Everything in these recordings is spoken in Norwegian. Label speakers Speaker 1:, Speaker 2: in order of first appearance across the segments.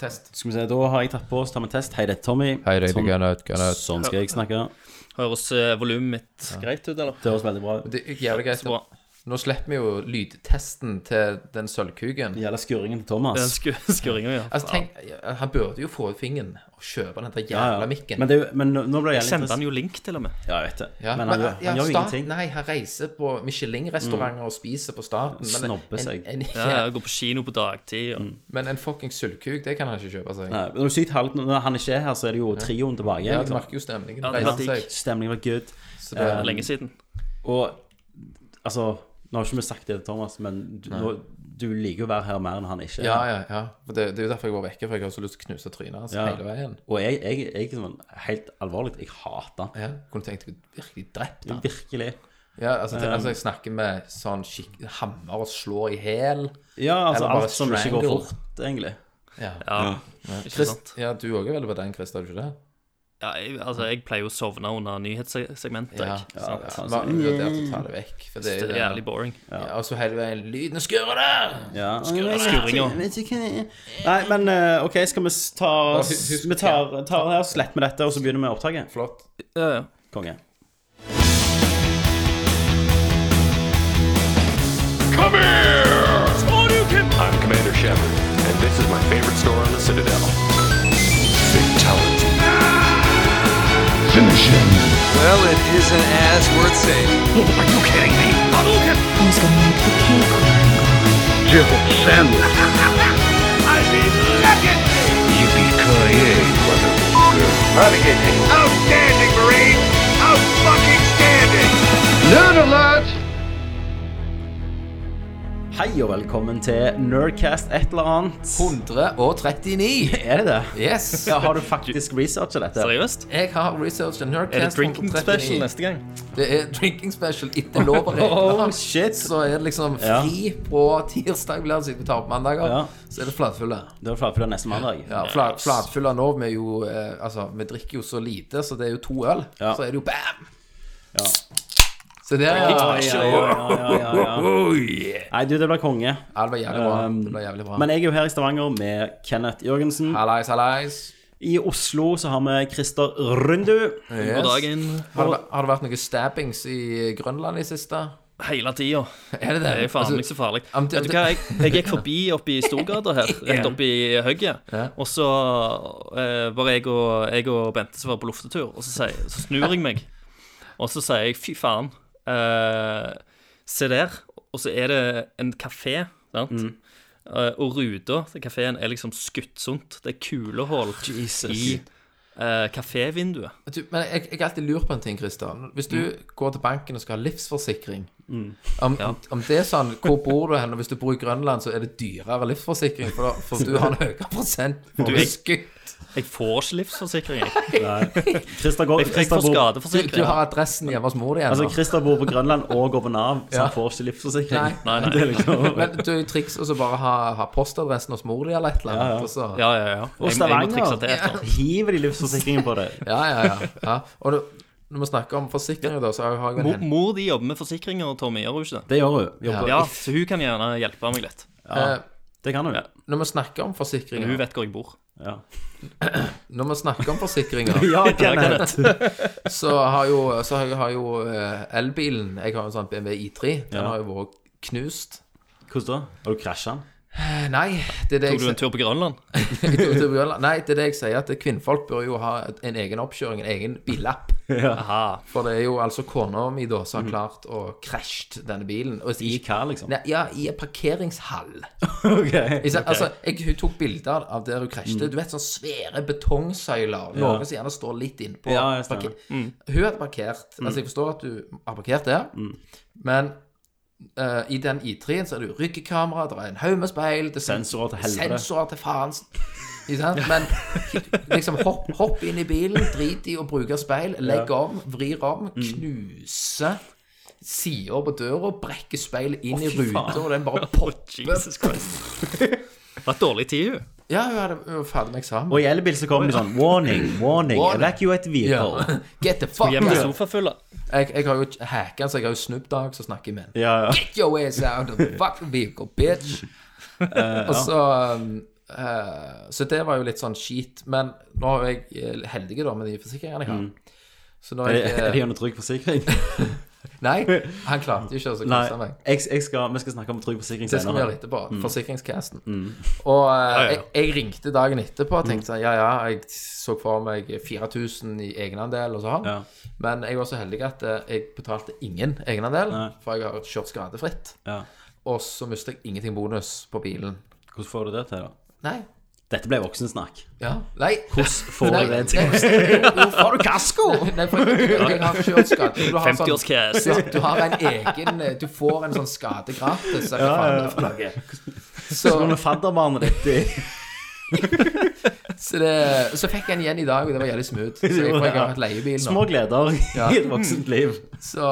Speaker 1: Test.
Speaker 2: Skal vi se, Da har jeg tatt på oss, tar vi en test. Hei, dette er Tommy.
Speaker 3: Hei, det er
Speaker 2: sånn,
Speaker 3: Gunnaut, Gunnaut.
Speaker 2: sånn skal jeg snakke.
Speaker 4: Høres eh, volumet mitt greit ut, eller?
Speaker 2: Det høres veldig bra ut.
Speaker 3: Det er jævlig greit.
Speaker 4: Så bra.
Speaker 3: Nå slipper vi jo lydtesten til den sølvkuken.
Speaker 2: Det gjelder skurringen til
Speaker 4: Den
Speaker 2: Thomas.
Speaker 4: sku, skurringen, ja.
Speaker 3: Altså, tenk, Han burde jo få ut fingeren og kjøpe den der
Speaker 2: Ja,
Speaker 3: jævla
Speaker 2: ja.
Speaker 3: mikken.
Speaker 2: Men, det, er jo- men nå nå ble jeg litt sånn-
Speaker 4: Sendte han jo link, til og med.
Speaker 2: Ja, jeg vet det.
Speaker 3: Ja,
Speaker 2: Men han, gjør- han
Speaker 3: ja,
Speaker 2: gjør jo
Speaker 3: sta-
Speaker 2: ingenting. Mm.
Speaker 3: Nei, han reiser på Michelin-restauranter og spiser på staten.
Speaker 2: Snobber seg.
Speaker 3: En, en,
Speaker 4: Ja, ja, Går på kino på dagtid. Og...
Speaker 3: Men en fucking sølvkuk, det kan han ikke kjøpe seg.
Speaker 2: Nei, men når, du sykt, halvt- når han ikke er her, så er det jo trioen tilbake.
Speaker 3: Ja, du
Speaker 2: liksom.
Speaker 3: merker jo stemningen. Ja,
Speaker 4: Ja, det var
Speaker 3: reiser
Speaker 4: digg.
Speaker 3: seg.
Speaker 2: Stemningen var good.
Speaker 3: Så det,
Speaker 4: Det er Lenge siden.
Speaker 2: Og altså Nå har ikke vi sagt det til Thomas, men du, nå, du liker jo å være her mer enn han ikke er.
Speaker 3: ja, ja. ja. For det, det er jo derfor jeg var vekke, for jeg har så lyst til å knuse trynet hans
Speaker 2: Ja.
Speaker 3: hele veien.
Speaker 2: Og jeg, jeg, jeg sånn, helt alvorlig, jeg hater han.
Speaker 3: Ja, kunne tenkt deg virkelig drept
Speaker 2: Ja.
Speaker 3: han.
Speaker 2: Virkelig.
Speaker 3: Ja, altså, det, altså, jeg snakker med sånn skikk... Hammer og slår i hæl.
Speaker 2: Ja, altså
Speaker 3: Eller bare
Speaker 2: alt som ikke går
Speaker 3: strangle.
Speaker 2: fort, egentlig.
Speaker 3: Ja.
Speaker 4: Ja, ikke sant?
Speaker 3: Chris- ja, du òg er vel på den, Chris, er du ikke det?
Speaker 4: Ja, jeg, altså, jeg pleier jo å sovne under nyhetssegmentet.
Speaker 3: Ja,
Speaker 4: jeg, sant?
Speaker 3: Ja, Man er jo der til å ta det vekk. For det
Speaker 4: Det
Speaker 3: er jo
Speaker 4: er jævlig
Speaker 3: det.
Speaker 4: boring.
Speaker 3: Ja, og så hele veien Lyden skurrer der!
Speaker 2: Ja.
Speaker 4: Skurringer.
Speaker 2: Vet ikke hva det er. Nei, men eh, OK, skal vi s- ta
Speaker 3: husk-
Speaker 2: Vi tar, tar det her, sletter med dette, og så begynner vi opptaket.
Speaker 3: Flott.
Speaker 4: Ja, ja.
Speaker 2: Konge.
Speaker 5: Come here! I'm Commander Shepard, and this is my favorite store on the Citadel. Fatality. Finish him.
Speaker 6: Well, it isn't as worth saving.
Speaker 5: Are you kidding me? Hadouken!
Speaker 7: Who's gonna make the cake?
Speaker 5: Jill Sandwich. I mean, legacy! Yippee-ki-yay, motherfucker. Renegade. Outstanding, Marine! Out fucking standing! Nerd alert!
Speaker 2: Hei og velkommen til Nerdcast et eller annet.
Speaker 3: 139!
Speaker 2: Er det det?
Speaker 3: Yes!
Speaker 2: Ja, har du faktisk researcha dette?
Speaker 4: Seriøst?
Speaker 3: Jeg har researchet
Speaker 4: Er det
Speaker 3: Nerdcast
Speaker 4: drinking
Speaker 3: 139.
Speaker 4: special neste gang?
Speaker 3: Det er drinking special etter lov og regler.
Speaker 2: Oh, shit.
Speaker 3: Så er det liksom fri på tirsdag, blir det siden vi tar opp mandager.
Speaker 2: Ja.
Speaker 3: Så er det flatfulle.
Speaker 2: Det var for det er neste mandag.
Speaker 3: Ja, flat, flatfulle nå, vi, er jo, eh, altså, vi drikker jo så lite, så det er jo to øl.
Speaker 2: Ja.
Speaker 3: Så er det jo bam!
Speaker 2: Ja.
Speaker 3: Så det er
Speaker 2: Ja, ja, ja, ja, ja, ja. Nei, du, det blir konge.
Speaker 3: Ja, det var jævlig bra.
Speaker 2: Um,
Speaker 3: Det ble jævlig bra.
Speaker 2: Men jeg er jo her i Stavanger med Kenneth Jørgensen.
Speaker 3: Hallais, hallais.
Speaker 2: I Oslo så har vi Christer Rundu.
Speaker 4: God dagen.
Speaker 3: Har det, har det vært noen stabbings i Grønland i siste?
Speaker 4: Hele tida.
Speaker 3: Er det Altså, det?
Speaker 4: Det er faen meg så farlig. Vet du hva, jeg, jeg gikk forbi oppe i Storgata her, rett oppe i høyet,
Speaker 3: Ja.
Speaker 4: og så eh, var jeg og, jeg og Bente som var på luftetur, og så, sier, så snur jeg meg, og så sier jeg fy faen, eh, se der, og så er det en kafé, sant?
Speaker 3: Mm.
Speaker 4: Eh, og ruta til kaféen er liksom skuttsunt. Det er kulehull i eh, kafévinduet.
Speaker 3: Du, men jeg, jeg har alltid lurt på en ting, Kristian. Hvis du
Speaker 2: Mm.
Speaker 3: går til banken og skal ha livsforsikring om, om, om det er sånn, Hvor bor du hen? Og hvis du bor i Grønland, så er det dyrere livsforsikring, for, da, for du har en høyere prosent. Du er skutt.
Speaker 4: Jeg får ikke livsforsikring. Jeg,
Speaker 2: Christer, går,
Speaker 4: jeg
Speaker 2: Christer,
Speaker 4: får
Speaker 2: bor,
Speaker 3: Du,
Speaker 4: skadeforsikring.
Speaker 3: du har adressen hjemme hos mor di
Speaker 2: altså,
Speaker 3: ennå.
Speaker 2: Christer bor på Grønland og går på Nav, så
Speaker 3: Ja.
Speaker 2: han får ikke livsforsikring.
Speaker 3: Nei.
Speaker 4: Nei, nei.
Speaker 2: Det er liksom
Speaker 3: Men du er jo triks å så bare ha, ha postadressen hos mor di eller et eller annet. Og så, ja,
Speaker 4: Ja, ja, ja.
Speaker 2: Og
Speaker 4: Jeg, jeg må
Speaker 2: Stavanger
Speaker 4: trikse til et eller annet.
Speaker 2: hiver de livsforsikringen på deg.
Speaker 3: ja, ja, ja. Og du, når vi snakker om forsikringer, da, så har jeg jo
Speaker 4: Mor,
Speaker 3: en hen-
Speaker 4: mor de jobber med forsikringer, Tommy, gjør hun ikke det?
Speaker 2: Det gjør hun. Jobber.
Speaker 4: Ja, så hun kan gjerne hjelpe meg litt.
Speaker 3: Eh,
Speaker 2: Det kan hun. Ja.
Speaker 3: Når vi snakker om
Speaker 4: Hun
Speaker 3: forsikringer,
Speaker 4: vet hvor jeg bor.
Speaker 2: Ja,
Speaker 3: når vi snakker om forsikringer
Speaker 2: Kenneth.
Speaker 3: så har jo, så har, jo- har jo eh, elbilen Jeg har jo en sånn BMW I3. Den
Speaker 2: Ja.
Speaker 3: har jo vært knust.
Speaker 2: Hvordan da? Har du krasja den?
Speaker 3: Eh, Nei, det er det
Speaker 4: Tok du
Speaker 3: jeg
Speaker 4: en tur på Grønland?
Speaker 3: sier. Nei, det er det jeg sier, at kvinnfolk bør jo ha et- en egen oppkjøring, en egen billapp.
Speaker 4: Aha.
Speaker 3: For det er jo altså kona mi da
Speaker 4: Mm.
Speaker 3: som har klart å krasje denne bilen. Og
Speaker 2: I hva, liksom?
Speaker 3: Nei, ja, i en parkeringshall.
Speaker 2: Ok. Mm.
Speaker 3: Jeg, sa- altså, jeg, hun tok bilder av der hun krasjte. Du vet, sånne svære betongsøyler. Noen som gjerne står litt innpå.
Speaker 2: Ja, jeg Mm. stemmer.
Speaker 3: Parker- Hun hadde parkert.
Speaker 2: Mm.
Speaker 3: Altså, jeg forstår at du har parkert der, men eh, i den I3-en så er det jo ryggekamera, det er en haug med speil det er sånn
Speaker 2: Sensorer til helvete.
Speaker 3: Sensorer til faen. Ikke sant? Men liksom hopp, hopp inn i bilen, drit i å bruke speil, legg om, vrir om,
Speaker 2: Mm.
Speaker 3: knuse sider på døra, brekke speilet inn i ruta, og den bare popper
Speaker 4: Jesus Christ. Vært dårlig tid, hun.
Speaker 3: ja, hun hadde hun var ferdig med eksamen.
Speaker 2: Og i elbil så kommer de sånn Warning, warning,
Speaker 3: Warning.
Speaker 2: evacuate vehicle.
Speaker 3: Ja. Get the fuck
Speaker 4: Hjemme i
Speaker 3: out.
Speaker 4: sofafulla.
Speaker 3: Jeg, jeg har jo ikke hacka, så jeg har jo Snoop Dogg som snakker med henne.
Speaker 2: Ja, ja.
Speaker 3: Get your ass out of the fucking vehicle, bitch. Og så um, Eh, så det var jo litt sånn skit. Men nå er jeg eh, heldig da med de forsikringene jeg har. Så når
Speaker 2: Er
Speaker 3: jeg, eh,
Speaker 2: er det under trygg forsikring?
Speaker 3: Nei, han klarte jo ikke å
Speaker 2: Nei,
Speaker 3: kaste meg.
Speaker 2: jeg, jeg skal, vi skal snakke om trygg forsikring
Speaker 3: Det skal vi gjøre
Speaker 2: senere.
Speaker 3: etterpå. Forsikringscasten.
Speaker 2: Mm.
Speaker 3: Og eh, Jeg, jeg ringte dagen etterpå og tenkte sånn Ja, ja, jeg så for meg 4000 i egenandel og sånn.
Speaker 2: Ja.
Speaker 3: Men jeg var så heldig at eh, jeg betalte ingen egenandel,
Speaker 2: Nei.
Speaker 3: for jeg har kjørt skadefritt.
Speaker 2: Ja.
Speaker 3: Og så mistet jeg ingenting bonus på bilen.
Speaker 2: Hvordan får du det til, da?
Speaker 3: Nei.
Speaker 2: Dette ble voksensnakk.
Speaker 3: Ja. Nei.
Speaker 2: Hvordan får du det til?
Speaker 3: Har du kasko? Nei, for jeg, jeg, jeg har kjørt skade.
Speaker 2: sånn.
Speaker 3: Du har
Speaker 4: 50-årscast.
Speaker 3: du, du har en egen eh, Du får en sånn skade gratis. eller hva faen det er for noe. Så,
Speaker 2: Når vi fadderbarnet ditt i
Speaker 3: Så, det, så fikk jeg den igjen i dag, og det var jævlig smooth. Så jeg, for jeg har hatt leiebil nå.
Speaker 2: Små gleder
Speaker 3: Ja.
Speaker 2: i et voksent liv.
Speaker 3: Så,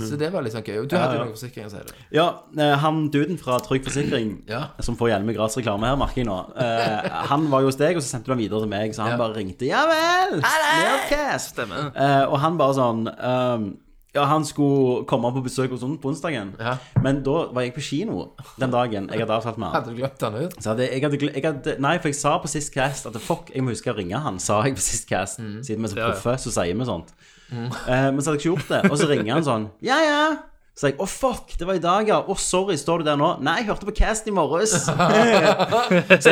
Speaker 3: så det var litt sånn gøy. Og du hadde jo noen forsikringer, sier du.
Speaker 2: Ja, eh, han duden fra Trygg Forsikring,
Speaker 3: Ja.
Speaker 2: som får hjelme gratis reklame her, merker jeg nå, eh, han var jo hos deg, og så sendte du han videre til meg, så han
Speaker 3: Ja.
Speaker 2: bare ringte Ja vel! Nerdcast! Eh, og han bare sånn ehm, Ja, han skulle komme på besøk hos oss på onsdagen,
Speaker 3: Ja.
Speaker 2: men da var jeg på kino den dagen jeg hadde avtalt med han.
Speaker 3: Hadde du glemt den ut?
Speaker 2: Så hadde, jeg hadde, gle- jeg hadde, nei, for jeg sa på sist cast at fuck, jeg må huske å ringe han, sa jeg på sist cast.
Speaker 3: Mm.
Speaker 2: Siden vi er så proffe, så sier vi sånt. Eh, men så hadde jeg ikke gjort det. Og så ringer han sånn, ja, ja. Så jeg, å fuck, det var i dag, ja. Å, sorry, står du der nå? Nei, jeg hørte på cast i morges. så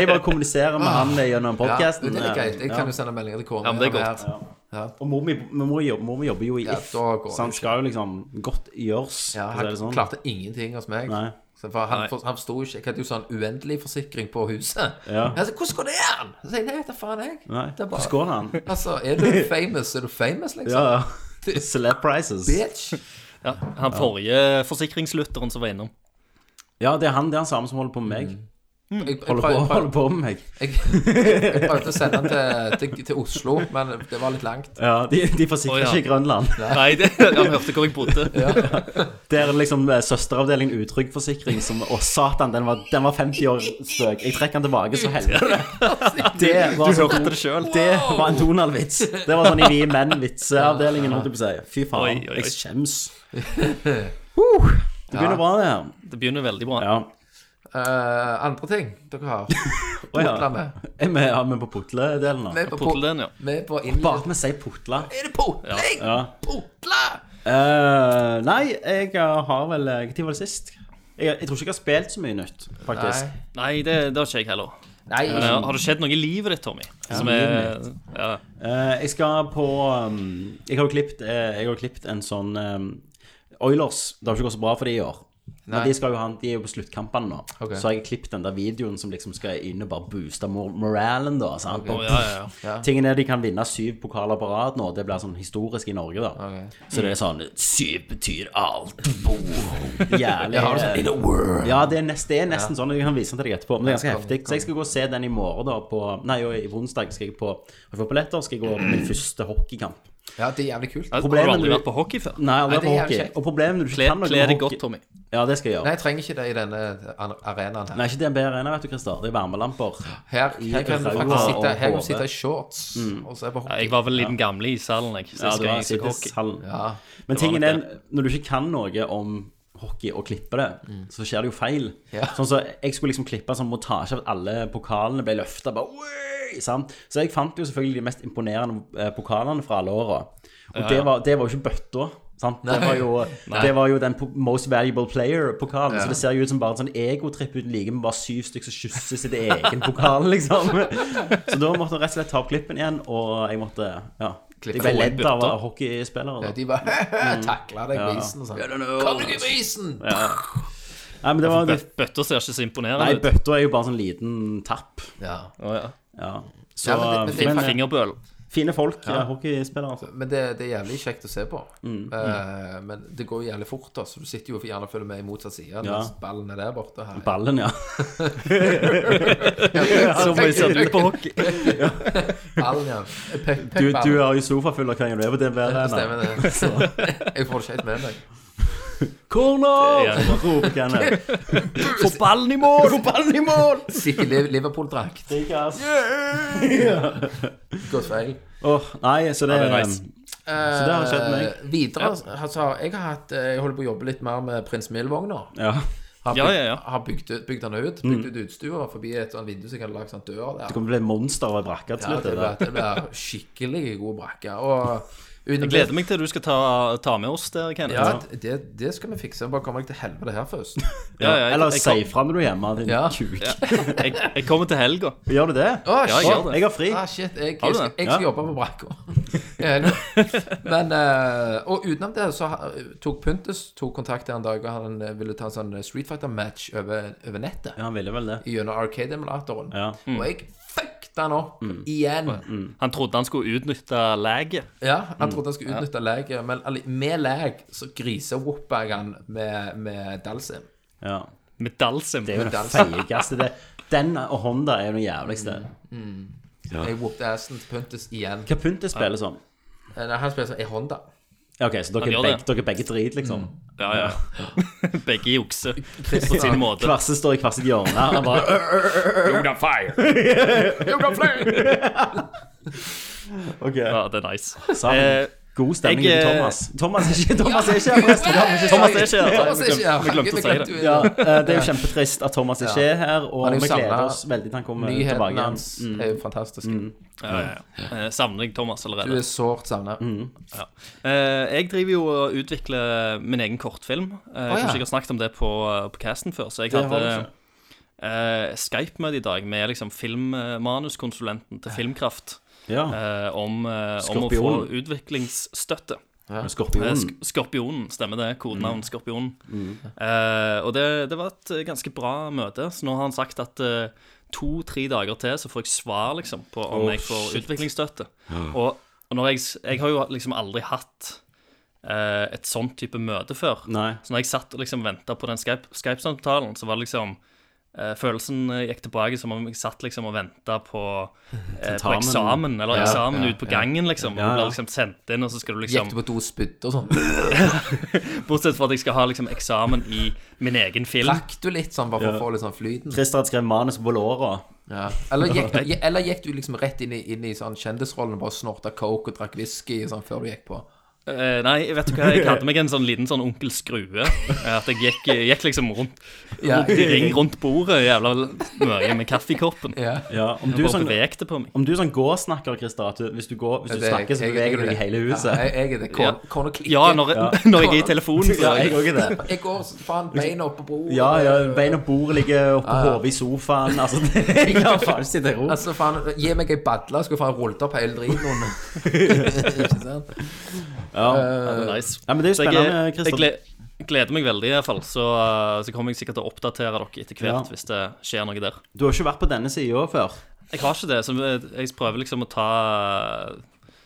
Speaker 2: jeg bare kommuniserer med han gjennom
Speaker 3: Ja,
Speaker 2: podcasten.
Speaker 3: det er greit. Jeg
Speaker 2: Ja.
Speaker 3: kan jo sende meldinger til kona.
Speaker 4: Ja, men det er godt.
Speaker 2: Og mor mi, mor, jobber, mor mi jobber jo i
Speaker 3: Ja,
Speaker 2: if,
Speaker 3: da går
Speaker 2: så han
Speaker 3: det
Speaker 2: skal jo liksom godt gjøres.
Speaker 3: Ja,
Speaker 2: for å
Speaker 3: han
Speaker 2: si det sånn.
Speaker 3: klarte ingenting hos meg.
Speaker 2: Nei.
Speaker 3: Så for han,
Speaker 4: Nei.
Speaker 3: for, han forsto jo ikke Jeg hadde jo sånn uendelig forsikring på huset.
Speaker 2: Ja.
Speaker 3: Jeg sa, 'Hvordan går det an?' Så sier jeg, 'Nei, vet da faen, jeg'.
Speaker 2: Nei,
Speaker 3: Det er bare-
Speaker 2: skål han.
Speaker 3: Altså, er du famous, er du famous, liksom.
Speaker 2: Ja, ja. Celeb prices.
Speaker 3: Bitch.
Speaker 4: Ja, han forrige forsikringslutteren som var innom.
Speaker 2: Ja, det er han, det er han samme som holder på med meg.
Speaker 3: Mm. Jeg, jeg,
Speaker 2: Mm. Holder på,
Speaker 3: prøv- prøv-
Speaker 2: holder på med meg.
Speaker 3: Jeg, jeg prøvde å sende den til, til, til Oslo, men det var litt langt.
Speaker 2: Ja, De, de forsikrer
Speaker 4: Å, ja.
Speaker 2: ikke Grønland.
Speaker 4: Nei, det, han hørte hvor jeg bodde.
Speaker 2: Det er liksom eh, søsteravdelingen Utrygg Forsikring som Å, satan, den var, den var 50 år spøk. Jeg trekker den tilbake, så helvete. Det var,
Speaker 4: Du
Speaker 2: så,
Speaker 4: hørte det sjøl.
Speaker 2: det var en Donald-vits. Det var sånn i Vi menn-vitseavdelingen, holdt jeg på å si. Fy faen,
Speaker 4: Oi, oi, oi.
Speaker 2: jeg skjems. Uh, det begynner bra, det her.
Speaker 4: Det begynner veldig bra.
Speaker 2: Ja.
Speaker 3: Eh, andre ting dere har
Speaker 2: Å, ja.
Speaker 3: putla med.
Speaker 2: Er vi, er vi på putledelen nå?
Speaker 3: Med på, på,
Speaker 4: Portelen, ja.
Speaker 3: med på innlyd-
Speaker 2: Bare at vi sier putla.
Speaker 3: Er det putling?
Speaker 2: Ja.
Speaker 3: Putla!
Speaker 2: Eh, nei, jeg har vel Når var det sist? Jeg, jeg tror ikke jeg har spilt så mye nytt,
Speaker 3: Nei.
Speaker 2: faktisk.
Speaker 4: Nei, det, det har ikke jeg heller.
Speaker 3: Nei.
Speaker 4: Men, eh, har det skjedd noe i livet ditt, Tommy? Som er ja.
Speaker 2: Eh, jeg skal på um, Jeg har jo klippet, eh, jeg har jo klippet en sånn um, Oilers. Det har ikke gått så bra for de i år. Men
Speaker 3: Nei.
Speaker 2: de, skal jo ha, de er jo på sluttkampene nå.
Speaker 3: Ok.
Speaker 2: Så har jeg klippet den der videoen som liksom skal inn og bare booste mor moralen, da. Sant?
Speaker 4: Å, ja, ja, ja.
Speaker 2: Tingen er de kan vinne syv pokaler på rad nå. Det blir sånn historisk i Norge, da. Så det er sånn Syv betyr alt. Boom. Jævlig.
Speaker 3: Har du sånn, In a world.
Speaker 2: Ja, det er, nest, det er nesten sånn. Jeg kan vise den til deg etterpå. Men det er ganske heftig. Så jeg skal gå og se den i morgen, da. På, nei, og i onsdag skal jeg på Har jeg fått billetter, skal jeg gå på min første hockeykamp.
Speaker 3: Ja, det er jævlig kult.
Speaker 4: Har du
Speaker 2: Problemet
Speaker 4: aldri
Speaker 2: du-
Speaker 4: vært på hockey før?
Speaker 2: Nei, aldri
Speaker 3: Nei, det
Speaker 2: på
Speaker 3: er
Speaker 2: hockey.
Speaker 3: jævlig kjekt.
Speaker 2: Og problemet er du ikke
Speaker 4: Kle
Speaker 2: kan noe
Speaker 4: kle
Speaker 2: med
Speaker 4: deg godt,
Speaker 2: hockey.
Speaker 4: Tommy.
Speaker 2: Ja, det skal
Speaker 3: Nei,
Speaker 2: jeg gjøre.
Speaker 3: jeg trenger ikke det i denne an- arenaen her.
Speaker 2: Nei, ikke DNB Arena, vet du, Christer. Det er varmelamper.
Speaker 3: Her, her kan du
Speaker 2: Raua
Speaker 3: faktisk sitte,
Speaker 2: og Mm.
Speaker 3: her kan
Speaker 2: Hove.
Speaker 3: du sitte i shorts og se på
Speaker 4: Ja,
Speaker 3: hockey.
Speaker 4: jeg var vel en liten gamle i salen, jeg. Så
Speaker 2: Ja,
Speaker 4: jeg
Speaker 2: du
Speaker 4: skal
Speaker 2: har
Speaker 4: jeg ikke
Speaker 2: sittet i
Speaker 4: hockey.
Speaker 2: salen.
Speaker 3: Ja.
Speaker 2: Men
Speaker 4: Det var
Speaker 2: tingen
Speaker 4: nok
Speaker 2: er, når du ikke kan noe om hockey og klipper det,
Speaker 4: Mm.
Speaker 2: så skjer det jo feil.
Speaker 3: Ja.
Speaker 2: Sånn så jeg skulle liksom klippe en sånn montasje av at alle pokalene ble løfta. Så jeg fant jo selvfølgelig de mest imponerende eh, pokalene fra alle åra. Og det, var, det var jo ikke bøtta. Sant? Det, var jo, det var jo den po- Most Valuable Player-pokalen. Så det ser jo ut som bare en sånn egotripp uten like, med bare syv stykker som kysser sin egen pokal, liksom. Så da måtte jeg rett og slett ta opp klippen igjen, og jeg måtte Ja. Jeg ble ledd av
Speaker 4: Bøtta.
Speaker 2: hockeyspillere. da.
Speaker 3: De bare
Speaker 2: Mm.
Speaker 3: takla deg på isen og sånn. Kom deg i isen!
Speaker 2: Nei, men det var
Speaker 4: Bø- Bøtta ser ikke så
Speaker 2: Nei,
Speaker 4: imponerende ut.
Speaker 2: bøtta er jo bare sånn liten tapp.
Speaker 3: Ja.
Speaker 4: Å, ja.
Speaker 2: Ja. Så,
Speaker 3: Ja, men det- men det er
Speaker 2: men,
Speaker 3: faktisk-
Speaker 4: Fingerbøl.
Speaker 2: fine folk, ja. hockeyspillere. Altså.
Speaker 3: Men det, det er jævlig kjekt å se på.
Speaker 2: Mm.
Speaker 3: Eh, men det går jævlig fort, da, så du sitter jo gjerne og følger med i motsatt side. Mens ballen er der borte. Her.
Speaker 2: Ballen, ja.
Speaker 4: Så mye ser du på hockey.
Speaker 3: ballen, ja. Puck,
Speaker 2: Du,
Speaker 3: puck,
Speaker 2: du har jo sofafull av hva du er på DNB
Speaker 3: Stemmer
Speaker 2: Arena.
Speaker 3: det. Jeg får det ikke helt med meg.
Speaker 2: Corner!
Speaker 4: Det er jeg.
Speaker 2: Roper Kenneth.
Speaker 4: Få ballen i mål! Få ballen i mål!
Speaker 3: Sitter i Liv- Liverpool-drakt.
Speaker 2: Rikers.
Speaker 3: Gått feil.
Speaker 2: Åh, nei, så det, um,
Speaker 4: Ja, det er nice.
Speaker 3: Så
Speaker 2: det har
Speaker 3: Eh,
Speaker 2: skjedd meg.
Speaker 3: Videre altså, jeg har hatt Jeg holder på å jobbe litt mer med Prins Milvogn nå.
Speaker 2: Ja.
Speaker 3: Har bygd,
Speaker 4: Ja, ja, Mm. ja.
Speaker 3: Har bygd, bygd den ut. Bygd ut utstua forbi et sånt vindu som kan lage sånn dør der.
Speaker 2: Det kommer til å bli et monster av en brakke til
Speaker 3: Ja,
Speaker 2: slutt.
Speaker 3: det
Speaker 2: det der.
Speaker 3: blir, det blir skikkelig god brakke. Og
Speaker 4: Jeg gleder meg til du skal ta, ta med oss der, Kenneth.
Speaker 3: Ja, det, det skal vi fikse. Bare kommer jeg til helvete her først.
Speaker 4: Ja, ja, jeg-
Speaker 2: Eller
Speaker 4: jeg-
Speaker 2: si fra når du er hjemme, din
Speaker 3: Ja.
Speaker 2: kuk.
Speaker 4: Jeg, jeg kommer til helga.
Speaker 2: Gjør du det?
Speaker 3: Å,
Speaker 4: Ja, jeg
Speaker 3: shit.
Speaker 4: gjør det.
Speaker 2: Jeg har fri.
Speaker 3: Ah, shit, jeg, jeg,
Speaker 4: Har du
Speaker 3: skal-
Speaker 4: det?
Speaker 3: jeg skal
Speaker 2: Ja.
Speaker 3: jobbe på brakka. Men eh, Og utenom det så ha- tok Puntus tok kontakt her en dag, og han eh, ville ta en sånn Street Fighter-match over, over nettet.
Speaker 2: Ja, han ville vel det.
Speaker 3: Gjennom Arcade-emulatoren.
Speaker 2: Ja.
Speaker 4: Mm.
Speaker 3: Og jeg fucket han opp igjen.
Speaker 4: Han trodde han skulle utnytte laget.
Speaker 3: Ja, Han trodde han skulle utnytte leket, men alli- med lek så grisewoppa jeg han med, med Dalsim.
Speaker 2: ja.
Speaker 4: Med Dalsim.
Speaker 2: Det er jo det
Speaker 3: Dansen.
Speaker 2: feigeste. Altså, det. Den og Honda er jo det jævligste.
Speaker 4: Mm.
Speaker 3: Jeg whoopet assen til Puntus igjen.
Speaker 2: Hva Puntis spiller som?
Speaker 3: Eh, Nei, han spiller som ei Honda.
Speaker 2: Ja, Ok, så dere
Speaker 4: Han
Speaker 2: er
Speaker 4: gjør
Speaker 2: begge,
Speaker 4: det. Mm.
Speaker 2: dere er begge drit, liksom?
Speaker 4: Ja, ja. Begge jukser på sin måte.
Speaker 2: Kvarse står i hvert sitt hjørne. Han bare, ok,
Speaker 4: Ja, det er nice.
Speaker 2: sammen.
Speaker 4: Eh,
Speaker 2: God stemning
Speaker 4: jeg,
Speaker 2: til
Speaker 4: eh,
Speaker 2: Thomas. Thomas er ikke, Thomas er ikke her, forresten. Det har vi ikke
Speaker 4: Thomas
Speaker 2: sagt.
Speaker 4: er ikke her.
Speaker 3: Thomas er ikke her.
Speaker 4: Vi glemte å si det.
Speaker 2: Ja, eh, det er jo kjempetrist at Thomas ikke er her, og
Speaker 3: Han er jo
Speaker 2: vi gleder
Speaker 3: samlet.
Speaker 2: oss veldig til han kommer tilbake
Speaker 3: Nyheten
Speaker 2: igjen. Mm.
Speaker 3: hans
Speaker 4: Mm.
Speaker 3: er jo fantastisk.
Speaker 4: Ja, ja, ja. Eh, Savner jeg Thomas
Speaker 3: Du
Speaker 4: allerede.
Speaker 3: er sårt sånn savna.
Speaker 4: Ja. Eh, Jeg driver jo og utvikler min egen kortfilm. Eh, Jeg tror
Speaker 3: ja.
Speaker 4: ikke jeg har snakket om det på, eh, på casten før, så jeg
Speaker 2: Det har
Speaker 4: hadde
Speaker 2: du ikke.
Speaker 4: eh, Skype-møte i dag med liksom filmmanuskonsulenten til Filmkraft
Speaker 2: Ja,
Speaker 4: eh, om, eh, om å få
Speaker 2: Skorpion.
Speaker 4: utviklingsstøtte.
Speaker 2: med
Speaker 4: Eh,
Speaker 2: skorpionen. Mm.
Speaker 4: Sk Skorpionen, stemmer det. Kodenavn Skorpionen. Eh, og det, det var et eh, ganske bra møte, så nå har han sagt at to-tre dager til så får jeg svar liksom, på om
Speaker 2: Åh,
Speaker 4: jeg får utviklingsstøtte. Og, og når jeg, s- jeg har jo liksom aldri hatt eh, et sånt type møte før.
Speaker 2: Nei.
Speaker 4: Så når jeg satt og liksom venta på den Skype- Skype-samtalen, så var det liksom eh, Følelsen eh, gikk tilbake som om jeg satt liksom og venta på, eh, på
Speaker 2: Tentamen.
Speaker 4: eksamen, eller
Speaker 3: Ja,
Speaker 4: eksamen
Speaker 3: ja,
Speaker 4: ut på
Speaker 3: ja.
Speaker 4: gangen, liksom. Og
Speaker 2: Ja,
Speaker 4: du
Speaker 2: ja.
Speaker 4: blir liksom sendt inn, og så skal du liksom
Speaker 3: Gikk du på do og spydde og
Speaker 4: Mm.
Speaker 3: sånn?
Speaker 4: Bortsett fra at jeg skal ha liksom eksamen i min egen film.
Speaker 3: Rakk du litt sånn bare for å få litt sånn flyten?
Speaker 2: Christer hadde skrevet manus på låra.
Speaker 3: Ja. Eller, gikk du, eller gikk du liksom rett inn i, inn i sånn kjendisrollen og bare snorta coke og drakk whisky og sånn før du gikk på?
Speaker 4: Eh, nei, vet du hva, jeg hadde meg en sånn liten sånn onkel Skrue. eh, At jeg gikk, gikk liksom rundt
Speaker 3: Ja,
Speaker 4: i ring rundt bordet jævla mye med kaffekoppen.
Speaker 3: ja.
Speaker 2: Ja, om du
Speaker 4: Bare
Speaker 2: sånn...
Speaker 4: bevegte på meg.
Speaker 2: Om du er sånn gåsnakker, Christer, at du, hvis du, går, hvis du
Speaker 3: Det er-
Speaker 2: snakker, så
Speaker 3: jeg-
Speaker 2: beveger
Speaker 3: jeg-
Speaker 2: du deg i hele huset.
Speaker 3: Ja, jeg, jeg er det.
Speaker 4: Ja.
Speaker 3: Kone- Kone klikker.
Speaker 4: Ja, når, når jeg er i telefonen, så
Speaker 2: Ja, jeg òg er det.
Speaker 3: Jeg går så faen beina opp på bordet.
Speaker 2: Ja, ja, beina på bordet ligger oppå hodet i sofaen. Altså, det, jeg kan faen ikke sitte i ro.
Speaker 3: Altså, faen, gi meg ei badle, skulle faen rullet opp hele driten. Ikke sant?
Speaker 2: Ja.
Speaker 4: Ja, det er nice.
Speaker 2: Ja, men det er jo
Speaker 4: Så jeg-
Speaker 2: spennende,
Speaker 4: Jeg,
Speaker 2: Christer.
Speaker 4: gle- gleder meg veldig i hvert fall, så, eh, så kommer jeg sikkert til å oppdatere dere etter hvert
Speaker 2: Ja.
Speaker 4: hvis det skjer noe der.
Speaker 2: Du har ikke vært på denne sida før.
Speaker 4: Jeg har ikke det, så jeg prøver liksom å ta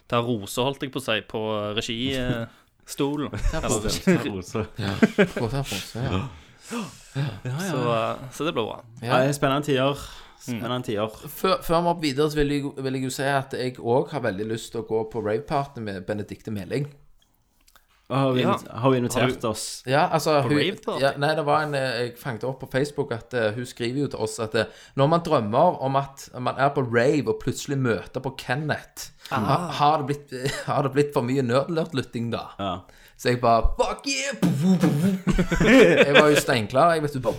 Speaker 4: Ta roser, holdt jeg på å si, på registolen. Eller-
Speaker 3: Gå til Frans, ja.
Speaker 4: Så, så det blir bra.
Speaker 2: Ja, Mm. det er spennende tider. Spennende tider.
Speaker 3: før, før vi hopper videre, så vil jeg, vil jeg jo si at jeg òg har veldig lyst til å gå på raveparty med Benedicte Meling.
Speaker 2: Og Har vi,
Speaker 4: Ja.
Speaker 2: har vi invitert oss?
Speaker 3: Ja, altså hun,
Speaker 4: raveparty?
Speaker 3: ja, Nei, det var en eh, Jeg fanget opp på Facebook at eh, hun skriver jo til oss at eh, når man drømmer om at man er på rave og plutselig møter på Kenneth, ha, har, det blitt, eh, har det blitt for mye nerdlurt-lytting da?
Speaker 2: Ja.
Speaker 3: Så jeg bare Fuck yeah! Jeg var jo steinklar. Jeg vet du bare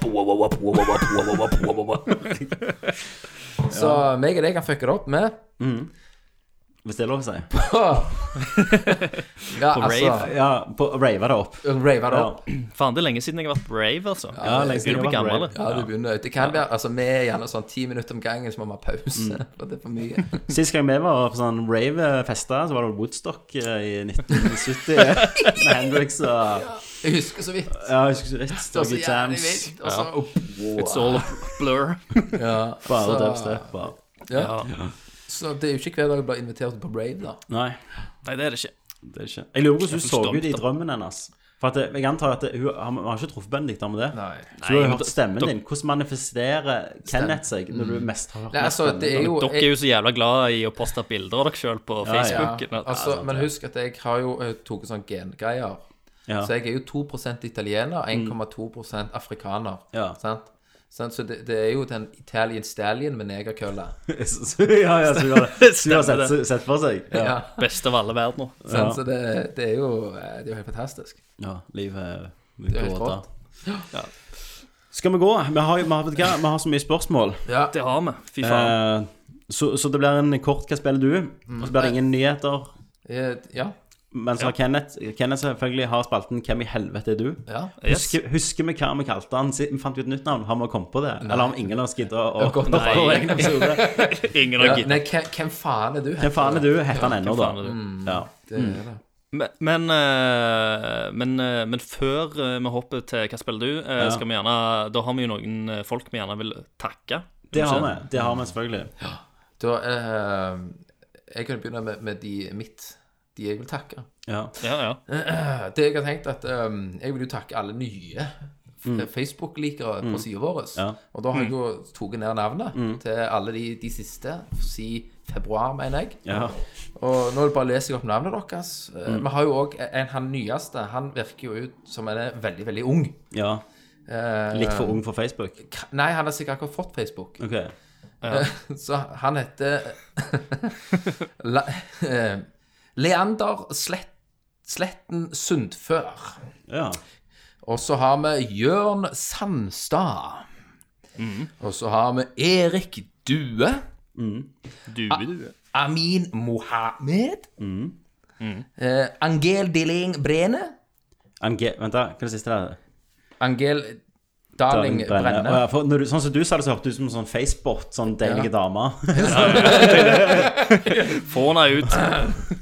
Speaker 3: Så meg og deg kan fucke det opp med
Speaker 2: Hvis det er lov å si.
Speaker 3: Ja,
Speaker 4: rave.
Speaker 3: altså
Speaker 2: Ja, på rave det opp.
Speaker 3: Rave det
Speaker 2: Ja.
Speaker 3: opp.
Speaker 4: Faen, det er lenge siden jeg har vært brave, altså.
Speaker 2: Ja, lenge siden
Speaker 4: Begynner å
Speaker 2: jeg
Speaker 4: bli
Speaker 2: har vært
Speaker 4: gammel.
Speaker 2: brave.
Speaker 3: Ja, du begynner. Det kan være altså, vi er gjerne sånn ti minutter om gangen, så må vi ha pause.
Speaker 2: Mm.
Speaker 3: For det er for mye.
Speaker 2: Sist gang vi var på sånn rave-fester, så var det Woodstock eh, i 1970 med Hendrix og
Speaker 3: Jeg husker så vidt.
Speaker 2: Ja, jeg husker ikke rett.
Speaker 3: Det var
Speaker 2: Og
Speaker 3: så jævlig
Speaker 2: Jams.
Speaker 3: vidt. Og så opp.
Speaker 4: It's all a blur.
Speaker 3: Ja,
Speaker 2: Bare
Speaker 3: så-
Speaker 2: dubstep. bare.
Speaker 3: Ja. Så det er jo ikke hver dag jeg blir invitert på Brave, da.
Speaker 2: Nei,
Speaker 4: Nei, det er det ikke.
Speaker 2: det er ikke Jeg lurer på hvordan
Speaker 4: Jeg
Speaker 2: hun
Speaker 4: er
Speaker 2: så
Speaker 4: stolt,
Speaker 2: ut i
Speaker 4: da.
Speaker 2: drømmen hennes. For at jeg antar at hun, han, han har ikke truffet Benedikt med det. Så
Speaker 4: Nei,
Speaker 2: du har
Speaker 4: men
Speaker 2: hørt
Speaker 4: da-
Speaker 2: stemmen
Speaker 4: da-
Speaker 2: din. Hvordan manifesterer Kenneth seg når du mest har hørt
Speaker 3: Nei, altså, det er jo
Speaker 4: Dere er jo så jævla glad i å poste bilder av dere sjøl på
Speaker 3: ja,
Speaker 4: Facebook.
Speaker 3: altså, Men husk at jeg har jo eh, tatt sånn gengreier.
Speaker 2: Ja. Mm.
Speaker 3: Så jeg er jo 2 italiener, 1,2 afrikaner.
Speaker 2: Ja.
Speaker 3: Sant? Sant? Så det, det er jo den Italian stallion med negerkølle.
Speaker 2: Ja, ja, så hun har, så hun har
Speaker 4: Stemmer
Speaker 2: sett, sett for seg. Ja.
Speaker 3: Ja.
Speaker 4: Beste av alle verdener.
Speaker 3: sant? Så det, det, er jo, eh, det er jo helt fantastisk.
Speaker 2: ja livet
Speaker 3: Det er
Speaker 2: går
Speaker 3: helt
Speaker 2: da.
Speaker 3: rått.
Speaker 2: Skal vi gå? Vi har, jo- vi har, vet du hva? vi har så mye spørsmål.
Speaker 3: Ja.
Speaker 4: Det har vi. Fy faen.
Speaker 2: Eh, så, så det blir en kort 'Hva spiller du?' Og så blir det ingen nyheter.
Speaker 3: Eh, Mm. ja.
Speaker 2: Men så har Kenneth Kenneth selvfølgelig har spalten 'Hvem i helvete er du?'
Speaker 3: ja.
Speaker 4: Yes.
Speaker 2: Eh, Husker, husker vi hva vi kalte han? Si- Vi fant jo et nytt navn. Har vi kommet på det? Eller har vi ingen av oss giddet å
Speaker 3: Godt.
Speaker 2: vår egen episode?
Speaker 4: Ingen har
Speaker 3: Ja,
Speaker 4: giddet.
Speaker 3: nei, hvem, hvem faen er du?
Speaker 2: Hvem faen er du? Mm. Heter han ennå, da.
Speaker 4: faen er
Speaker 3: Mm.
Speaker 2: Ja.
Speaker 3: Det er det.
Speaker 4: Men, men, eh, men, eh, men før eh, vi hopper til Hva spiller du, eh, skal vi gjerne, da har vi jo noen eh, folk vi gjerne vil takke.
Speaker 2: Det har vi. Det har vi selvfølgelig.
Speaker 3: Da, eh, jeg kan begynne med, med de mitt, de jeg vil takke.
Speaker 2: Ja.
Speaker 4: Ja, ja.
Speaker 3: Det jeg har tenkt at ehm, Jeg vil jo takke alle nye f- Facebook-likere på sida vår.
Speaker 2: Mm. Ja. Mm.
Speaker 3: Og da har jeg jo tatt ned navnet til alle de, de siste, si februar, mener jeg.
Speaker 2: ja. Mm.
Speaker 3: Og nå bare leser jeg opp navnet deres. Eh, Vi har jo òg en han nyeste. Han virker jo ut som han er veldig, veldig ung.
Speaker 2: ja.
Speaker 3: Eh,
Speaker 2: Litt for ung for Facebook.
Speaker 3: k- Nei, han har sikkert akkurat fått Facebook.
Speaker 2: OK.
Speaker 3: Så han heter La, eh, Leander Slett, Sletten Sundfør.
Speaker 2: Ja.
Speaker 3: Og så har vi Jørn Sandstad. Og så har vi Erik Due.
Speaker 2: Mm.
Speaker 4: Du, du.
Speaker 3: Amin Mohammed.
Speaker 2: Mm.
Speaker 3: Eh, Angel Dilling Brene.
Speaker 2: Ange... Vent, da. Hva er det siste der?
Speaker 3: Angel Darling
Speaker 2: Brenne. Å,
Speaker 3: Brenne.
Speaker 2: ja, for når du, sånn som du sa det, så hørtes det ut som en sånn Facebook, sånn deilige dame.
Speaker 4: Få henne ut.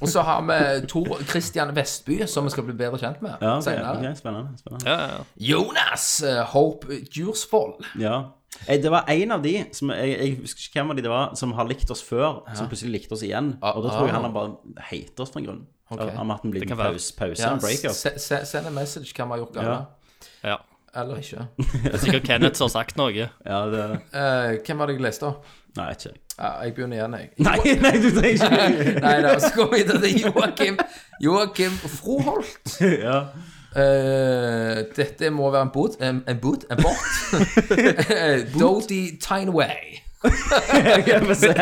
Speaker 3: Og så har vi Tor Christian Vestby, som vi skal bli bedre kjent med
Speaker 2: Ja, ok,
Speaker 3: senere.
Speaker 2: ok, spennende. spennende.
Speaker 4: Ja, ja.
Speaker 3: Jonas eh, Hope Djursvold.
Speaker 2: Ja. Eh, Det var en av de, som jeg, jeg husker ikke hvem av de det var, som har likt oss før, som plutselig likte oss igjen. Og da tror jeg han har bare hater oss for en grunn. Han har hatt en liten
Speaker 4: kan være.
Speaker 2: pause, pause altså.
Speaker 3: Ja,
Speaker 2: en breakup.
Speaker 3: se- se- Send en message hva vi har gjort galt.
Speaker 2: Ja.
Speaker 4: ja.
Speaker 3: Eller ikke.
Speaker 4: Det er sikkert Kenneth som har sagt noe.
Speaker 2: Ja, det
Speaker 3: Eh, hvem var det jeg leste opp?
Speaker 2: Nei, ikke
Speaker 3: Ja, jeg begynner igjen, jeg.
Speaker 2: Nei, nei, du trenger ikke
Speaker 3: Nei da, så går vi videre til Joakim Joakim Froholt.
Speaker 2: ja.
Speaker 3: Eh, dette må være en bot En, en bot? En bot? Eh, Dodie Tineway.
Speaker 2: Jeg får se.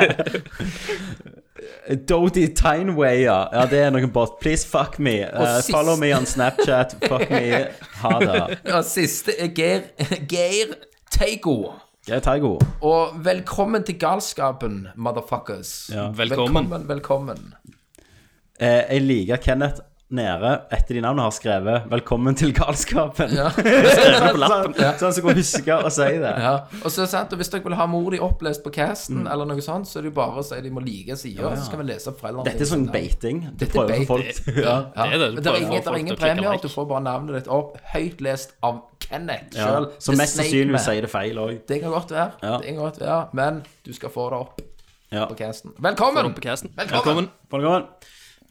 Speaker 2: Dodie Tineway, ja. Ja, det er noen bot. Please fuck me. Eh,
Speaker 3: sist-
Speaker 2: follow me on Snapchat. Fuck me. Ha det.
Speaker 3: Og siste er Geir, Geir Teigo.
Speaker 2: Greit, ha det god.
Speaker 3: Og velkommen til galskapen, motherfuckers.
Speaker 2: Ja.
Speaker 4: Velkommen.
Speaker 3: Velkommen, velkommen.
Speaker 2: Eh, jeg liker Kenneth Nere etter de navnene har skrevet 'Velkommen til galskapen'.
Speaker 3: Ja.
Speaker 2: Skrevet på lappen. Sånn så han skal huske å si det.
Speaker 3: Ja. Og så er det sant, og Hvis dere vil ha mor di opplest på casten,
Speaker 2: Mm.
Speaker 3: eller noe sånt, så er det jo bare å si de må like sida, så skal vi lese opp foreldrene
Speaker 2: Dette er
Speaker 3: dine
Speaker 2: sånn
Speaker 3: sine navn.
Speaker 2: beiting. Du
Speaker 3: Dette er
Speaker 2: prøver
Speaker 3: beiting.
Speaker 2: for folk. Ja.
Speaker 3: Ja.
Speaker 4: Det er
Speaker 3: Men
Speaker 4: det. Du
Speaker 3: det
Speaker 4: prøver
Speaker 3: er ingen,
Speaker 4: å få
Speaker 3: det er
Speaker 4: folk
Speaker 3: ingen
Speaker 4: til å klikke
Speaker 3: premier.
Speaker 4: like.
Speaker 3: Du får bare navnet ditt opp, høyt lest av Kenneth
Speaker 2: Ja.
Speaker 3: sjøl.
Speaker 2: Så mest sannsynlig sier det feil òg.
Speaker 3: Det kan godt være,
Speaker 2: Ja.
Speaker 3: det kan godt være, men du skal få det opp
Speaker 2: Ja.
Speaker 3: på casten. Velkommen!
Speaker 4: Opp i casten.
Speaker 3: Velkommen.
Speaker 4: Velkommen.
Speaker 2: Velkommen.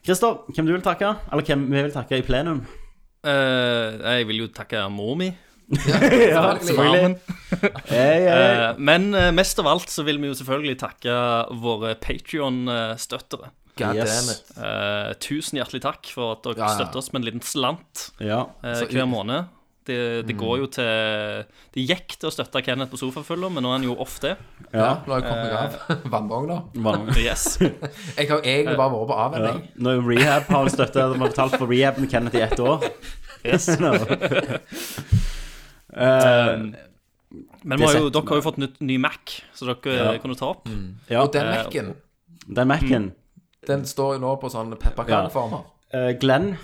Speaker 2: Christer, hvem du vil takke? Eller hvem vi vil takke i plenum?
Speaker 4: Eh, jeg vil jo takke mor mi.
Speaker 2: Ja,
Speaker 4: Farmen.
Speaker 2: Hei, hei.
Speaker 4: Eh, men eh, mest av alt så vil vi jo selvfølgelig takke våre Patrion-støttere.
Speaker 3: God damn
Speaker 2: Yes.
Speaker 3: it.
Speaker 4: Eh, tusen hjertelig takk for at dere
Speaker 3: Ja, ja.
Speaker 4: støtter oss med en liten slant
Speaker 2: Ja.
Speaker 4: eh, hver måned. Det, det går jo til Det gikk til å støtte Kenneth på sofafølger, men nå er han jo off det.
Speaker 3: Ja, nå har jeg kommet meg
Speaker 4: Eh.
Speaker 3: av vannvogna.
Speaker 2: Vanlig.
Speaker 4: Yes.
Speaker 3: Jeg har jo egentlig bare vært på avvenning.
Speaker 2: Nå er jo rehab har han støtte. De har betalt for rehaben til Kenneth i ett år.
Speaker 4: yes.
Speaker 2: Nå. Eh, Det
Speaker 4: Men vi har jo,
Speaker 2: setter
Speaker 4: dere har jo fått nytt, ny Mac, så dere eh,
Speaker 2: Ja.
Speaker 4: kan jo ta opp.
Speaker 2: ja,
Speaker 3: Og den Mac-en,
Speaker 2: den Mac-en.
Speaker 3: den står jo nå på sånn pepperkakeformer.
Speaker 2: Eh, Glenn,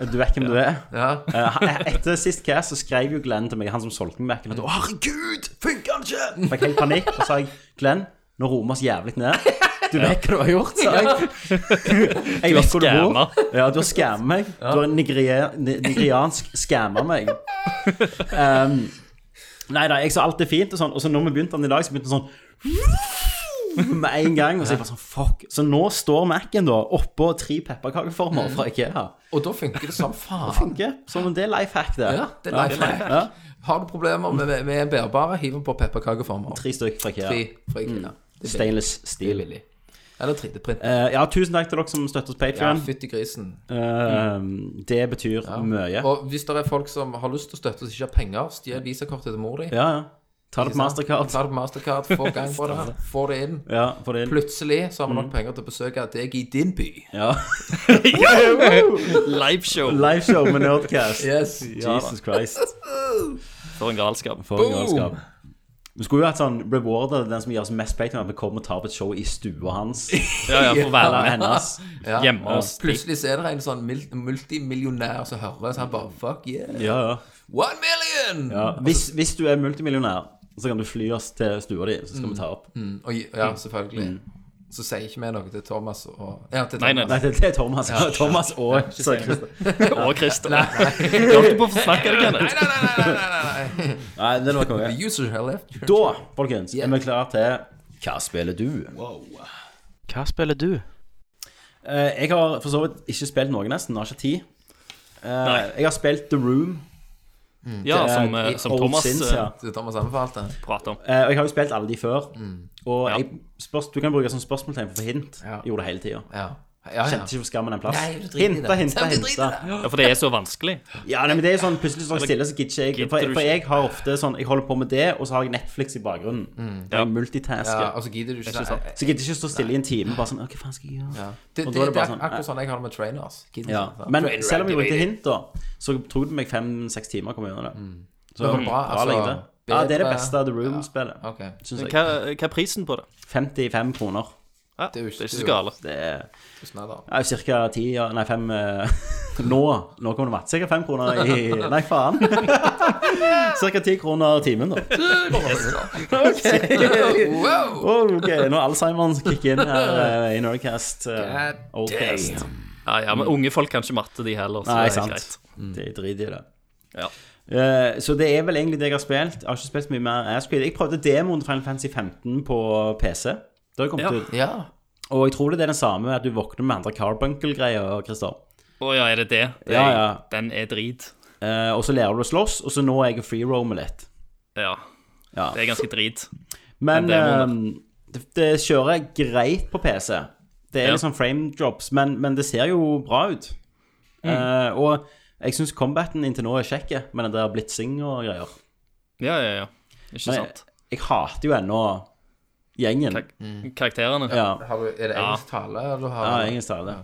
Speaker 2: du vet hvem du er.
Speaker 3: Ja.
Speaker 2: Eh, han- etter sist cast så skrev jo Glenn til meg, han som solgte meg Mac-en, at «Å, herregud, funker den ikke? Fikk helt panikk, og sa jeg, Glenn, nå roer vi oss jævlig ned. Du vet hva du har gjort, sa jeg. Jeg vet hvor du bor. Ja, du har skammet meg. Du har nigeri- ni- nigeriansk skammet meg. Um, nei da, jeg sa alt er fint og sånn, og så når vi begynte den i dag, så begynte den sånn med en gang, og så jeg bare sånn, fuck. Så nå står Mac-en da oppå tre pepperkakeformer fra IKEA.
Speaker 3: Og da funker det som faen.
Speaker 2: Funker. Som om det er life hack, det.
Speaker 3: Ja, det er life hack.
Speaker 2: Ja.
Speaker 3: Har du problemer med, med, med en bærbar, hiv den på pepperkakeformer.
Speaker 2: Tre stykker fra IKEA.
Speaker 3: Fri, fri,
Speaker 2: Mm.
Speaker 3: ja. Det er billig.
Speaker 2: Stainless
Speaker 3: Det er
Speaker 2: steel.
Speaker 3: billig. Eller 3D-print.
Speaker 2: Eh, ja, tusen takk til dere som støtter oss på
Speaker 3: Ja,
Speaker 2: Patreon
Speaker 3: fytti grisen.
Speaker 2: Eh, det betyr mye.
Speaker 3: Og hvis det er folk som har lyst til å støtte oss, ikke har penger, stjel visakortet til mor di.
Speaker 2: Ja, ja. Ta det på Mastercard.
Speaker 3: Ta det på Mastercard, få gang på det, få det inn.
Speaker 2: Ja, for det
Speaker 3: Plutselig så har vi nok penger til å besøke deg i din by.
Speaker 2: Mm. ja.
Speaker 4: Liveshow.
Speaker 2: Liveshow med Nerdcast.
Speaker 3: Yes.
Speaker 2: Jesus Christ.
Speaker 4: For en galskap.
Speaker 2: For galskap. Vi skulle jo hatt sånn rewarder den som gir oss mest playtime, at vi kommer og tar på et show i stua hans.
Speaker 4: Ja, ja, for å være
Speaker 2: Eller
Speaker 4: med
Speaker 2: hennes.
Speaker 3: Ja.
Speaker 4: hjemme hos
Speaker 3: Plutselig så er det en sånn mil- multimillionær som hører, så han bare Fuck yeah.
Speaker 2: Ja, ja.
Speaker 3: One million!
Speaker 2: ja. Hvis, hvis du er multimillionær, så kan du fly oss til stua di, så skal vi ta opp.
Speaker 3: Og,
Speaker 2: Mm.
Speaker 3: ja, selvfølgelig. Så sier ikke vi noe til Thomas og Ja, til Thomas.
Speaker 4: Nei, nei,
Speaker 2: Nei, det, det er Thomas. Thomas og så er Christer.
Speaker 4: og Christer. Du holdt på å forsnakke deg, Kenneth.
Speaker 3: Nei, nei, nei, nei, nei, nei.
Speaker 2: Nei, den var konge.
Speaker 3: The user has left.
Speaker 2: Da, folkens, er vi klare til Hva spiller du?
Speaker 1: Hva spiller du?
Speaker 2: Eh, jeg har for så vidt ikke spilt noe, nesten. Har ikke tid. Eh,
Speaker 4: Nei.
Speaker 2: jeg har spilt The Room.
Speaker 4: Ja,
Speaker 2: eh,
Speaker 4: som, eh,
Speaker 2: i
Speaker 4: som
Speaker 2: Old
Speaker 4: Thomas
Speaker 2: Sins,
Speaker 4: eh,
Speaker 2: ja.
Speaker 3: Det er Thomas anbefalte.
Speaker 4: prater om.
Speaker 2: Eh, og jeg har jo spilt alle de før. Og
Speaker 4: Ja.
Speaker 2: jeg, spørs, du kan bruke sånn spørsmålstegn for hint. Jeg Gjorde det hele tida.
Speaker 3: Mm. Ja. Ja, ja.
Speaker 2: Kjente ikke hvor skammen den plass.
Speaker 3: Nei, du driter i
Speaker 2: Hinta,
Speaker 3: det.
Speaker 2: hinta,
Speaker 3: Sam, du driter i
Speaker 2: hinta.
Speaker 4: Ja, for det er så vanskelig.
Speaker 2: Ja, nei, men det er jo sånn Plutselig står jeg stille, så gidder ikke jeg.
Speaker 4: Altså, Gidder
Speaker 2: For,
Speaker 4: du
Speaker 2: for
Speaker 4: ikke?
Speaker 2: jeg har ofte sånn Jeg holder på med det, og så har jeg Netflix i bakgrunnen. Og Jeg multitasker.
Speaker 3: Mm. ja og så gidder du ikke. sånn- Nei,
Speaker 2: Så jeg gidder ikke stå stille i en time bare sånn «Å, Hva faen skal jeg gjøre?
Speaker 3: Ja. Det, det,
Speaker 2: Og da er det
Speaker 3: det
Speaker 2: bare
Speaker 3: er
Speaker 2: sånn,
Speaker 3: akkurat sånn jeg har det med trainers. Gidder ikke,
Speaker 2: Ja.
Speaker 3: sånn? sant?
Speaker 2: Men selv om jeg brukte hint, da, så tok det meg fem-seks timer å komme gjennom det. Så
Speaker 3: var Mm. det bra, altså,
Speaker 2: lengde. Ja, det er det
Speaker 3: bedre-
Speaker 2: beste av The Room-spillet,
Speaker 3: Ok.
Speaker 2: syns jeg.
Speaker 4: Hva, hva er prisen på det?
Speaker 2: 55 kroner.
Speaker 4: Ja,
Speaker 3: er
Speaker 4: det
Speaker 3: jo
Speaker 4: er
Speaker 3: ikke-
Speaker 4: ikke så gale.
Speaker 2: Det er
Speaker 3: Tusen takk, da.
Speaker 2: Ja, cirka ti, ja, nei fem eh, Nå, nå kommer det vært sikkert fem kroner i Nei, faen. Cirka ti kroner timen, da.
Speaker 3: Wow!
Speaker 2: Å, ok, nå er Alzheimeren som kicker inn her eh, i Nerdcast. eh,
Speaker 3: God
Speaker 2: Oldcast.
Speaker 4: Ja, ja, men unge folk kan ikke matte, de heller. Så
Speaker 2: Mm. Nei,
Speaker 4: det er
Speaker 2: sant. De
Speaker 4: greit. Mm.
Speaker 2: driter i det.
Speaker 4: Ja.
Speaker 2: Eh, så det er vel egentlig det jeg har spilt. Jeg har ikke spilt så mye mer Ash Creed. Jeg prøvde demoen til Final Fantasy 15 på PC. Det har kommet
Speaker 4: Ja.
Speaker 2: ut.
Speaker 3: Ja.
Speaker 2: Og jeg tror det er den samme at du våkner med andre Carbuncle-greier, Christer.
Speaker 4: Å ja, er det det? det er,
Speaker 2: Ja, ja.
Speaker 4: Den er drit.
Speaker 2: Eh, og så lærer du å slåss, og så nå er jeg freeroamer litt.
Speaker 4: Ja.
Speaker 2: Ja.
Speaker 4: Det er ganske drit.
Speaker 2: Men
Speaker 4: Men demoen,
Speaker 2: ehm, det, det kjører greit på PC. Det er
Speaker 4: Ja.
Speaker 2: liksom frame drops, men, men det ser jo bra ut.
Speaker 4: Mm.
Speaker 2: Eh, og jeg syns combaten inntil nå er kjekk, med den der blitzing og greier.
Speaker 4: Ja, ja, ja. Ikke
Speaker 2: Men jeg,
Speaker 4: sant.
Speaker 2: jeg hater jo ennå gjengen.
Speaker 4: Kar Karakterene.
Speaker 2: Ja,
Speaker 3: Har du, er det
Speaker 4: Ja.
Speaker 3: engelsk tale? Eller har
Speaker 2: ja
Speaker 3: du-
Speaker 2: engelsk tale.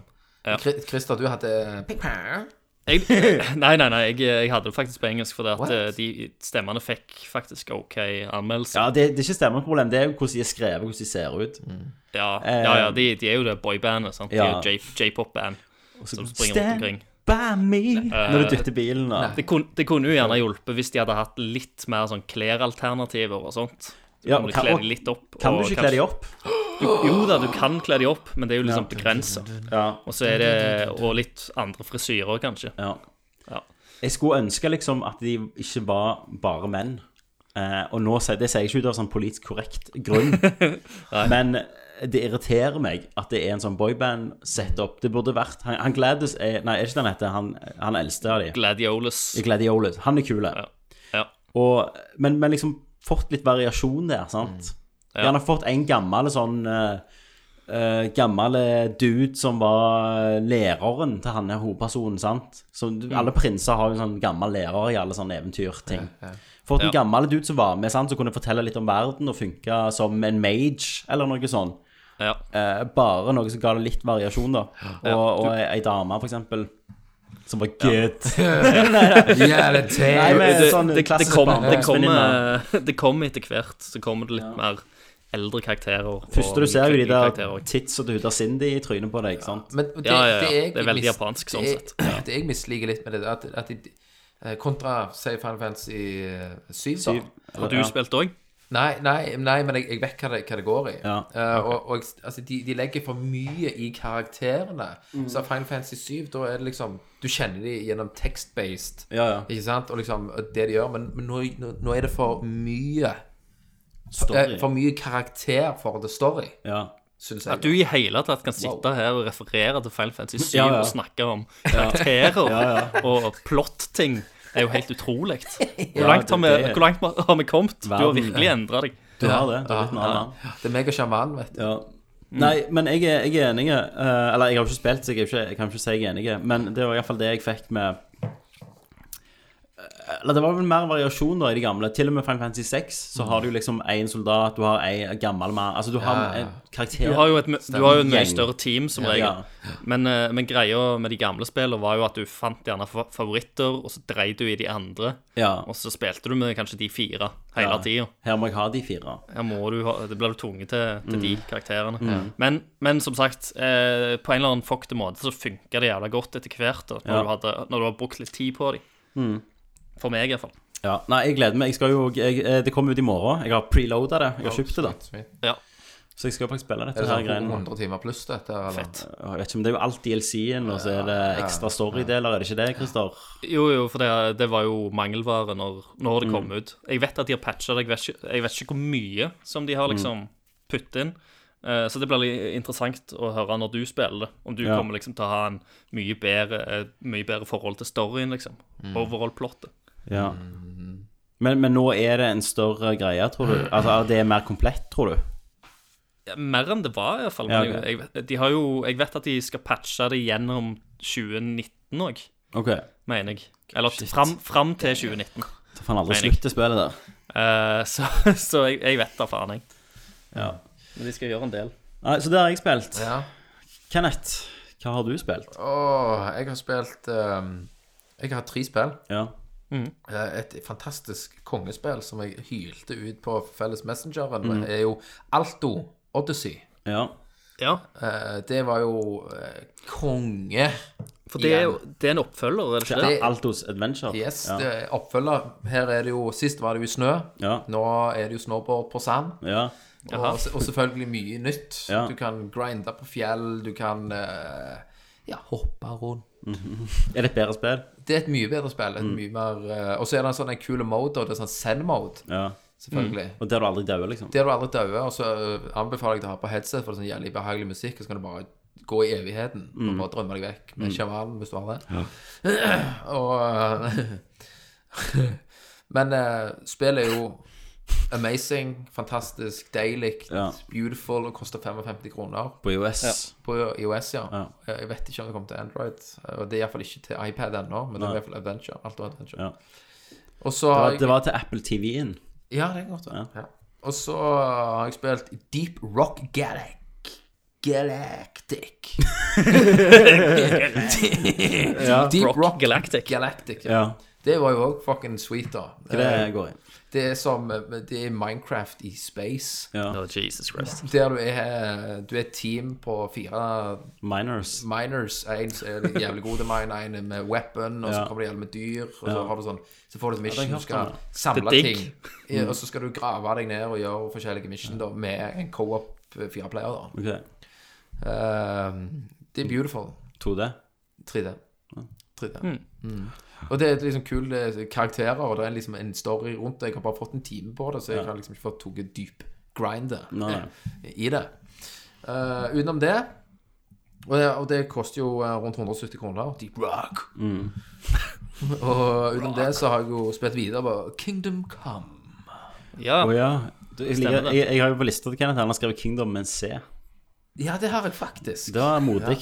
Speaker 3: Chri- Christer, du hadde Ping-pong.
Speaker 4: Jeg, nei, nei, nei, jeg, jeg hadde det faktisk på engelsk, fordi at
Speaker 3: What?
Speaker 4: eh, de stemmene fikk faktisk OK anmeldelse.
Speaker 2: Ja, det, det er ikke stemmeproblem, det er jo hvordan de er skrevet, hvordan de ser ut.
Speaker 4: Ja, ja, ja de, de er jo det boybandet, sant. De
Speaker 2: Eh. Ja.
Speaker 4: er jo J- J-pop-band som springer rundt
Speaker 2: Stand
Speaker 4: omkring.
Speaker 2: by me når du dytter bilen. Og.
Speaker 4: Det, kun, det kunne jo gjerne hjulpet hvis de hadde hatt litt mer sånn klæralternativer og sånt. Så
Speaker 2: Ja,
Speaker 4: kunne du
Speaker 2: kan-
Speaker 4: kle
Speaker 2: og-
Speaker 4: de litt opp.
Speaker 2: Kan du ikke kle de opp?
Speaker 4: Jo da, du kan kle de opp, men det er jo liksom begrenset.
Speaker 2: Ja.
Speaker 4: Og så er det Og litt andre frisyrer, kanskje.
Speaker 2: Ja.
Speaker 4: Ja.
Speaker 2: Jeg skulle ønske liksom at de ikke var bare menn. Eh, og nå, sier- det sier jeg ikke ut av sånn politisk korrekt grunn, men eh, det irriterer meg at det er en sånn boyband-setup. Det burde vært Han, han Gladys er Nei, er ikke det han heter? Han, han eldste av de.
Speaker 4: Gladioles.
Speaker 2: Gladiolis. Han er kul.
Speaker 4: Ja.
Speaker 2: Og- Men, men liksom fått litt variasjon der, sant?
Speaker 4: Mm.
Speaker 2: Gjerne fått en gammel sånn eh, eh, gammel eh, dude som var eh, læreren til han her hovedpersonen, sant? Så du-
Speaker 4: Mm.
Speaker 2: alle prinser har jo en sånn gammel lærer i alle sånne eventyrting. Fått en
Speaker 4: Ja.
Speaker 2: gammel dude som var med, sant? Som kunne fortelle litt om verden og funka som en mage, eller noe sånn.
Speaker 4: ja.
Speaker 2: Eh, bare noe som ga det litt variasjon, da. Og, og ei ei dame, for eksempel, som var good.
Speaker 3: Yeah, det
Speaker 2: Nei,
Speaker 3: er
Speaker 2: men-
Speaker 4: Det,
Speaker 2: sånn
Speaker 4: det, det,
Speaker 2: klassisk
Speaker 4: kom, det,
Speaker 2: barndomsvenninne.
Speaker 4: kommer, det kommer etter hvert. Så kommer det litt mer eldre karakterer. og
Speaker 2: Første du ser, er jo de
Speaker 4: nye
Speaker 2: der
Speaker 4: karakterer.
Speaker 2: tits og duder Cindy i trynet på deg, ikke sant?
Speaker 3: Men det,
Speaker 4: Ja, ja, ja.
Speaker 3: jeg
Speaker 4: Det er veldig
Speaker 3: mis-
Speaker 4: japansk sånn
Speaker 3: det-
Speaker 4: sett.
Speaker 3: Det jeg misliker litt med det, at, at de, eh, kontra si Final Fantasy 7, da.
Speaker 4: Og du spilte òg?
Speaker 3: Nei, nei, nei, men jeg, jeg vet hva det, hva det går i.
Speaker 2: Ja,
Speaker 3: Eh, og og jeg- altså, de, de legger for mye i karakterene. Så Final Fantasy 7, da er det liksom Du kjenner de gjennom text-based,
Speaker 2: Ja, ja.
Speaker 3: ikke sant? Og liksom og det de gjør. Men, men nå, nå, nå er det for mye eh,
Speaker 2: Story.
Speaker 3: For mye karakter for the story,
Speaker 2: Ja.
Speaker 3: syns jeg.
Speaker 4: At du i hele tatt kan sitte her og referere til Final Fantasy 7
Speaker 2: Ja, ja.
Speaker 4: og snakke om karakterer og plot-ting, er jo helt utrolig. Hvor langt har vi,
Speaker 2: det- det er-
Speaker 4: hvor langt har vi kommet? Du har
Speaker 2: Verden-
Speaker 4: virkelig endra deg.
Speaker 2: Du har det. Du har blitt en annen mann.
Speaker 3: Det er meg og sjamanen, vet du.
Speaker 2: Ja.
Speaker 3: Mm.
Speaker 2: Nei, men jeg er, jeg er enig. eh, eller, jeg har jo ikke spilt, så jeg, er jo ikke, jeg kan ikke si jeg er enig. Men det var iallfall det jeg fikk med eh, eller det var vel mer variasjon da i de gamle. Til og med Final Fantasy 6 så har
Speaker 3: Mm.
Speaker 2: du liksom én soldat, du har en gammel mann Altså du har en karakter
Speaker 4: Du har jo et, mø- du har jo et mye
Speaker 2: Gjeng.
Speaker 4: større team, som regel.
Speaker 2: Ja.
Speaker 4: Men, eh, men greia med de gamle spillene var jo at du fant gjerne fa- favoritter, og så dreide du i de andre.
Speaker 2: ja.
Speaker 4: Og så spilte du med kanskje de fire hele
Speaker 2: Ja.
Speaker 4: tida.
Speaker 2: Her må jeg ha de fire.
Speaker 4: Her må du ha, det blir du tvunget til, til
Speaker 2: Mm.
Speaker 4: de karakterene. Men, men som sagt, eh, på en eller annen fuckete måte så funka det jævla godt etter hvert. Da, når,
Speaker 2: Ja. Mm.
Speaker 4: du hadde, når du har brukt litt tid på dem. For meg, iallfall.
Speaker 2: Ja. Nei, jeg gleder meg. Jeg skal jo jeg, eh, Det kommer ut i morgen. Jeg har preloada det. Jeg har kjøpt det, da.
Speaker 3: Sweet.
Speaker 4: Ja.
Speaker 2: Så jeg skal faktisk spille
Speaker 3: Er
Speaker 2: dette
Speaker 3: det
Speaker 2: her
Speaker 3: sånn
Speaker 2: greiene.
Speaker 3: 100 timer pluss dette? Eller?
Speaker 4: Fett.
Speaker 2: Jeg vet ikke om det er jo alt DLC-en, og så er det ekstra storydeler, er det ikke det, Christer?
Speaker 4: Jo, jo, for det, det var jo mangelvare når, når det
Speaker 2: Mm.
Speaker 4: kom ut. Jeg vet at de har patcha det, jeg vet, ikke, jeg vet ikke hvor mye som de har
Speaker 2: Mm.
Speaker 4: liksom puttet inn. Eh, så det blir litt interessant å høre når du spiller det. Om du
Speaker 2: Ja.
Speaker 4: kommer liksom til å ha en mye bedre, et mye bedre forhold til storyen, liksom.
Speaker 2: Mm.
Speaker 4: Overall-plottet.
Speaker 2: Ja. Mm. Men, men nå er det en større greie, tror du? Altså, det er mer komplett, tror du?
Speaker 4: Ja, mer enn det var, iallfall.
Speaker 2: Ja,
Speaker 4: fall
Speaker 2: ok.
Speaker 4: Men jeg, jeg, vet- de har jo, jeg vet at de skal patche det gjennom 2019 òg,
Speaker 2: OK.
Speaker 4: mener jeg. Eller fram, fram til 2019.
Speaker 2: Så faen aldri
Speaker 4: Mening.
Speaker 2: slutte spillet der.
Speaker 4: Eh, så så jeg, jeg vet da faen, jeg.
Speaker 2: Ja.
Speaker 4: Men de skal gjøre en del.
Speaker 2: Nei, så det har jeg spilt.
Speaker 3: Ja.
Speaker 2: Kenneth, hva har du spilt?
Speaker 3: Åh, jeg har spilt ehm, Jeg har tre spill.
Speaker 2: Ja.
Speaker 3: Eh, Et fantastisk kongespill som jeg hylte ut på felles messengeren,
Speaker 2: Mm.
Speaker 3: er jo Alto Odyssey.
Speaker 2: Ja.
Speaker 4: Ja.
Speaker 3: Eh, Det var jo eh, konge.
Speaker 4: For det er, jo, det er en oppfølger, er det ikke det?
Speaker 3: Det-
Speaker 2: Altos Adventure.
Speaker 3: Yes,
Speaker 2: ja.
Speaker 3: det er oppfølger. Her er det jo Sist var det jo snø.
Speaker 2: Ja.
Speaker 3: Nå er det jo snowboard på sand.
Speaker 2: ja.
Speaker 4: Jaha.
Speaker 3: Og, og selvfølgelig mye nytt.
Speaker 2: Ja.
Speaker 3: Du kan grinde på fjell, du kan eh, ja, hoppe rundt.
Speaker 2: Er det et bedre spill?
Speaker 3: Det er et mye bedre spill.
Speaker 2: Mm.
Speaker 3: Et mye mer, eh, og så er det en sånn en kul mode, og det er sånn send-mode,
Speaker 2: Ja.
Speaker 3: selvfølgelig.
Speaker 2: Og der du aldri dauer, liksom?
Speaker 3: Det er du aldri dauer, og så eh, anbefaler jeg deg å ha på headset, for det er sånn jævlig behagelig musikk, og så kan du bare gå i evigheten
Speaker 2: Mm.
Speaker 3: og bare drømme deg vekk med sjamanen, hvis du har det. og eh, Men eh, spillet er jo amazing, fantastisk, deilig,
Speaker 2: Ja.
Speaker 3: beautiful, og koster 55 kroner.
Speaker 2: På IOS.
Speaker 3: På iOS, ja. Jeg vet ikke om det kommer til Android. Og det er iallfall ikke til iPad ennå, men det er iallfall Adventure. Alt er Adventure.
Speaker 2: Ja.
Speaker 3: Og så
Speaker 2: Det,
Speaker 3: har
Speaker 2: var,
Speaker 3: jeg
Speaker 2: det var til Apple TV-en.
Speaker 3: Ja, det kan godt være. Ja. Og så har jeg spilt Deep Rock Galac Galactic. Deep
Speaker 4: Rock,
Speaker 3: Rock
Speaker 4: Galactic.
Speaker 3: Galactic.
Speaker 2: Ja.
Speaker 3: Ja. Det var jo òg fucking sweet, da. Eh,
Speaker 2: Hva det går i?
Speaker 3: Det er som eh, Det er Minecraft i space.
Speaker 2: Ja.
Speaker 4: Oh, Jesus Christ.
Speaker 3: Der du er eh, Du er et team på fire
Speaker 2: Miners.
Speaker 3: miners. En som er litt jævlig god til mine, en er med weapon, og så
Speaker 2: Ja.
Speaker 3: kommer det gjerne med dyr. Og så, har du sånn, så får du et
Speaker 2: det
Speaker 3: mission,
Speaker 2: har
Speaker 3: du
Speaker 2: jeg
Speaker 3: skal
Speaker 2: hørt om
Speaker 3: samle
Speaker 4: Det er
Speaker 3: ting.
Speaker 4: digg.
Speaker 3: Ja,
Speaker 2: Mm.
Speaker 3: og så skal du grave deg ned og gjøre forskjellige mission da, med en co-op eh, fire player. da.
Speaker 2: OK.
Speaker 3: Ehm, det er beautiful.
Speaker 2: 2D.
Speaker 3: 3D. 3D. Mm. Og det er liksom kule karakterer, og det er liksom en story rundt det. Jeg har bare fått en time på det, så jeg har liksom ikke fått tatt dyp grindet
Speaker 2: Nei, nei.
Speaker 3: i det. Eh, utenom det og, det og det koster jo eh, rundt 170 kroner. Deep rock.
Speaker 2: Mm.
Speaker 3: og utenom det så har jeg jo spilt videre på Kingdom Come.
Speaker 4: Ja,
Speaker 2: Å Oh, ja. Du, jeg,
Speaker 4: Stemmer
Speaker 2: liker,
Speaker 4: det.
Speaker 2: jeg, jeg har jo på lista til Kenneth han har skrevet Kingdom med en C.
Speaker 3: Ja, det har jeg faktisk.
Speaker 2: Det var modig.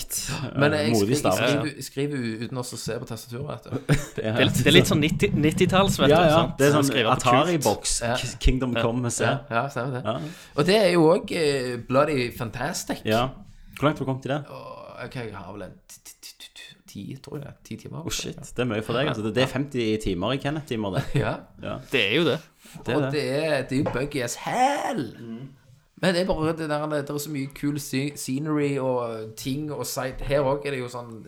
Speaker 3: Men jeg, skri-
Speaker 2: Modig
Speaker 3: jeg,
Speaker 2: stav.
Speaker 3: skriver, jeg skriver jo uten å se på tastaturet. vet du.
Speaker 4: det er, det er litt altså. sånn 90 90-talls, vet
Speaker 2: Ja,
Speaker 4: du.
Speaker 2: ja.
Speaker 4: sant?
Speaker 2: Det er
Speaker 4: Så
Speaker 2: sånn
Speaker 4: skriver på kult.
Speaker 2: Atari-boks. K- Kingdom Come med C.
Speaker 3: Ja, stemmer det.
Speaker 2: Ja.
Speaker 3: Og det er jo òg eh, bloody fantastic.
Speaker 2: Ja. Hvor langt har du kommet i det? Å,
Speaker 3: Og, ok, jeg har vel en ti- ti- ti- ti- ti, tror jeg. Ti timer.
Speaker 2: Oh, shit. Det er mye for deg. Altså. Det- Det er 50 timer i Kenneth-timer, det.
Speaker 3: Ja.
Speaker 4: Det er jo det.
Speaker 2: Det
Speaker 3: Og
Speaker 2: er det.
Speaker 3: det er, det er jo buggy as hell. Men det er bare det der, det er så mye kul sce- scenery og ting og side Her òg er det jo sånn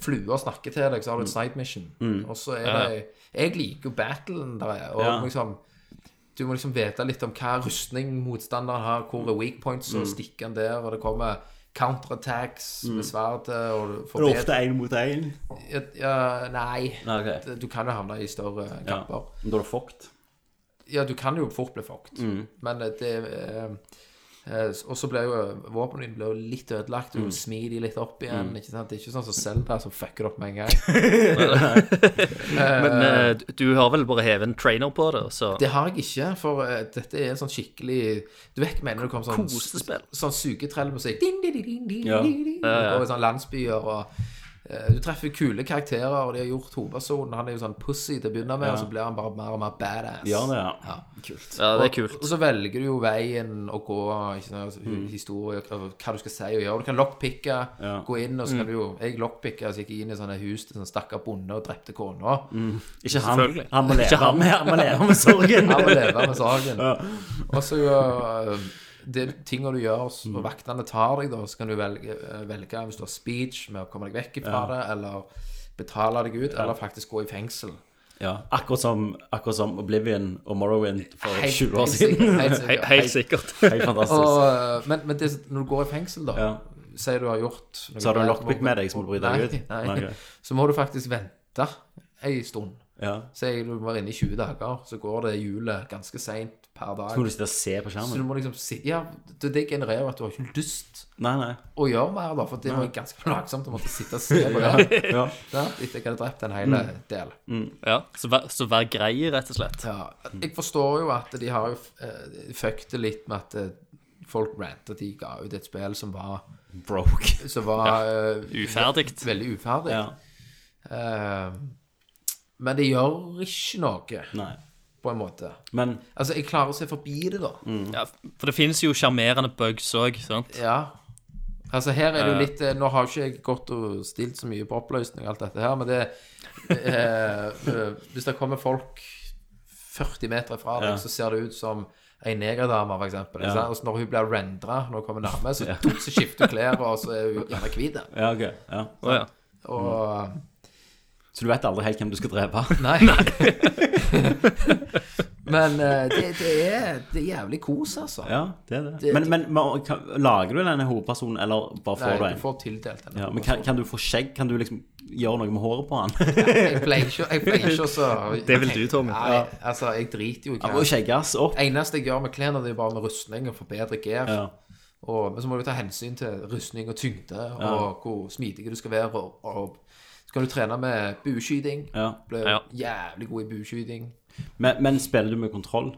Speaker 3: Fluer snakker til deg, så har du et
Speaker 2: Mm.
Speaker 3: side mission. Og så er det Jeg liker jo battlen der er, og
Speaker 2: Ja.
Speaker 3: liksom du må liksom vite litt om hva rustning motstanderen har, hvor er weak points,
Speaker 2: Mm.
Speaker 3: og stikker han der, og det kommer counterattacks med sverdet, og du får
Speaker 2: Det er
Speaker 3: bedre-
Speaker 2: ofte én mot én.
Speaker 3: ja, ja, Nei.
Speaker 2: Nei, ok.
Speaker 3: Det- Du kan jo havne i større kamper.
Speaker 2: Da er det fucked.
Speaker 3: Ja, du kan jo fort bli fucked, men eh, det eh, eh, Og så ble jo våpenet ditt ble jo litt ødelagt, og du smir de litt opp igjen. Ikke sant? Det er ikke sånn som Zelda som fucker det opp med en gang.
Speaker 4: Men eh, du- du har vel bare hevet en trainer på det, så
Speaker 3: Det har jeg ikke, for eh, dette er en sånn skikkelig Du vet mener du kom sånn
Speaker 4: Kosespill.
Speaker 3: Sånn sugetrellmusikk. Ding, ding, ding, ding, ding,
Speaker 2: Ja.
Speaker 3: ding, ding, Og sånn landsbyer og eh, Du treffer kule karakterer, og de har gjort hovedpersonen. Han er jo sånn pussy til å begynne med, og så blir han bare mer og mer badass.
Speaker 2: Gjør det, ja.
Speaker 4: Ja, det er kult.
Speaker 3: Og så velger du jo veien å gå, ikke sant, altså, historie, og hva du skal si og gjøre. Du kan lockpicke, gå inn, og så kan du jo Jeg lockpicka, så gikk jeg inn i sånne hus til sånn stakkar bonde og drepte kona.
Speaker 2: Ikke han.
Speaker 4: Selvfølgelig.
Speaker 2: Han må leve med, han må leve med sorgen.
Speaker 3: Han må leve med saken. Og så øh, det tinga du gjør, så når vaktene tar deg, da, så kan du velge, øh, velge hvis du har speech med å komme deg vekk fra det, eller betale deg ut, eller faktisk gå i fengsel.
Speaker 2: Ja, akkurat som, akkurat som Oblivion og Morrowind for
Speaker 3: Helt-
Speaker 2: 20 år
Speaker 3: helt
Speaker 2: siden.
Speaker 3: sikkert, helt
Speaker 4: He
Speaker 3: sikkert.
Speaker 4: helt sikkert.
Speaker 2: Helt fantastisk.
Speaker 3: Og, øh, men men det, når du går i fengsel, da
Speaker 2: Ja.
Speaker 3: Sier du har gjort noe
Speaker 2: Så har du en
Speaker 3: der,
Speaker 2: lockpick med deg som du bryter deg
Speaker 3: Nei,
Speaker 2: ut?
Speaker 3: nei.
Speaker 2: Nei, ok.
Speaker 3: Så må du faktisk vente ei stund.
Speaker 2: Ja.
Speaker 3: Sier du må være inne i 20 dager, så går det hjulet ganske seint per dag.
Speaker 2: Så må du sitte og se på
Speaker 3: Så du
Speaker 2: skjermen.
Speaker 3: må liksom si Ja, det, det genererer at du har ikke lyst
Speaker 2: Nei, nei.
Speaker 3: å gjøre mer, da. For det var jo ganske plagsomt å måtte sitte og se på det.
Speaker 2: Ja. Mm.
Speaker 3: Ja, etter jeg hadde drept en hel del.
Speaker 4: Ja, så vær, så vær grei, rett og slett.
Speaker 3: Ja, jeg forstår jo at de har jo eh, fucket det litt med at eh, folk rantet at de ga ut et spill som var
Speaker 2: Broke.
Speaker 3: Som var eh,
Speaker 4: Uferdig.
Speaker 3: veldig uferdig.
Speaker 2: Ja.
Speaker 3: Eh, men det gjør ikke noe,
Speaker 2: Nei.
Speaker 3: på en måte.
Speaker 2: Men
Speaker 3: Altså, jeg klarer å se forbi det, da.
Speaker 2: Mm.
Speaker 4: Ja, for det finnes jo sjarmerende bugs òg, sant?
Speaker 3: Ja. Altså, her er det jo litt eh, Nå har jo ikke jeg gått og stilt så mye på oppløsning og alt dette her, men det eh, eh, Hvis det kommer folk 40 meter fra deg,
Speaker 2: Ja.
Speaker 3: så ser det ut som ei negerdame, for eksempel.
Speaker 2: Ja.
Speaker 3: ikke sant? Og så når hun blir rendra, når hun kommer nærme, så, så skifter hun klær, og så er hun gjerne hvit.
Speaker 2: Ja, ok. Ja.
Speaker 4: Å ja.
Speaker 3: Og
Speaker 2: Mm. Så du vet aldri helt hvem du skal drepe?
Speaker 3: Nei. men eh, det, det, er, det er jævlig kos, altså.
Speaker 2: Ja, det er det. Men, men må- kan- lager du denne hovedpersonen, eller bare får
Speaker 3: Nei,
Speaker 2: du en?
Speaker 3: du får tildelt en.
Speaker 2: Ja, men kan, kan du få skjegg? Kan du liksom gjøre noe med håret på han?
Speaker 3: Jeg pleier ikke, jeg pleier ikke også
Speaker 4: Det vil du, Tommy.
Speaker 3: Nei, altså, jeg driter jo i
Speaker 2: Han må jo
Speaker 3: klær.
Speaker 2: skjegges opp.
Speaker 3: eneste jeg gjør med klærne, det er bare med rustning og forbedre gear.
Speaker 2: Ja.
Speaker 3: Og, men så må du ta hensyn til rustning og tyngde, og hvor smidig du skal være. Og, og så kan du trene med bueskyting.
Speaker 2: Ja.
Speaker 3: Blir
Speaker 4: Ja.
Speaker 3: jævlig god i bueskyting.
Speaker 2: Men, men spiller du med kontroll?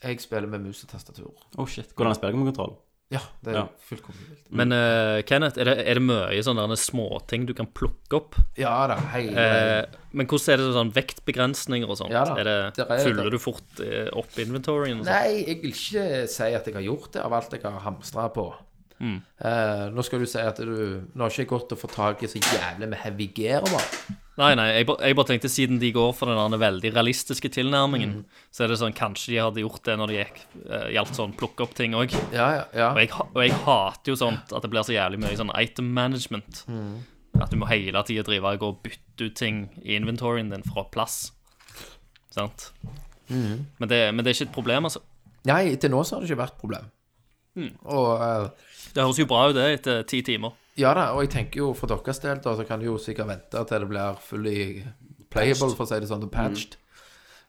Speaker 3: Jeg spiller med mus og tastatur.
Speaker 2: Oh shit, Hvordan spiller du med kontroll?
Speaker 3: Ja, det er
Speaker 2: Ja.
Speaker 3: fullkomment vilt.
Speaker 4: Men eh, Kenneth, er det, er det mye sånne derne småting du kan plukke opp?
Speaker 3: Ja da, hei.
Speaker 4: Eh, men hvordan er det sånn vektbegrensninger og sånt?
Speaker 3: Ja da,
Speaker 4: er det,
Speaker 3: det er det.
Speaker 4: fyller du fort eh, opp inventoryen? Og sånt?
Speaker 3: Nei, Altså, jeg vil ikke si at jeg har gjort det av alt jeg har hamstra på. Eh, nå skal du si at du Nå har ikke jeg gått og fått tak i så jævlig med heavy gear. Da.
Speaker 4: Nei, nei, jeg, ba- jeg bare tenkte siden de går for den derne veldig realistiske tilnærmingen,
Speaker 3: Mm.
Speaker 4: så er det sånn kanskje de hadde gjort det når det gikk, eh, gjaldt sånn plukke opp ting òg.
Speaker 3: Ja, ja, ja.
Speaker 4: Og jeg, ha- og jeg hater jo sånt at det blir så jævlig mye sånn item management.
Speaker 3: Mm.
Speaker 4: At du må hele tida drive og gå og bytte ut ting i inventoryen din fra plass. Sant?
Speaker 3: Mm.
Speaker 4: Men, det, men det er ikke et problem, altså.
Speaker 3: Nei, til nå så har det ikke vært problem. Og eh,
Speaker 4: Det høres jo bra ut, det, etter ti timer.
Speaker 3: ja da, og jeg tenker jo for deres del, da, så kan du jo sikkert vente til det blir fully playable, for å si det sånn, og patched. Mm.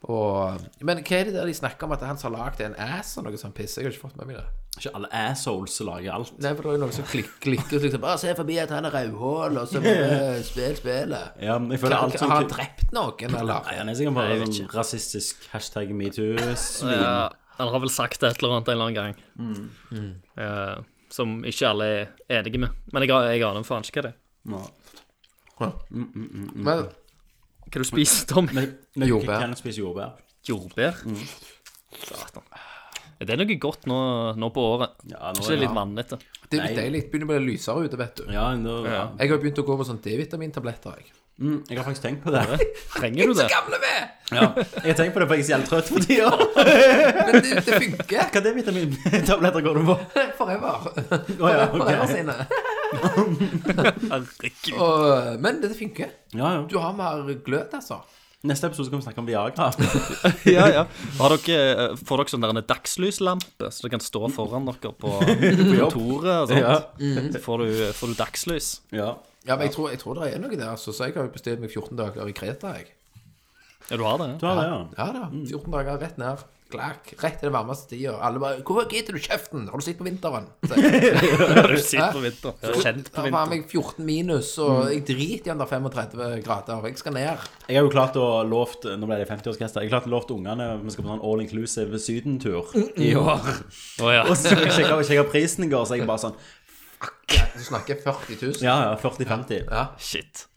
Speaker 3: Og, eh, men hva er det der de snakker om at han som har lagd en ass og noe sånt piss? Jeg har ikke fått med meg det.
Speaker 2: Ikke alle assholes som lager alt.
Speaker 3: Nei, for det er jo noen som klikker, klikker og liksom Bare se forbi at han er rødhål, og så bare spill spillet.
Speaker 2: Ja, men jeg føler alt som
Speaker 3: Har han drept noen, eller?
Speaker 2: Nei, han er sikkert bare sånn rasistisk hashtag metoo-svin.
Speaker 4: Ja, han har vel sagt et eller annet en eller annen gang. Eh, som ikke alle er enige med. Men jeg, jeg aner faen ikke hva det er.
Speaker 2: Nå. Mm,
Speaker 3: Men
Speaker 4: Hva du spiser Tom?
Speaker 2: Men, men
Speaker 3: Jordbær.
Speaker 2: kan du spise jordbær?
Speaker 4: Jordbær? Satan. Er det noe godt nå, nå på året?
Speaker 2: Ja, nå
Speaker 4: Er
Speaker 2: er
Speaker 4: ikke det
Speaker 2: det
Speaker 4: litt vannete?
Speaker 3: det er litt
Speaker 2: Nei.
Speaker 3: deilig. Det Begynner å bli lysere ute, vet du.
Speaker 2: Ja, nå, ja.
Speaker 3: Jeg har begynt å gå på sånn D-vitamintabletter, jeg.
Speaker 2: Mm, jeg har faktisk tenkt på det.
Speaker 4: Trenger du det?
Speaker 3: Gamle med!
Speaker 2: Ja, jeg har tenkt på det, for jeg er så jævlig trøtt for tida.
Speaker 3: Men det, det funker.
Speaker 2: Hva er vitamintabletter går du på?
Speaker 3: Forever.
Speaker 2: Å ja, ok.
Speaker 3: Forever sine.
Speaker 4: Herregud.
Speaker 3: Og, men det funker.
Speaker 2: Ja, ja.
Speaker 3: Du har mer glød, altså.
Speaker 2: Neste episode skal vi snakke om Viagra.
Speaker 4: Ja, ja. Har dere, eh, får dere sånn der en dagslyslampe, så det kan stå foran dere på kontoret og sånt? Så får du, får du dagslys.
Speaker 2: Ja.
Speaker 3: Ja, men jeg tror, jeg tror det er noe der, altså. Så jeg har jo bestilt meg 14 dager i Kreta, jeg.
Speaker 4: Ja, du har det?
Speaker 2: Du har det, ja.
Speaker 3: Ja da.
Speaker 2: Mm.
Speaker 3: 14 dager rett ned. Klakk. Rett til den varmeste tida. Alle bare 'Hvorfor gidder du kjeften? Har du sett på vinteren?' Så jeg,
Speaker 4: Du sitter på vinter. Ja, Kjent på Mm.
Speaker 3: Da var
Speaker 4: vinter.
Speaker 3: meg 14 minus, og jeg driter i om det er 35 grader. Jeg skal ned.
Speaker 2: Jeg har jo klart å lovt Nå ble det 50-årsgester. Jeg har klart å lovt ungene vi skal på sånn all inclusive sydentur i år.
Speaker 4: Å ja.
Speaker 2: Og så sjekka jeg prisen i går, så jeg bare sånn
Speaker 3: Du snakker 40 000.
Speaker 2: Ja, ja, 40-50.
Speaker 4: Shit.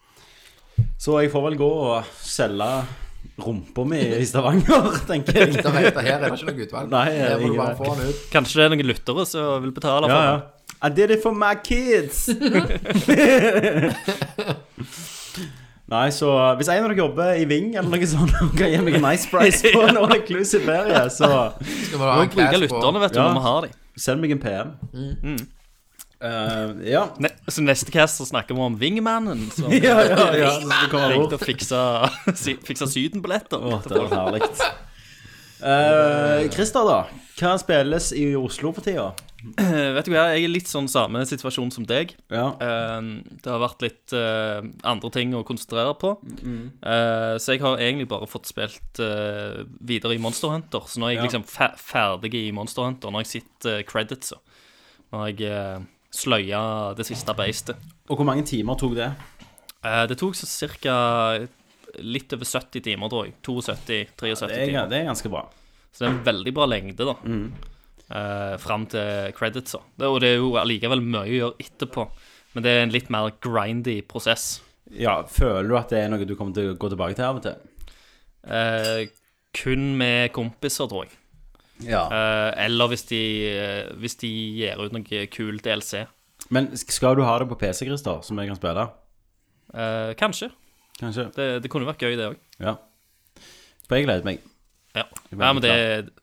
Speaker 2: Så jeg får vel gå og selge rumpa mi i Stavanger, tenker jeg.
Speaker 3: Det heter her, er det ikke noe utvalg?
Speaker 2: Nei,
Speaker 3: Her må
Speaker 2: ingen
Speaker 3: du bare
Speaker 2: vei.
Speaker 3: få den ut.
Speaker 4: Kanskje det er noen lyttere som vil betale for
Speaker 2: Ja,
Speaker 4: det.
Speaker 2: ja. I did it for my kids! Nei, så eh, hvis en av dere jobber i Ving eller noe sånt og kan gi meg en nice price på en all inclusive ferie, så
Speaker 3: Skal vi ha en
Speaker 4: Vi bruker
Speaker 3: cast
Speaker 4: lytterne,
Speaker 3: på
Speaker 4: vet du,
Speaker 2: Ja.
Speaker 4: når vi har dem.
Speaker 2: send meg en PM. Mm. Eh, ja.
Speaker 4: Ne så neste cast så snakker vi om Wingmanen, som
Speaker 2: ja, ja, ja. Det kommer
Speaker 4: tenkte
Speaker 2: over.
Speaker 4: å fikse, sy fikse Syden-billetter.
Speaker 2: Å, det var herlig. Eh, Christer, da. Hva spilles i Oslo for tida?
Speaker 4: Eh, vet du hva, jeg er litt sånn samme situasjon som deg.
Speaker 2: Ja.
Speaker 4: Eh, det har vært litt eh, andre ting å konsentrere på. Eh, så jeg har egentlig bare fått spilt eh, videre i Monster Hunter. Så nå er jeg
Speaker 2: Ja.
Speaker 4: liksom fe ferdig i Monster Hunter, når jeg sitter uh, credits og når jeg eh, sløya det siste beistet.
Speaker 2: Og hvor mange timer tok det?
Speaker 4: Eh, det tok så ca. litt over 70 timer, tror jeg. 72-73
Speaker 2: Det
Speaker 4: timer.
Speaker 2: er, det er ganske bra.
Speaker 4: Så det er en veldig bra lengde, da. Mm. Fram til credits. da. Det, og det er jo allikevel mye å gjøre etterpå. Men det er en litt mer grindy prosess.
Speaker 2: Ja, Føler du at det er noe du kommer til å gå tilbake til av og til?
Speaker 4: Eh, kun med kompiser, tror jeg.
Speaker 2: Ja.
Speaker 4: Eh, eller hvis de, eh, hvis de gir ut noe kul DLC.
Speaker 2: Men sk- skal du ha det på PC, Christer, som jeg kan spille?
Speaker 4: Eh, kanskje.
Speaker 2: Kanskje.
Speaker 4: Det, det kunne vært gøy, det òg.
Speaker 2: Ja. For jeg gleder meg.
Speaker 4: Ja. ja, men det,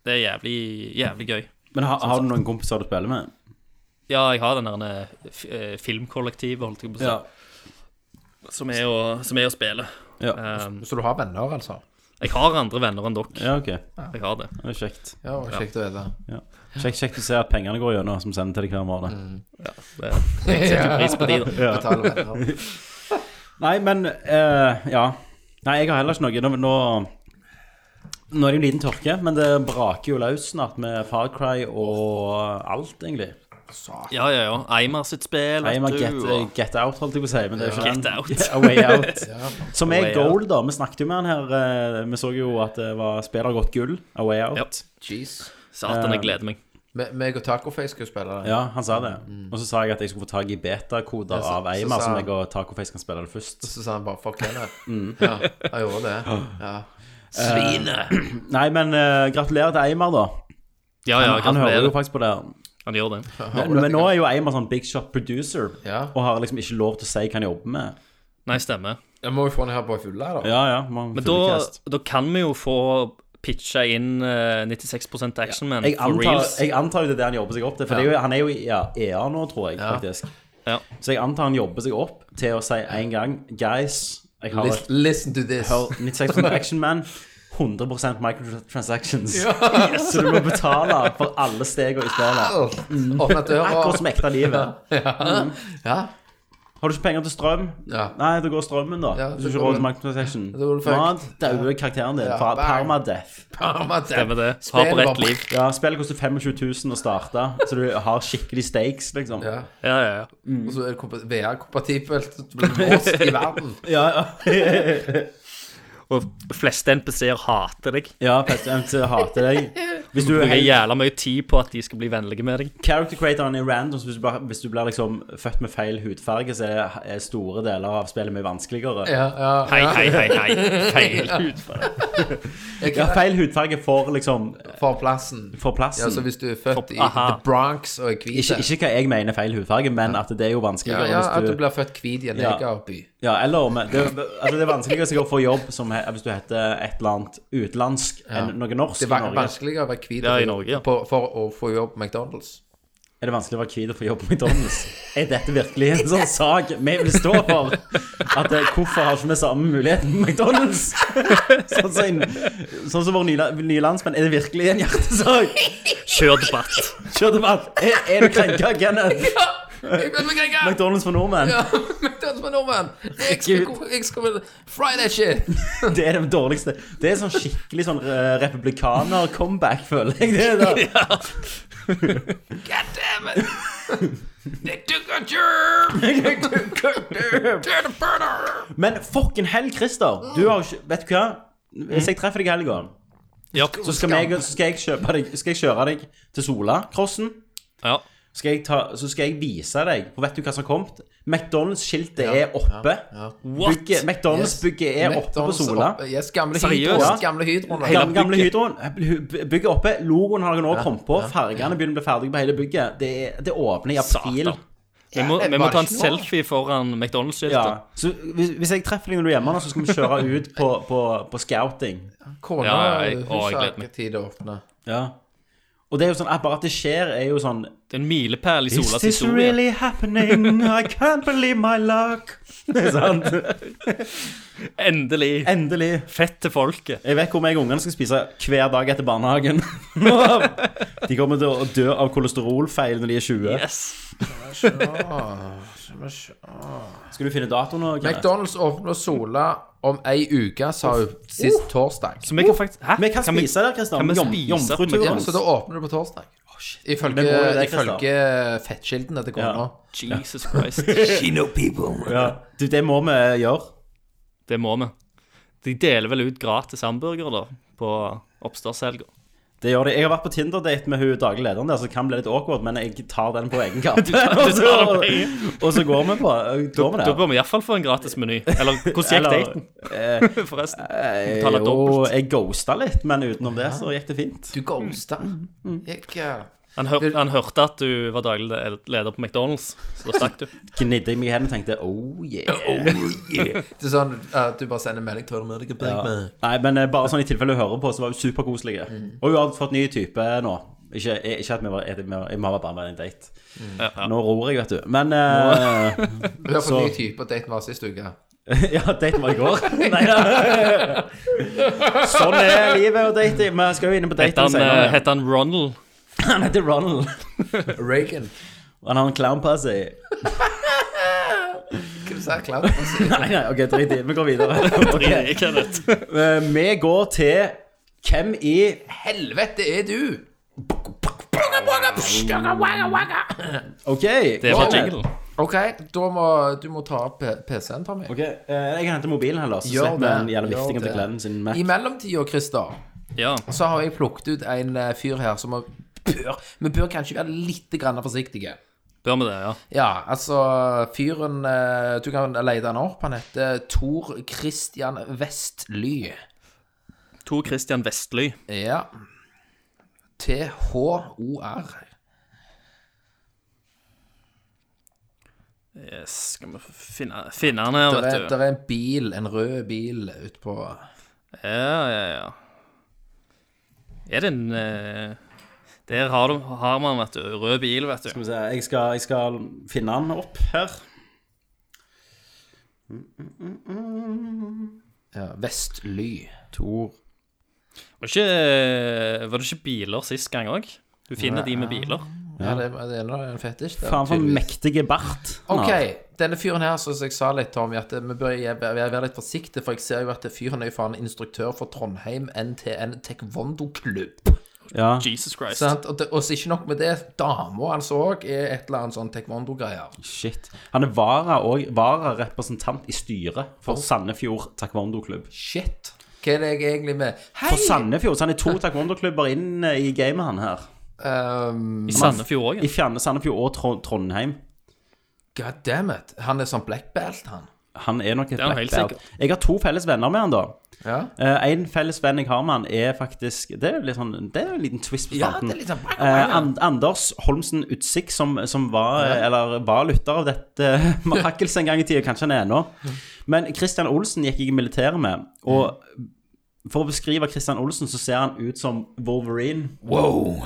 Speaker 4: det er jævlig, jævlig gøy.
Speaker 2: Men ha, har du noen kompiser du spiller med?
Speaker 4: Ja, jeg har den der eh, f- eh, filmkollektivet, holdt jeg på å si, som, er å- som er å spille.
Speaker 2: Ja,
Speaker 4: Eh,
Speaker 3: Så du har venner, altså?
Speaker 4: jeg har andre venner enn dere.
Speaker 2: ja ok.
Speaker 4: Jeg har det.
Speaker 2: Det er kjekt.
Speaker 3: Ja, det var kjekt å vite.
Speaker 2: Ja. Kjekt, kjekt å se at pengene går gjennom, som sender til deg hver måned.
Speaker 4: Det setter jo pris på de, da.
Speaker 3: Ja, betale venner.
Speaker 2: Nei, men eh, Ja. Nei, jeg har heller ikke noe. Nå, nå, nå er det jo en liten tørke, men det braker jo løs snart med Far Cry og alt, egentlig.
Speaker 4: Ja, ja, ja. Eimer sitt spill.
Speaker 2: Nei,
Speaker 4: vet
Speaker 2: man
Speaker 4: du,
Speaker 2: get,
Speaker 4: og-
Speaker 2: get out, holdt jeg på å si. Men det er ikke
Speaker 4: Get
Speaker 2: den.
Speaker 4: out.
Speaker 2: Yeah, a way out. Som er
Speaker 4: Way
Speaker 2: gold, da. Vi snakket jo med han her. eh, Vi så jo at det var spillet har gått gull. A way out.
Speaker 4: Ja.
Speaker 3: Jeez.
Speaker 4: Satan, jeg gleder meg.
Speaker 3: Me- Meg og Tacoface skal jo spille det.
Speaker 2: Ja, han sa det. Og så sa jeg at jeg skulle få tak i betakoder
Speaker 3: Mm. så-
Speaker 2: av
Speaker 3: så sa
Speaker 2: Eimar, som
Speaker 3: han-
Speaker 2: jeg og Tacoface kan spille det først.
Speaker 3: Så sa han bare 'fuck henne'.
Speaker 4: Mm.
Speaker 3: Ja, han gjorde det. Ja.
Speaker 2: Eh,
Speaker 3: Svinet!
Speaker 2: Nei, men eh, gratulerer til Eimar, da.
Speaker 4: Ja, ja,
Speaker 2: han hører jo
Speaker 4: gratulerer.
Speaker 2: faktisk på det. her.
Speaker 4: Han gjør det.
Speaker 2: Men, men nå er jo Eimar sånn big shot producer,
Speaker 3: Ja.
Speaker 2: og har liksom ikke lov til å si hva han jobber med.
Speaker 4: Nei, stemmer.
Speaker 3: Jeg må jo få den her på fulle, da.
Speaker 2: Ja, ja. Man,
Speaker 4: Men da, da kan vi jo få pitcha inn eh, 96 Action Man
Speaker 2: jeg
Speaker 4: for
Speaker 2: antar,
Speaker 4: reals.
Speaker 2: jeg antar jo det er det han jobber seg opp til. For det er jo, han er jo i ja, EA nå, tror jeg, faktisk.
Speaker 4: Ja.
Speaker 2: Så jeg antar han jobber seg opp til å si en gang Guys, jeg har
Speaker 3: Listen, listen to this.
Speaker 2: hør, 96 Action Man. 100 microtransactions. Så du må betale for alle stegene i spillet.
Speaker 3: Åpne døra.
Speaker 2: Akkurat som ekte livet.
Speaker 3: Ja.
Speaker 2: Har du ikke penger til strøm?
Speaker 3: Ja.
Speaker 2: Nei, da går strømmen, da.
Speaker 3: Ja,
Speaker 2: Hvis du
Speaker 3: så
Speaker 2: ikke
Speaker 3: går
Speaker 2: råd
Speaker 3: det-
Speaker 2: til microtransaction.
Speaker 3: Da går du fucked.
Speaker 2: Mat, dauer karakteren din.
Speaker 3: Ja,
Speaker 2: fra
Speaker 3: bang.
Speaker 2: Permadeath.
Speaker 3: Permanent.
Speaker 4: Stemmer det. Har på rett liv.
Speaker 2: Ja, spillet koster 25 000 å starte, så du har skikkelig stakes, liksom.
Speaker 3: Ja.
Speaker 4: Ja, ja, ja.
Speaker 3: Og så er det kompa- VR-kompatibelt. Du blir låst i verden.
Speaker 2: Ja, ja.
Speaker 4: Og fleste NPC-er hater deg.
Speaker 2: Ja, PSMC hater deg. Hvis du er
Speaker 4: Bruker
Speaker 2: helt
Speaker 4: jævla mye tid på at de skal bli vennlige med deg.
Speaker 2: character creatoren er random, så hvis du, bare, hvis du blir liksom født med feil hudfarge, så er, er store deler av spillet mye vanskeligere.
Speaker 3: Ja, ja.
Speaker 4: Hei, hei, hei, hei. Feil hudfarge.
Speaker 2: Ja, feil hudfarge for liksom
Speaker 3: For plassen.
Speaker 2: For
Speaker 3: Ja,
Speaker 2: plassen.
Speaker 3: så hvis du er født i
Speaker 4: aha.
Speaker 3: The Bronx og er hvit
Speaker 2: ikke, ikke hva jeg mener feil hudfarge, men at det er jo
Speaker 3: ja,
Speaker 2: vanskeligere
Speaker 3: ja, at
Speaker 2: hvis
Speaker 3: du
Speaker 2: du,
Speaker 3: blir født hvit i en
Speaker 2: Ja.
Speaker 3: negerby.
Speaker 2: Ja, eller om det, altså det er vanskeligere sikkert å få jobb som he, hvis du heter et eller annet utenlandsk enn noe norsk
Speaker 3: Det
Speaker 2: i
Speaker 3: er va-
Speaker 2: Norge.
Speaker 3: vanskeligere å være hvit
Speaker 4: Ja, i Norge, ja.
Speaker 3: på- for å få jobb på McDonald's.
Speaker 2: Er det vanskelig å være hvit og få jobb på McDonald's? Er dette virkelig en sånn sak vi vil stå for? At eh, Hvorfor har ikke vi samme muligheten på McDonald's? Sånn som, en, sånn som våre nye, la- nye landsmenn. Er det virkelig en hjertesak?
Speaker 4: Kjør debatt.
Speaker 2: Kjør debatt. Er, er du krenka, Kenneth?
Speaker 3: Ja! Jeg vet meg ikke!
Speaker 2: McDonald's for nordmenn.
Speaker 3: Ja, McDonald's med nordmenn! Jeg skal, jeg skal vel fry that shit!
Speaker 2: Det er det dårligste. Det er sånn skikkelig sånn eh, republikaner-comeback, føler jeg. Det er da.
Speaker 3: God damn it! They took a germ! They took a germ! To the burner!
Speaker 2: Men fucking hell, Christer. Du har jo ikke Vet du hva? Hvis jeg treffer deg i helga,
Speaker 4: Ja.
Speaker 2: så skal, meg, så skal, jeg kjøpe deg, skal jeg kjøre deg til Sola-crossen.
Speaker 4: ja.
Speaker 2: skal jeg, ta, så skal jeg vise deg For vet du hva som har kommet? McDonald's-skiltet er oppe.
Speaker 4: What?
Speaker 2: Bygget- McDonald's-bygget er oppe på
Speaker 3: McDonald's
Speaker 2: Sola.
Speaker 3: oppe. Yes, gamle
Speaker 4: Seriøst?
Speaker 3: Hydro.
Speaker 2: Ja.
Speaker 3: Gamle Hydro. nå.
Speaker 2: Gamle, gamle Hydroen. By- Bygget oppe. Logoen har jeg nå kommet på. Fargene begynner å bli ferdige på hele bygget. Det, er- det åpner i april.
Speaker 4: Satan. Vi må,
Speaker 3: Ja,
Speaker 4: vi må
Speaker 3: bare
Speaker 4: ta en
Speaker 3: ikke noe.
Speaker 4: selfie foran McDonald's-skiltet.
Speaker 2: Ja. Så hvis, hvis jeg treffer deg når du er hjemme, nå, så skal vi kjøre ut på, på, på scouting.
Speaker 3: Kona
Speaker 4: Ja,
Speaker 3: ja,
Speaker 4: ja, jeg- å, jeg gleder meg.
Speaker 3: tid å åpne.
Speaker 2: Ja. Og det er jo sånn, bare at det skjer, er jo sånn
Speaker 4: Det er en milepæl i
Speaker 2: Is
Speaker 4: Solas
Speaker 2: this
Speaker 4: historie.
Speaker 2: really happening? I can't believe my luck. Det er sant.
Speaker 4: Endelig.
Speaker 2: Endelig.
Speaker 4: Fett til folket.
Speaker 2: Jeg vet hvor meg og ungene skal spise hver dag etter barnehagen. De kommer til å dø av kolesterolfeil når de er 20.
Speaker 4: Yes.
Speaker 2: Skal du finne datoen nå? Kenneth?
Speaker 3: McDonald's åpner Sola om ei uke, sa hun sist torsdag.
Speaker 4: Så vi kan faktisk Hæ?
Speaker 2: Vi kan spise der, Kristian.
Speaker 4: kan vi
Speaker 2: Jom-
Speaker 4: spise
Speaker 3: Ja,
Speaker 2: Jomfruturen.
Speaker 3: så da åpner du på torsdag. Ifølge,
Speaker 2: Men må jo det, Christian.
Speaker 3: ifølge fettkildene til kona.
Speaker 2: Ja.
Speaker 4: Jesus Christ.
Speaker 2: Ja. Du, det må vi gjøre.
Speaker 4: Det må vi. De deler vel ut gratis hamburger da, på oppstartshelga.
Speaker 2: Det gjør det. Jeg har vært på Tinder-date med hun daglig lederen der, så det kan bli litt awkward, men jeg tar den på egen kappe.
Speaker 4: tar- du tar den på egen.
Speaker 2: og, og så går vi på går vi
Speaker 4: Da
Speaker 2: der.
Speaker 4: bør vi iallfall få en gratis meny. Eller hvordan gikk
Speaker 2: Eller- eh,
Speaker 4: daten, forresten? Betaler
Speaker 2: Jo,
Speaker 4: dobbelt.
Speaker 2: jeg ghosta litt, men utenom det så gikk det fint.
Speaker 3: Du ghosta. Jeg, eh,
Speaker 4: Han, hør, han hørte at du var daglig le- leder på McDonald's, så da stakk du.
Speaker 2: Gnidde jeg meg i hendene og tenkte oh yeah.
Speaker 3: Det er sånn at du bare sender en melding til henne. med deg,
Speaker 2: Ja.
Speaker 3: med.
Speaker 2: Nei, men eh, bare sånn i tilfelle hun hører på, så var hun superkoselig.
Speaker 4: Mm.
Speaker 2: Og hun har fått ny type nå. Ikke, ikke at vi var, at vi var, vi var bare med en date.
Speaker 4: Ja, ja.
Speaker 2: Nå ror jeg, vet du. Men eh,
Speaker 3: Du har
Speaker 2: Så-
Speaker 3: fått ny type, og daten var sist uke.
Speaker 2: Ja, daten var i går. Nei da. Sånn er livet og dating. Vi skal jo inn på
Speaker 4: Hette
Speaker 2: dating
Speaker 4: han, eh,
Speaker 2: senere.
Speaker 4: hette han Ronald?
Speaker 2: Han heter Ronald.
Speaker 3: Reagan.
Speaker 2: Og han har en clownpassy.
Speaker 3: Hva sa jeg? Klaus?
Speaker 2: Nei, nei, ok, drit i det. Vi går videre.
Speaker 4: Drit i, Kenneth.
Speaker 2: Eh, Vi går til hvem i
Speaker 3: Helvete er du!
Speaker 2: OK.
Speaker 4: Det var
Speaker 2: Kenneth.
Speaker 4: jingle.
Speaker 3: OK, da må du må ta opp P- PC-en, Tommy.
Speaker 2: Ok, eh, Jeg henter mobilen heller, så
Speaker 3: Gjør
Speaker 2: slipper vi den
Speaker 3: det,
Speaker 2: jævla
Speaker 3: gjør
Speaker 2: viftingen til
Speaker 3: det.
Speaker 2: Glenn sin Mac.
Speaker 3: I mellomtida, Christer,
Speaker 4: Ja.
Speaker 3: så har jeg plukket ut en eh, fyr her som har- bør Vi bør kanskje være litt grann forsiktige.
Speaker 4: Bør vi det, ja.
Speaker 3: Ja, altså Fyren eh, Du kan lete han opp. Han heter Tor Christian Vestly.
Speaker 4: Tor Christian Vestly.
Speaker 3: Ja. T-H-O-R.
Speaker 4: Yes, skal vi finne, finne han her,
Speaker 3: Det
Speaker 4: vet
Speaker 3: er,
Speaker 4: du.
Speaker 3: der er en bil, en rød bil utpå
Speaker 4: Ja, ja, ja. Er det en eh, Der har, du, har man, vet du. Rød bil, vet
Speaker 2: Skal
Speaker 4: du.
Speaker 2: vi se, jeg skal, jeg skal finne han opp her.
Speaker 3: ja, Vestly.
Speaker 2: Tor
Speaker 4: Var det ikke, var det ikke biler sist gang òg? Du finner de med biler.
Speaker 3: Ja, det, det er nå en fetisj. det,
Speaker 2: Faen for en
Speaker 3: tydeligvis.
Speaker 2: mektige bart. han
Speaker 3: Ok,
Speaker 2: har.
Speaker 3: denne fyren her, som jeg sa litt om, at eh, vi bør jeg bør være litt forsiktige, for jeg ser jo at fyren er jo faen instruktør for Trondheim NTN Taekwondo-klubb.
Speaker 2: Ja.
Speaker 4: Jesus Christ.
Speaker 3: Sant? Og det- og så ikke nok med det, dama hans òg er et eller annet sånn taekwondo-greier.
Speaker 2: Shit. Han er vara og vararepresentant i styret
Speaker 4: Oh.
Speaker 2: for Sandefjord taekwondo-klubb.
Speaker 3: Shit. Hva er det jeg egentlig med Hei!
Speaker 2: For Sandefjord, så han er to taekwondo-klubber inn eh, i gamet, han her.
Speaker 3: Um,
Speaker 4: I Sandefjord òg.
Speaker 2: I fjerne Sandefjord og Tro- Trondheim.
Speaker 3: God damn it. Han er sånn black belt, han.
Speaker 2: Han er nok et
Speaker 4: er han helt
Speaker 2: blackbelt. Jeg har to felles venner med han, da.
Speaker 3: Ja.
Speaker 2: Eh, en felles venn jeg har med han, er faktisk Det er jo litt sånn, det er jo en liten twist på
Speaker 3: Ja,
Speaker 2: starten.
Speaker 3: det er litt sånn-
Speaker 2: Eh, An Anders Holmsen Utsik, som, som var, eh, eller var lytter av dette marakelset en gang i tida, kanskje han er ennå. Men Christian Olsen gikk jeg i militæret med, og for å beskrive Christian Olsen, så ser han ut som Wolverine.
Speaker 3: Wow.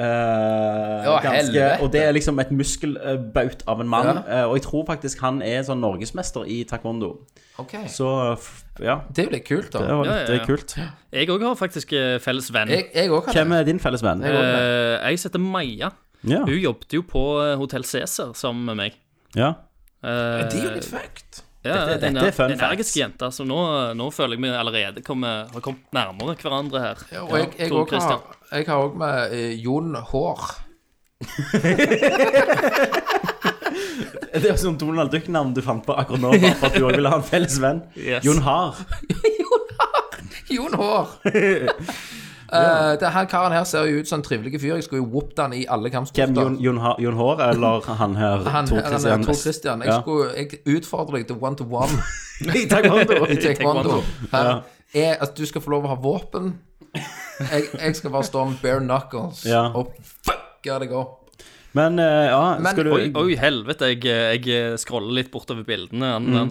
Speaker 2: Eh,
Speaker 3: Ja,
Speaker 2: ganske,
Speaker 3: helvete.
Speaker 2: og det er liksom et muskelbaut av en mann. Eh, og jeg tror faktisk han er sånn norgesmester i taekwondo.
Speaker 3: Ok.
Speaker 2: Så f- ja,
Speaker 3: Det er jo litt kult,
Speaker 2: det
Speaker 3: da.
Speaker 2: var
Speaker 4: Ja,
Speaker 2: litt
Speaker 4: ja,
Speaker 2: eh,
Speaker 4: ja.
Speaker 2: kult.
Speaker 4: Jeg òg har faktisk eh, felles venn. Jeg,
Speaker 3: Jeg jeg òg kan
Speaker 2: Hvem
Speaker 3: det.
Speaker 2: er din felles venn?
Speaker 4: jeg heter Maja.
Speaker 2: Ja.
Speaker 4: Hun jobbet jo på eh, Hotell Cæsar sammen med meg.
Speaker 2: ja.
Speaker 4: Eh,
Speaker 3: De er jo litt fucked.
Speaker 4: ja,
Speaker 2: dette-
Speaker 4: en
Speaker 2: dette er fun facts.
Speaker 4: energisk jente. Så nå, nå føler jeg vi allerede kommer, har kommet nærmere hverandre her.
Speaker 3: Ja, og jeg, jeg,
Speaker 4: Tor
Speaker 3: også
Speaker 4: Christian.
Speaker 3: har, jeg har òg med eh, Jon Hår.
Speaker 2: Det er jo sånn Donald Duck-navn du fant på akkurat nå, bare for at du òg ville ha en felles venn.
Speaker 4: Yes.
Speaker 2: Jon Haar.
Speaker 3: Jon Hår. Eh, det, han karen her ser jo ut som en trivelig fyr. Jeg skulle jo whoopet han i alle
Speaker 2: Hvem, Jon,
Speaker 3: kampsporter.
Speaker 2: Jon, Ha- Jon Hår eller han her?
Speaker 3: Han,
Speaker 2: Tor
Speaker 3: han,
Speaker 2: Christian
Speaker 3: han Tor
Speaker 2: Vest?
Speaker 3: Christian. Jeg,
Speaker 2: Ja.
Speaker 3: skulle, jeg utfordrer deg til one-to-one
Speaker 2: I taekwondo.
Speaker 3: i taekwondo.
Speaker 4: taekwondo.
Speaker 3: Han er, altså, du skal få lov å ha våpen. Jeg, jeg skal bare stå med bare knuckles
Speaker 2: Ja.
Speaker 3: og fucke deg opp.
Speaker 2: Men eh, ja,
Speaker 3: Men-
Speaker 2: skal du
Speaker 4: Oi, oi, helvete. Jeg, jeg scroller litt bortover bildene.
Speaker 2: Mm.
Speaker 4: Han, han,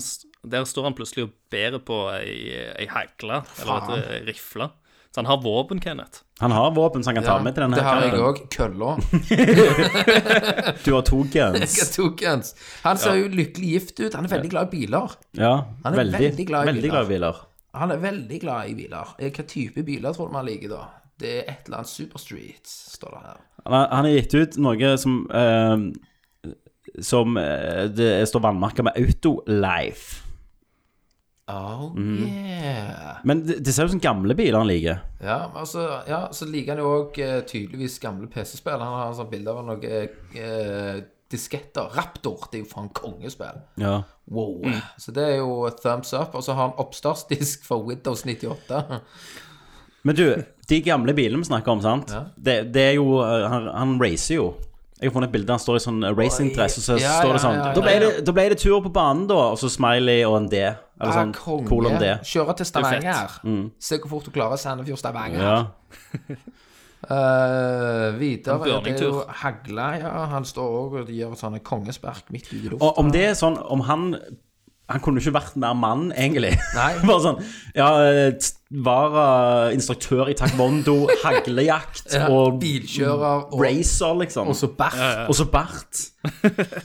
Speaker 4: der står han plutselig og bærer på ei, ei hekle, eller et eh, rifle. Så han har våpen, Kenneth.
Speaker 2: Han har våpen som han kan ta med til denne
Speaker 3: det har jeg
Speaker 2: kampen.
Speaker 3: òg. Kølla.
Speaker 2: Du har to guns.
Speaker 3: Jeg har to guns. Han ser jo lykkelig gift ut. Han er veldig glad i biler.
Speaker 2: Ja,
Speaker 3: Han er
Speaker 2: veldig,
Speaker 3: veldig glad i biler.
Speaker 2: biler.
Speaker 3: Han er veldig glad i biler. Eh, Hva type biler tror du man liker, da? Det er et eller annet Superstreet, står det her.
Speaker 2: Han har- Han har gitt ut noe som eh, Som eh, det står vannmerka med Autolife.
Speaker 3: Oh yeah.
Speaker 2: Men det, det ser ut som gamle biler han liker.
Speaker 3: Ja, altså, ja, så liker han jo òg tydeligvis gamle PC-spill. Han har sånn bilder av noen eh, disketter. Raptor, det er jo faen kongespill.
Speaker 2: Ja.
Speaker 3: Wow.
Speaker 2: Mm.
Speaker 3: Så det er jo et thumbs up. Og så har han oppstartsdisk for Windows 98.
Speaker 2: Men du, de gamle bilene vi snakker om, sant?
Speaker 3: Ja.
Speaker 2: Det, det er jo eh, Han, han racer jo. Jeg har funnet et bilde han står i sånn racingdress, og så
Speaker 3: Oi. Ja,
Speaker 2: står det
Speaker 3: ja,
Speaker 2: sånn
Speaker 3: ja, ja,
Speaker 2: Da, ble det, da ble det tur på banen, da, og så smiley og en D. Eller
Speaker 3: Ah,
Speaker 2: sånn kolon D.
Speaker 3: Kjøre til Stavanger. Se hvor fort du klarer Sandefjord-Stavanger.
Speaker 2: Mm. Ja.
Speaker 3: Eh, videre
Speaker 4: En
Speaker 3: det er jo
Speaker 4: burning-tur.
Speaker 3: Hagla, ja. Han står også og gjør et sånt kongespark midt ute i lufta.
Speaker 2: Og om det er sånn Om han Han kunne ikke vært mer mann, egentlig.
Speaker 3: Nei.
Speaker 2: Bare sånn Ja, eh, var eh, instruktør i taekwondo, haglejakt
Speaker 3: Ja,
Speaker 2: og
Speaker 3: bilkjører og,
Speaker 2: racer, liksom.
Speaker 3: og så bart.
Speaker 2: Og så bart.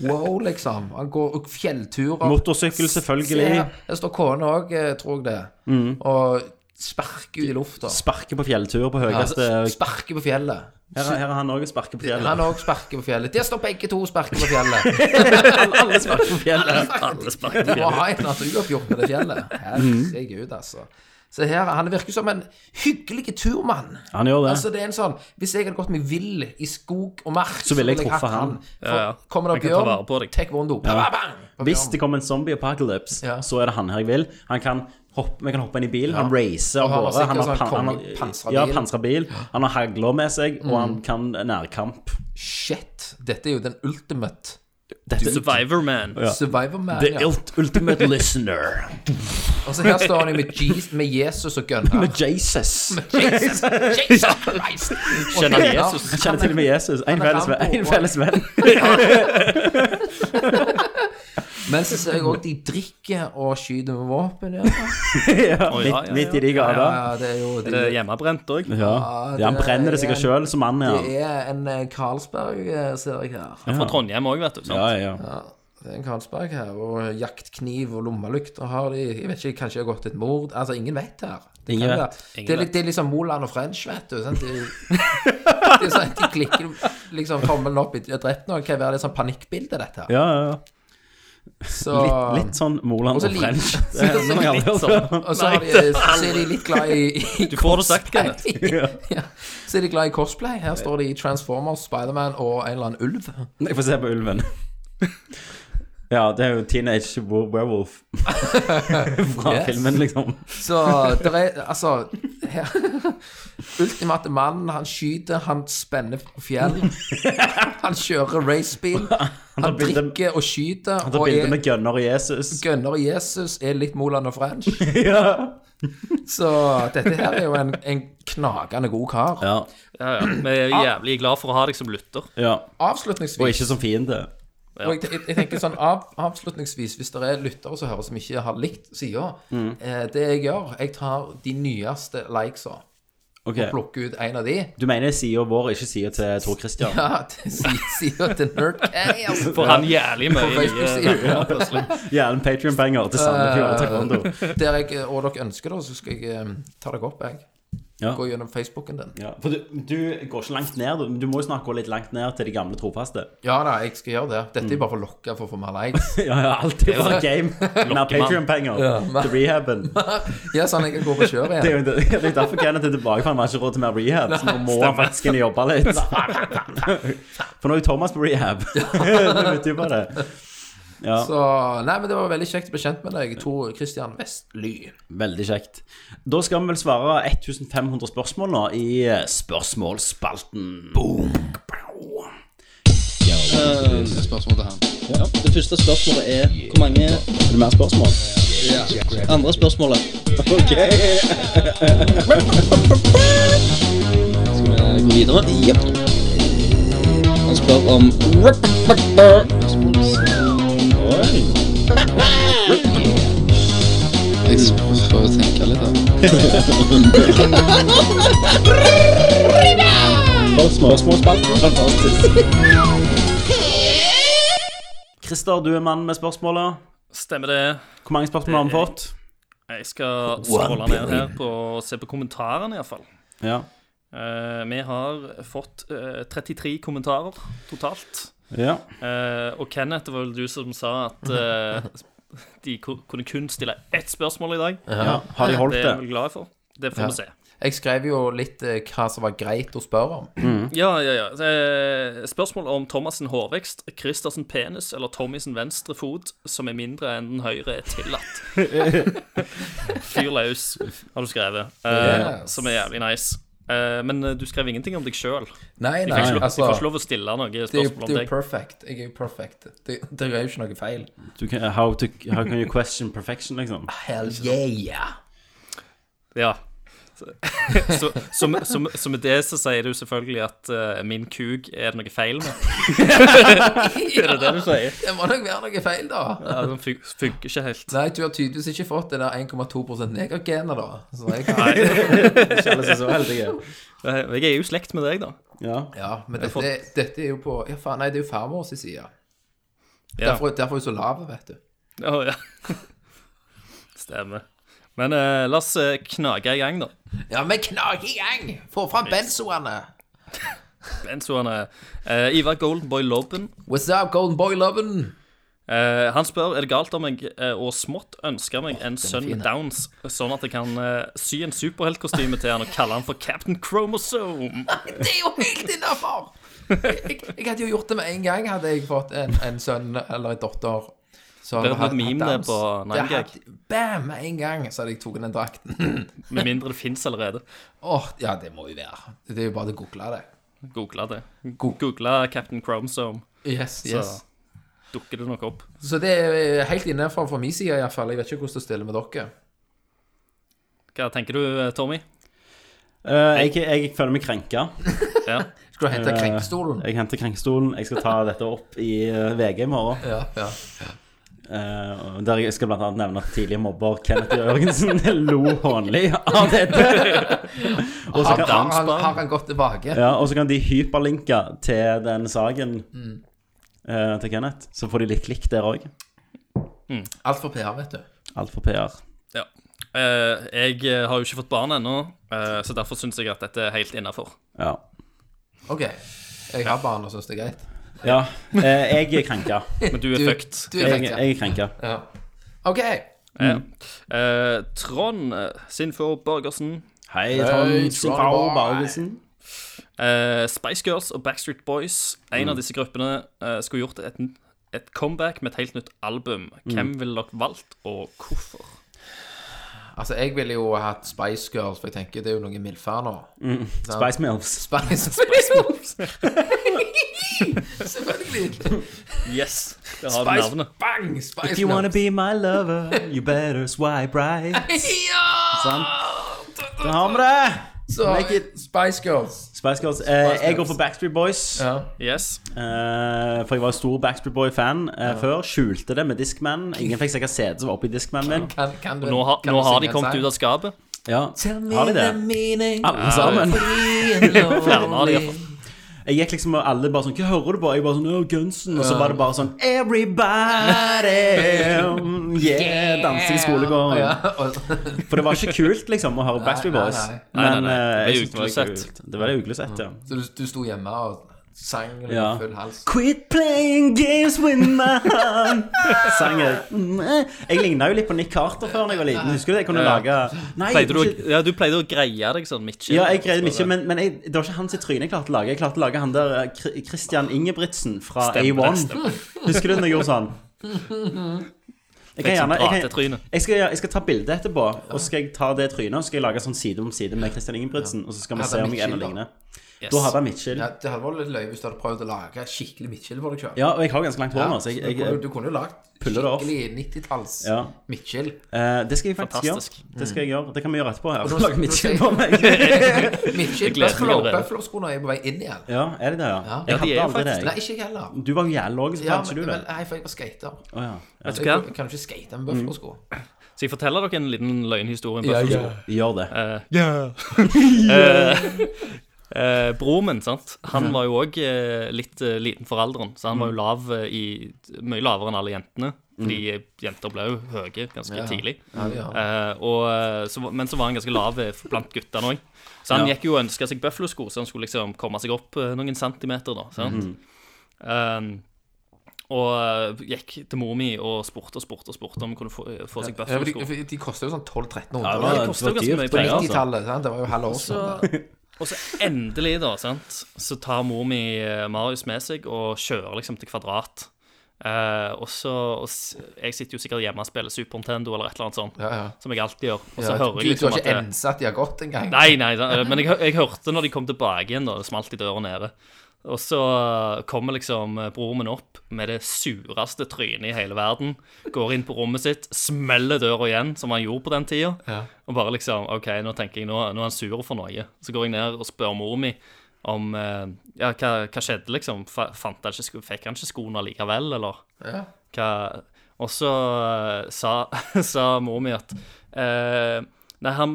Speaker 3: Wow, liksom. Han går og fjellturer.
Speaker 2: Motorsykkel, selvfølgelig.
Speaker 3: Se, Der står kona òg, tror jeg det. Og sparker ut i lufta.
Speaker 2: Sparke på fjelltur på høyeste
Speaker 3: Ja, sparker på fjellet.
Speaker 2: Her, her er han òg sparker på eh, fjellet.
Speaker 3: Han òg sparker på fjellet. Der står begge to og sparker på fjellet.
Speaker 2: Alle sparker på fjellet.
Speaker 4: Alle sparker
Speaker 3: Du må ha et naturoppgjort med det fjellet. Herregud, altså. Så her, Han virker som en hyggelig turmann.
Speaker 2: Han gjør det.
Speaker 3: Altså, det er en sånn, Hvis jeg hadde gått meg vill i skog og mark,
Speaker 2: Så ville jeg
Speaker 3: hatt
Speaker 2: truffet han.
Speaker 3: For,
Speaker 4: Ja, ja.
Speaker 3: Kommer det
Speaker 4: Jeg kan ta vare på
Speaker 3: bjørn,
Speaker 4: deg.
Speaker 3: taekwondo. Ja. Bang, bang,
Speaker 2: Hvis det kommer en zombie apocalypse,
Speaker 3: Ja.
Speaker 2: så er det han her jeg vil. Han kan hoppe, vi kan hoppe inn i bilen, han racer av
Speaker 3: han har
Speaker 2: gårde.
Speaker 3: sikkert
Speaker 2: Han har
Speaker 3: sånn
Speaker 2: pan- han
Speaker 3: konge-
Speaker 2: har-
Speaker 3: pansra
Speaker 2: ja,
Speaker 3: bil. Mm.
Speaker 2: pansra bil. Han har hagler med seg, og han kan nærkamp.
Speaker 3: Shit. Dette er jo den ultimate
Speaker 4: Survivor Man.
Speaker 3: survivor man.
Speaker 2: The
Speaker 3: Ja.
Speaker 2: ult- ultimate listener.
Speaker 3: Og så her står han jo med, Jesus, med Jesus og gunner.
Speaker 2: Med Jesus.
Speaker 3: Jesus, Jesus Christ. Og
Speaker 4: Kjenner
Speaker 3: gunner.
Speaker 4: Jesus.
Speaker 2: Jeg Kjenner til og med Jesus. En
Speaker 3: Han er
Speaker 2: felles venn.
Speaker 3: Rambo,
Speaker 2: En felles venn.
Speaker 3: Men så ser jeg òg de drikker og skyter med våpen. Ja,
Speaker 2: Ja,
Speaker 4: Å, ja, ja,
Speaker 2: midt,
Speaker 4: ja.
Speaker 2: midt i de
Speaker 3: ja,
Speaker 2: gader.
Speaker 3: ja det er jo
Speaker 4: Det er hjemmebrent òg.
Speaker 2: Ja. Ja, han
Speaker 3: det
Speaker 2: brenner det sikkert
Speaker 3: er-
Speaker 2: sjøl, som mann er han.
Speaker 3: Det er en eh, Carlsberg, eh, ser jeg her.
Speaker 4: Fra Trondheim òg, vet du. sant?
Speaker 2: Ja, ja.
Speaker 3: Det er en Carlsberg her, og jaktkniv og lommelykter har de. Jeg vet ikke, kanskje det har gått et mord? Altså, ingen vet her. Det,
Speaker 2: Ingen
Speaker 3: kan
Speaker 2: vet.
Speaker 3: være- det, er, litt- det er liksom Moland og French, vet du. Sant? De, det er sånn at de klikker liksom tommelen opp i de har drept noen. Hva er det, det er sånn panikkbilde, dette?
Speaker 2: ja, ja, ja.
Speaker 3: Så,
Speaker 2: Litt, litt sånn Moland
Speaker 3: Også
Speaker 2: og
Speaker 3: litt-
Speaker 2: French. Det er noe jeg aldri har hørt om.
Speaker 3: sånn. Og så, har de, så er de litt glad i, i
Speaker 4: Du får det sagt, Kenneth.
Speaker 3: ja. Så er de glad i cosplay. Her står de i Transformers, Spiderman og en eller annen ulv.
Speaker 2: Jeg får se på ulven. Ja, det er jo Teenage Wo- Werewolf fra
Speaker 3: Yes.
Speaker 2: filmen, liksom.
Speaker 3: Så det er Altså her, Ultimate mannen, han skyter, han spenner på fjell. Han kjører racebil. Han
Speaker 2: bilder-
Speaker 3: drikker og skyter.
Speaker 2: Ta
Speaker 3: og
Speaker 2: bilder
Speaker 3: er
Speaker 2: Altså, med Gunnar og Jesus.
Speaker 3: gønner i Jesus, er litt Moland og French.
Speaker 2: Ja.
Speaker 3: Så dette her er jo en, en knagende god kar.
Speaker 2: Ja.
Speaker 4: Ja, ja. Vi er
Speaker 3: Ah.
Speaker 4: jævlig glad for å ha deg som lytter.
Speaker 2: ja. Og
Speaker 3: Avslutningsvis
Speaker 2: ikke som fiende.
Speaker 4: ja.
Speaker 3: og jeg, jeg, jeg tenker sånn av, Avslutningsvis, hvis det er lyttere som hører som ikke har likt sida
Speaker 2: Mm.
Speaker 3: eh, Det jeg gjør, jeg tar de nyeste likesa,
Speaker 2: Ok,
Speaker 3: plukker ut en av de.
Speaker 2: Du mener sida vår, ikke sida til Tor Christian?
Speaker 3: Ja, til si- sida til Nerdcast.
Speaker 4: For han jævlig mye
Speaker 3: På Facebook-siden.
Speaker 4: nye venner, plutselig.
Speaker 2: Jævlen Patrion-penger til Sandefjord
Speaker 3: Eh.
Speaker 2: og Taekwondo.
Speaker 3: Der jeg, eh, og dere ønsker det, så skal jeg eh, ta dere opp, jeg.
Speaker 2: Ja.
Speaker 3: Gå gjennom Facebooken din.
Speaker 2: Ja, for du, du går ikke langt ned, du. Du må jo snart gå litt langt ned til de gamle trofaste.
Speaker 3: Ja da, jeg skal gjøre det.
Speaker 4: Mm.
Speaker 3: Dette er bare for å lokke for å få mer likes.
Speaker 2: Ja, ja, alltid for game. Mer Patrion-penger til rehaben.
Speaker 3: Ja, sånn jeg kan gå på kjøret
Speaker 2: Det er
Speaker 3: igjen.
Speaker 2: jo det er derfor Kenneth er tilbake, for han har ikke råd til mer rehab. Så nå må han faktisk inn og jobbe litt. For nå er jo Thomas på rehab. Nå vet du på det. Ja.
Speaker 3: Så Nei, men det var veldig kjekt å bli kjent med deg, Tor Christian Vestly.
Speaker 2: Veldig kjekt. Da skal vi vel svare 1500 spørsmål nå i eh, spørsmålsspalten. Boom!
Speaker 7: Det første spørsmålet er hvor mange
Speaker 2: Er det mer spørsmål?
Speaker 7: andre spørsmålet. Ok. Skal vi gå videre? Jepp. Han spør om Jeg prøver å tenke litt, da.
Speaker 2: Christer, du er mannen med spørsmålet.
Speaker 4: Stemmer det.
Speaker 2: Hvor mange spørsmål har vi fått?
Speaker 4: Jeg skal scrolle ned her på, og se på kommentarene, iallfall.
Speaker 2: Ja.
Speaker 4: Uh, vi har fått eh, 33 kommentarer totalt.
Speaker 2: ja.
Speaker 4: Eh, og Kenneth, det var vel du som sa at eh, de ku- kunne kun stille ett spørsmål i dag.
Speaker 2: ja. Har de holdt
Speaker 4: Det er jeg
Speaker 2: det?
Speaker 4: vel glad for. Det får vi se.
Speaker 3: Jeg skrev jo litt eh, hva som var greit å spørre om.
Speaker 4: Ja, ja, ja. Eh, Spørsmål om Thomassen hårvekst, Christersen penis eller Tommysen venstre fot som er mindre enn den høyre, er tillatt. Fyr løs, har du skrevet. eh,
Speaker 3: Yes.
Speaker 4: Som er jævlig nice. Eh, Men eh, du skrev ingenting om deg sjøl.
Speaker 3: Nei,
Speaker 4: Jeg
Speaker 3: nei,
Speaker 4: fikk ikke lov- jeg
Speaker 3: altså
Speaker 4: får ikke lov å stille noe
Speaker 3: det er jo- det
Speaker 4: spørsmål om
Speaker 3: er jo
Speaker 4: deg.
Speaker 3: perfect. Jeg er jo perfect. Det, det er jo ikke noe feil.
Speaker 2: Du kan, how, to, how can you question perfection, liksom?
Speaker 3: Hell yeah!
Speaker 4: Ja. Så, så, så, med- så, med- så med det så sier du selvfølgelig at eh, min kuk er det noe feil med.
Speaker 3: Det,
Speaker 4: Er det det du sier?
Speaker 3: må nok være noe feil, da.
Speaker 4: Ja, den fun- funker ikke helt.
Speaker 3: Nei, du har tydeligvis ikke fått det der 1,2 negergenet, da. Så jeg
Speaker 2: Ikke alle som er så heldige.
Speaker 4: Jeg er jo i slekt med deg, da.
Speaker 2: Ja.
Speaker 3: Ja, men dette, dette er jo på Ja, faen, nei, det er jo farmor sin side.
Speaker 4: Ja.
Speaker 3: Derfor, derfor er hun så lav, vet du.
Speaker 4: Å, ja. Stemmer. Men eh, la oss eh, knage i gang, da.
Speaker 3: Ja, men knak i gang! Få fram benzoene!
Speaker 4: Benzoene. Uh, Ivar Goldenboy Lobben.
Speaker 3: What's up, golden boy loven?
Speaker 4: eh, han spør er det galt om jeg eh, og smått ønsker meg en sønn
Speaker 3: fin,
Speaker 4: med Downs, sånn at jeg kan eh, sy en superheltkostyme til han og kalle han for Captain Chromosome.
Speaker 3: Det er jo helt innafor! Jeg, jeg hadde jo gjort det med en gang, hadde jeg fått en, en sønn eller en datter. Så
Speaker 4: Det hadde
Speaker 3: hatt-
Speaker 4: vært meme
Speaker 3: hatt
Speaker 4: det
Speaker 3: dans.
Speaker 4: på
Speaker 3: Det
Speaker 4: 9gag.
Speaker 3: hadde- Bam! Med en gang så hadde jeg tatt den drakten.
Speaker 4: Med mindre det fins allerede.
Speaker 3: Åh, ja, det må jo være. Det er jo bare å google det.
Speaker 4: Googla det. Googla Captain Chromosome,
Speaker 3: Yes,
Speaker 4: så
Speaker 3: yes.
Speaker 4: dukker det nok opp.
Speaker 3: Så, det er helt innafor for min side, iallfall. Jeg vet ikke hvordan det stiller med dere.
Speaker 4: Hva tenker du, eh, Tommy?
Speaker 2: Eh, jeg, jeg føler meg krenka.
Speaker 4: Ja.
Speaker 3: Skal du hente krenkestolen?
Speaker 2: Jeg henter krenkestolen. Jeg skal ta dette opp i eh, VG i morgen.
Speaker 3: Ja, ja.
Speaker 2: Eh, der jeg skal blant annet nevne at tidligere mobber Kenneth Jørgensen lo hånlig av dette. Og så
Speaker 3: Har, har,
Speaker 2: kan,
Speaker 3: han, har han gått tilbake?
Speaker 2: ja, og så kan de hyperlinke til den saken eh, til Kenneth. Så får de litt klikk der òg.
Speaker 3: Alt for PR, vet du.
Speaker 2: Alt for PR.
Speaker 4: ja. Eh, jeg eh, har jo ikke fått barn ennå, eh, så derfor syns jeg at dette er helt innafor.
Speaker 2: Ja.
Speaker 3: OK. Jeg har barn og syns det er greit.
Speaker 2: ja eh, jeg er krenka.
Speaker 4: Men du er
Speaker 3: Du-
Speaker 4: fucked.
Speaker 3: Du er
Speaker 2: Jeg,
Speaker 3: fett, ja.
Speaker 2: jeg er krenka.
Speaker 3: ja. OK.
Speaker 4: Ja. Eh, Trond eh, Sinfor Børgersen,
Speaker 2: Hei,
Speaker 3: Hei,
Speaker 2: Trond
Speaker 3: Trond.
Speaker 2: Simfao Bargesen.
Speaker 4: eh, Spice Girls og Backstreet Boys, en av disse gruppene, eh, skulle gjort et, et comeback med et helt nytt album. Hvem ville dere valgt, og hvorfor?
Speaker 3: Altså, jeg ville jo hatt Spice Girls, for jeg tenker det er jo noen mildfær nå.
Speaker 2: Spice Mills.
Speaker 3: Spice, Spice Girls. Selvfølgelig.
Speaker 4: Yes, det har vi
Speaker 3: Spice-
Speaker 4: navnet.
Speaker 3: Bang! Spice
Speaker 2: If you wanna
Speaker 3: Girls.
Speaker 2: be my lover, you better swipe right.
Speaker 3: Ja!
Speaker 2: Sant? Da har vi det.
Speaker 3: Så, Spice Girls.
Speaker 2: Spice Girls. Eh, jeg går
Speaker 3: Girls.
Speaker 2: for Backstreet Boys.
Speaker 3: Ja.
Speaker 4: Yes.
Speaker 2: Eh, for jeg var en stor Backstreet Boy-fan eh, før. Skjulte det med Discman. Ingen fikk sikkert CD som var oppi Discmanen min.
Speaker 3: Kan, kan du,
Speaker 4: Nå har,
Speaker 3: kan
Speaker 4: nå
Speaker 3: du
Speaker 4: har
Speaker 3: synge
Speaker 4: de
Speaker 3: en
Speaker 4: kommet
Speaker 3: sang?
Speaker 4: ut av skapet.
Speaker 2: Ja,
Speaker 3: Tell me
Speaker 2: har de det? Ah. Eh,
Speaker 3: the meaning
Speaker 2: Alle sammen.
Speaker 4: Flere har de.
Speaker 2: Jeg gikk liksom og alle bare sånn Hva hører du på? Jeg bare sånn Åh, Gunsen. Og så var det bare sånn Everybody Yeah! Dansing i skolegården.
Speaker 3: Ja, og-
Speaker 2: For det var ikke kult, liksom, å høre Backstreet
Speaker 3: nei,
Speaker 2: Boys.
Speaker 3: nei.
Speaker 4: Nei, nei,
Speaker 2: Men
Speaker 4: nei.
Speaker 2: eh,
Speaker 4: Det
Speaker 2: jeg
Speaker 4: er
Speaker 2: synes det var
Speaker 4: uglesett.
Speaker 2: kult. Det var det uglesett, ja.
Speaker 3: Så du, du sto hjemme og sang med
Speaker 2: Ja.
Speaker 3: full hals?
Speaker 2: Quit playing games with my heart Sang jeg Mm, eh. Jeg lignet jo litt på Nick Carter før da jeg var liten Husker du det? Jeg kunne lage Nei,
Speaker 4: Pleide du,
Speaker 2: ikke-
Speaker 4: å- ja, du pleide å greie deg sånn midt i-
Speaker 2: ja, jeg greide meg ikke, men, men jeg, det var ikke hans tryne jeg klarte å lage. Jeg klarte å lage han der eh, Kri- Christian Ingebrigtsen fra
Speaker 4: Stemmer det,
Speaker 2: A1. Husker du når jeg gjorde sånn? Jeg,
Speaker 4: Fikk
Speaker 2: kan
Speaker 4: sånn
Speaker 2: gjerne, jeg, kan,
Speaker 4: pratetryne.
Speaker 2: jeg, skal, jeg skal ta bilde etterpå, og så skal jeg ta det trynet og så skal jeg lage sånn side om side med Christian Ingebrigtsen. Og så skal vi
Speaker 3: Hadde
Speaker 2: se om jeg
Speaker 3: Mitchell,
Speaker 2: ender
Speaker 3: da.
Speaker 2: ligner.
Speaker 4: Yes.
Speaker 2: Da hadde han Mitchell.
Speaker 3: Ja, det hadde vært litt løye hvis du hadde prøvd å lage et skikkelig midtskille for deg sjøl.
Speaker 2: Ja, og jeg har ganske langt hår nå, så jeg,
Speaker 3: du, kunne,
Speaker 2: jeg,
Speaker 3: du kunne jo lagd
Speaker 2: puller det opp.
Speaker 3: skikkelig 90-talls
Speaker 2: Ja.
Speaker 3: midtskill.
Speaker 2: eh, Det skal jeg faktisk
Speaker 4: Fantastisk.
Speaker 2: gjøre. Det skal jeg gjøre, det kan vi gjøre etterpå. her
Speaker 3: nå-
Speaker 2: Lage Mitchell på meg.
Speaker 3: Midtskill.
Speaker 4: gleder meg
Speaker 3: Buffalo-
Speaker 4: allerede.
Speaker 3: Buffalo-skoene er jo på vei inn igjen.
Speaker 2: Ja, er det det, ja?
Speaker 3: Ja.
Speaker 2: Jeg
Speaker 4: Ja, de er
Speaker 2: hadde aldri det. jeg.
Speaker 4: faktisk-
Speaker 3: Nei, ikke jeg heller.
Speaker 2: Du var jo jævlig lav,
Speaker 3: Ja,
Speaker 2: så hadde
Speaker 3: men,
Speaker 2: ikke du det.
Speaker 3: men, nei, for jeg var skater.
Speaker 2: Å ja.
Speaker 4: Vet
Speaker 3: Jeg
Speaker 4: du hva?
Speaker 3: kan- kan jo ikke skate med
Speaker 2: Mm.
Speaker 3: Buffalo-sko.
Speaker 4: Så jeg forteller dere en liten løgnhistorie. om Buffalo.
Speaker 2: Gjør det.
Speaker 4: Eh, broren min, sant? han var jo òg eh, litt eh, liten for alderen, så han var
Speaker 3: Mm.
Speaker 4: jo lav eh, i Mye lavere enn alle jentene. Fordi eh, jenter ble jo høye ganske tidlig.
Speaker 3: ja.
Speaker 4: Eh, og, eh, så, var- men så var han ganske lav eh, blant guttene òg. Så han gikk jo og ønska seg bøffelosko, så han skulle liksom komme seg opp eh, noen centimeter, da. Sant?
Speaker 3: Mm.
Speaker 4: Eh, og eh, gikk til mor mi og spurte og spurte og spurte om hun kunne få, eh, få seg
Speaker 3: Ja, for de,
Speaker 4: bøffelosko.
Speaker 3: for de koster jo sånn
Speaker 2: Ja,
Speaker 3: 1200-1300
Speaker 2: det var,
Speaker 4: det koster
Speaker 2: det
Speaker 4: jo
Speaker 2: var
Speaker 4: ganske mye
Speaker 2: dyrt.
Speaker 4: penger,
Speaker 2: det,
Speaker 4: altså.
Speaker 2: altså.
Speaker 3: 90-tallet. sant? Det var jo halve år
Speaker 4: Så,
Speaker 3: siden.
Speaker 4: og så endelig, da, sant, så tar mor mi eh, Marius med seg og kjører liksom til Kvadrat. Eh, og så og s- Jeg sitter jo sikkert hjemme og spiller Super Nintendo eller et eller annet sånt,
Speaker 3: Ja, ja.
Speaker 4: som jeg alltid gjør. Og så
Speaker 3: Ja,
Speaker 4: hører
Speaker 3: du,
Speaker 4: jeg
Speaker 3: du
Speaker 4: liksom
Speaker 3: har
Speaker 4: at
Speaker 3: ikke
Speaker 4: det,
Speaker 3: ensa at de har gått engang?
Speaker 4: Nei, nei, da- men jeg, jeg hørte når de kom tilbake igjen, da det smalt i døra nede. Og så kommer liksom eh, broren min opp med det sureste trynet i hele verden. Går inn på rommet sitt, smeller døra igjen, som han gjorde på den tida. Og bare liksom OK, nå tenker jeg, nå, nå er han sur for noe. Så går jeg ned og spør mor mi om eh, Ja, hva, hva skjedde, liksom? Fa- Fant han ikke, sko- fikk han ikke skoene likevel, eller? Hva Og så eh, sa, sa mor mi at eh, Nei, han,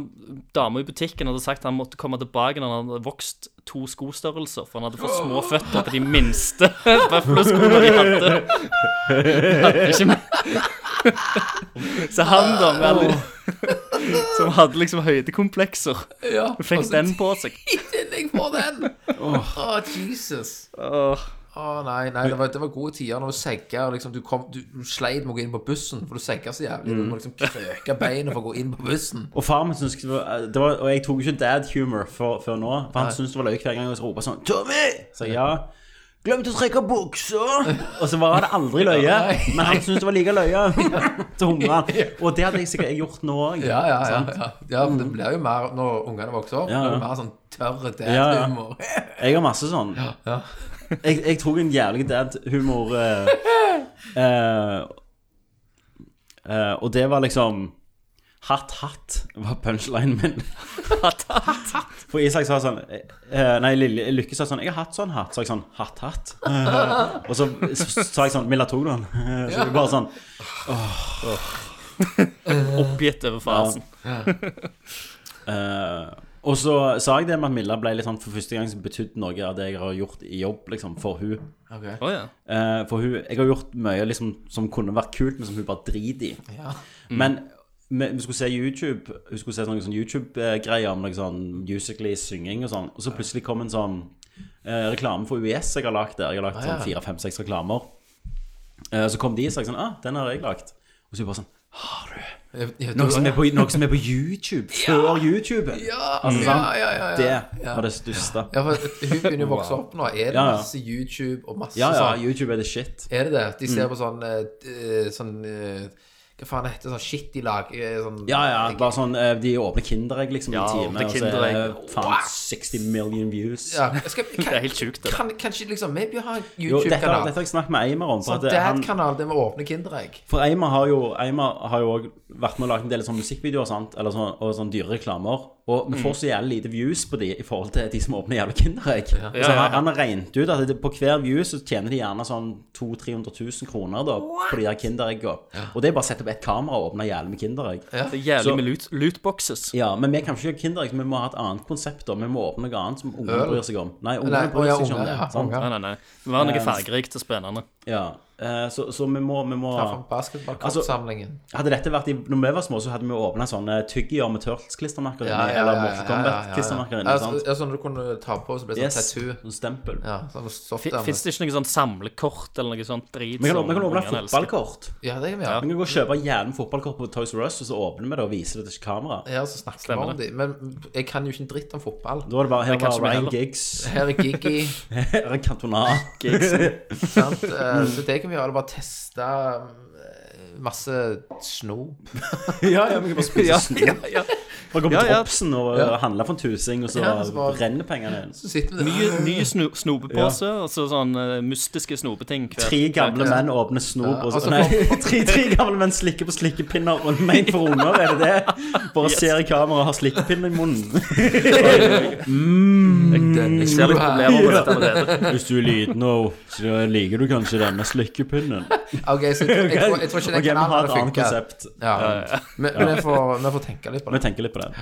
Speaker 4: dama i butikken hadde sagt han måtte komme tilbake når han hadde vokst to skostørrelser, for han hadde fått små føtter på de minste bøffelskoene de hadde. hadde ikke mer. Så han, da, med alle som hadde liksom høydekomplekser.
Speaker 3: Ja,
Speaker 4: Fikk
Speaker 2: Altså,
Speaker 3: og så
Speaker 4: den på seg.
Speaker 3: tillegg på den! Å, Jesus. Å nei, nei, det var, det var gode tider når du segga og liksom, du, kom, du, du sleit med å gå inn på bussen, for du segga så jævlig.
Speaker 2: Mm.
Speaker 3: Du må liksom krøke beinet for å gå inn på bussen.
Speaker 2: Og far min syntes det var, eh, det var Og jeg tok jo ikke dad humor før- før nå, for han syntes det var løye hver gang jeg ropte sånn Tommy! Så jeg, ja. Glemte å trekke buksa! Og så var det aldri løye. Men han syntes det var like løye. Så humra han. Og det hadde jeg sikkert gjort nå òg.
Speaker 3: Ja, ja, ja. ja. ja for det blir jo mer når ungene vokser opp. blir
Speaker 2: Mm. Ja,
Speaker 3: det
Speaker 2: ja.
Speaker 3: Mer sånn tørr
Speaker 2: Ja, ja.
Speaker 3: dad-humor.
Speaker 2: Jeg har masse sånn.
Speaker 3: ja.
Speaker 2: Jeg, jeg tok en jævlig dad-humor eh, eh, eh, Og det var liksom Hatt, hatt var punchlinen min. hatt, hatt, hatt. For Isak sa sånn eh, eh, Nei, Lille, Lykke sa sånn Jeg har hatt sånn hatt. Så jeg sånn Hatt, hatt. Eh, og så sa jeg sånn Milla tok du den? så jeg bare sånn
Speaker 4: Oppgitt over fasen.
Speaker 2: Eh, og så sa jeg det med at Milla ble litt sånn for første gang som betydde noe av det jeg har gjort i jobb, liksom, for hun
Speaker 4: Å ja.
Speaker 2: Eh, for hun, jeg har gjort mye liksom, som kunne vært kult, men som hun bare driter i.
Speaker 3: Mm.
Speaker 2: Men vi, vi skulle se YouTube Hun skulle se noen sånn YouTube-greier om noe sånn musically synging og sånn. Og så plutselig kom en sånn eh, reklame for UiS jeg har lagd der. Jeg har lagd sånn fire-fem-seks reklamer. Eh, så kom de og sa sånn ah, den har jeg lagd. Og så er hun bare sånn
Speaker 3: Jeg- jeg-
Speaker 2: noe som, er på, noe som er på YouTube før YouTube. altså, sant?
Speaker 3: Ah, ja, ja, ja, ja.
Speaker 2: Det var det største.
Speaker 3: Ja, for hun begynner jo å vokse opp nå. Er det
Speaker 2: Ja, ja.
Speaker 3: masse YouTube og masse
Speaker 2: Ja, Mm. ja,
Speaker 3: sånn?
Speaker 2: YouTube er the shit.
Speaker 3: Er det det? De ser på sånn eh, eh, Sånn eh, Hva faen heter det? Sånn shit i lag? eh, Sånn,
Speaker 2: Ja, ja, bare sånn eh, De åpner Kinderegg liksom i
Speaker 4: Ja,
Speaker 2: en time,
Speaker 4: åpner
Speaker 2: og så er det
Speaker 4: Kinderegg.
Speaker 2: faen 60 million views.
Speaker 3: Ja, skal, kan,
Speaker 4: Det er helt sjukt, det der.
Speaker 3: Kan, kanskje liksom Vi bør ha en
Speaker 2: Jo, dette, har-
Speaker 3: YouTube-kanal.
Speaker 2: dette har jeg snakket med Eimer om. For,
Speaker 3: Sånn
Speaker 2: at det- han,
Speaker 3: dad-kanal der vi åpner Kinderegg.
Speaker 2: for Eimer har jo Eimer har jo også vært med og lagd en del sånne musikkvideoer sant? Eller sånn, og sånn dyre reklamer. Og vi får
Speaker 4: Mm.
Speaker 2: så jævlig lite views på de i forhold til de som åpner jævla Kinderegg. Så han, han har regnet ut at det, på hver view så tjener de gjerne sånn 200 300 000 kroner da, på de der Kindereggene. Og det er bare å sette opp ett kamera og åpne jævlig med Kinderegg.
Speaker 4: Det er jævlig med loot, lootboxes.
Speaker 2: Ja, men vi kan ikke gjøre Kinderegg, så vi må ha et annet konsept. da Vi må åpne noe annet som ungene
Speaker 3: Øl?
Speaker 2: bryr seg om. Nei,
Speaker 3: Nei,
Speaker 2: ungene
Speaker 3: å,
Speaker 2: bryr
Speaker 3: ja,
Speaker 2: seg ikke om
Speaker 3: unger,
Speaker 2: det.
Speaker 3: ja,
Speaker 2: sant?
Speaker 3: unger.
Speaker 4: Nei, nei, nei. Det var noe fargerikt og spennende.
Speaker 2: Ja. Eh, Så, så vi må, vi må
Speaker 3: Ja. Basketballkortsamlingen.
Speaker 2: Hadde dette vært i Når vi var små, så hadde vi åpna sånne tyggier med Turtles-klistremerker.
Speaker 3: Ja, ja, ja,
Speaker 2: Eller
Speaker 3: ja, ja,
Speaker 2: Mortal
Speaker 3: ja, ja, ja.
Speaker 2: Kombat-klistremerker.
Speaker 3: Ja,
Speaker 2: inne, sant?
Speaker 3: så- ja, Sånn du kunne ta på, så ble det sånn
Speaker 2: Yes.
Speaker 3: tattoo.
Speaker 2: Sånn stempel.
Speaker 3: Ja, sånn soft
Speaker 4: Fin-
Speaker 3: der,
Speaker 4: Fins
Speaker 3: men-
Speaker 4: det ikke noe sånn samlekort eller noe sånt drit?
Speaker 2: Vi kan,
Speaker 4: som
Speaker 2: vi kan åpne
Speaker 4: ungene Sånn elsker?
Speaker 2: fotballkort.
Speaker 3: ja, det kan vi gjøre.
Speaker 2: Vi kan gå og kjøpe jævlig fotballkort på Toys R Us, og så åpner vi det og viser det til kamera.
Speaker 3: Ja, så snakker vi
Speaker 4: Stemmer
Speaker 3: om
Speaker 4: det.
Speaker 3: det. Men jeg kan jo ikke en dritt om fotball.
Speaker 2: Da er det bare Her
Speaker 4: kan ikke
Speaker 2: var
Speaker 4: vi
Speaker 2: Ryan
Speaker 4: heller.
Speaker 2: Giggs,
Speaker 3: Her er Gigi.
Speaker 2: her er Cantona.
Speaker 3: sant? Eh, Så det kan vi gjøre. Det er bare teste eh, masse sno.
Speaker 2: Ja, ja, vi kan bare spise
Speaker 4: Ja,
Speaker 2: snop.
Speaker 4: ja, ja.
Speaker 2: Bare gå på
Speaker 4: Ja, ja.
Speaker 2: Tropsen og
Speaker 3: Ja.
Speaker 2: handle for en tusing, og så
Speaker 3: Ja, så bare-
Speaker 2: renner pengene inn.
Speaker 3: Så sitter vi der.
Speaker 4: Ny, ny sno, snopepose, og så sånn eh, mystiske snopeting. hver-
Speaker 2: Tre gamle menn åpner snop, og
Speaker 3: og
Speaker 2: så
Speaker 3: så
Speaker 2: Nei, tre, tre gamle menn slikker på slikkepinner og ment for unger, er det det? Bare ser i kamera og har slikkepinner i munnen.
Speaker 3: Den er
Speaker 4: Jeg ser litt
Speaker 3: stor her.
Speaker 4: problemer med dette allerede.
Speaker 2: Hvis du er liten nå, så liker du kanskje denne slikkepinnen.
Speaker 3: Ok, så jeg, tror- jeg, tror- jeg tror ikke den
Speaker 2: Ok, vi har
Speaker 3: kanalen
Speaker 2: et annet
Speaker 3: funker.
Speaker 2: konsept.
Speaker 3: Ja. Men men vi får, vi får tenke litt på
Speaker 2: Vi
Speaker 3: det.
Speaker 2: tenker litt på det.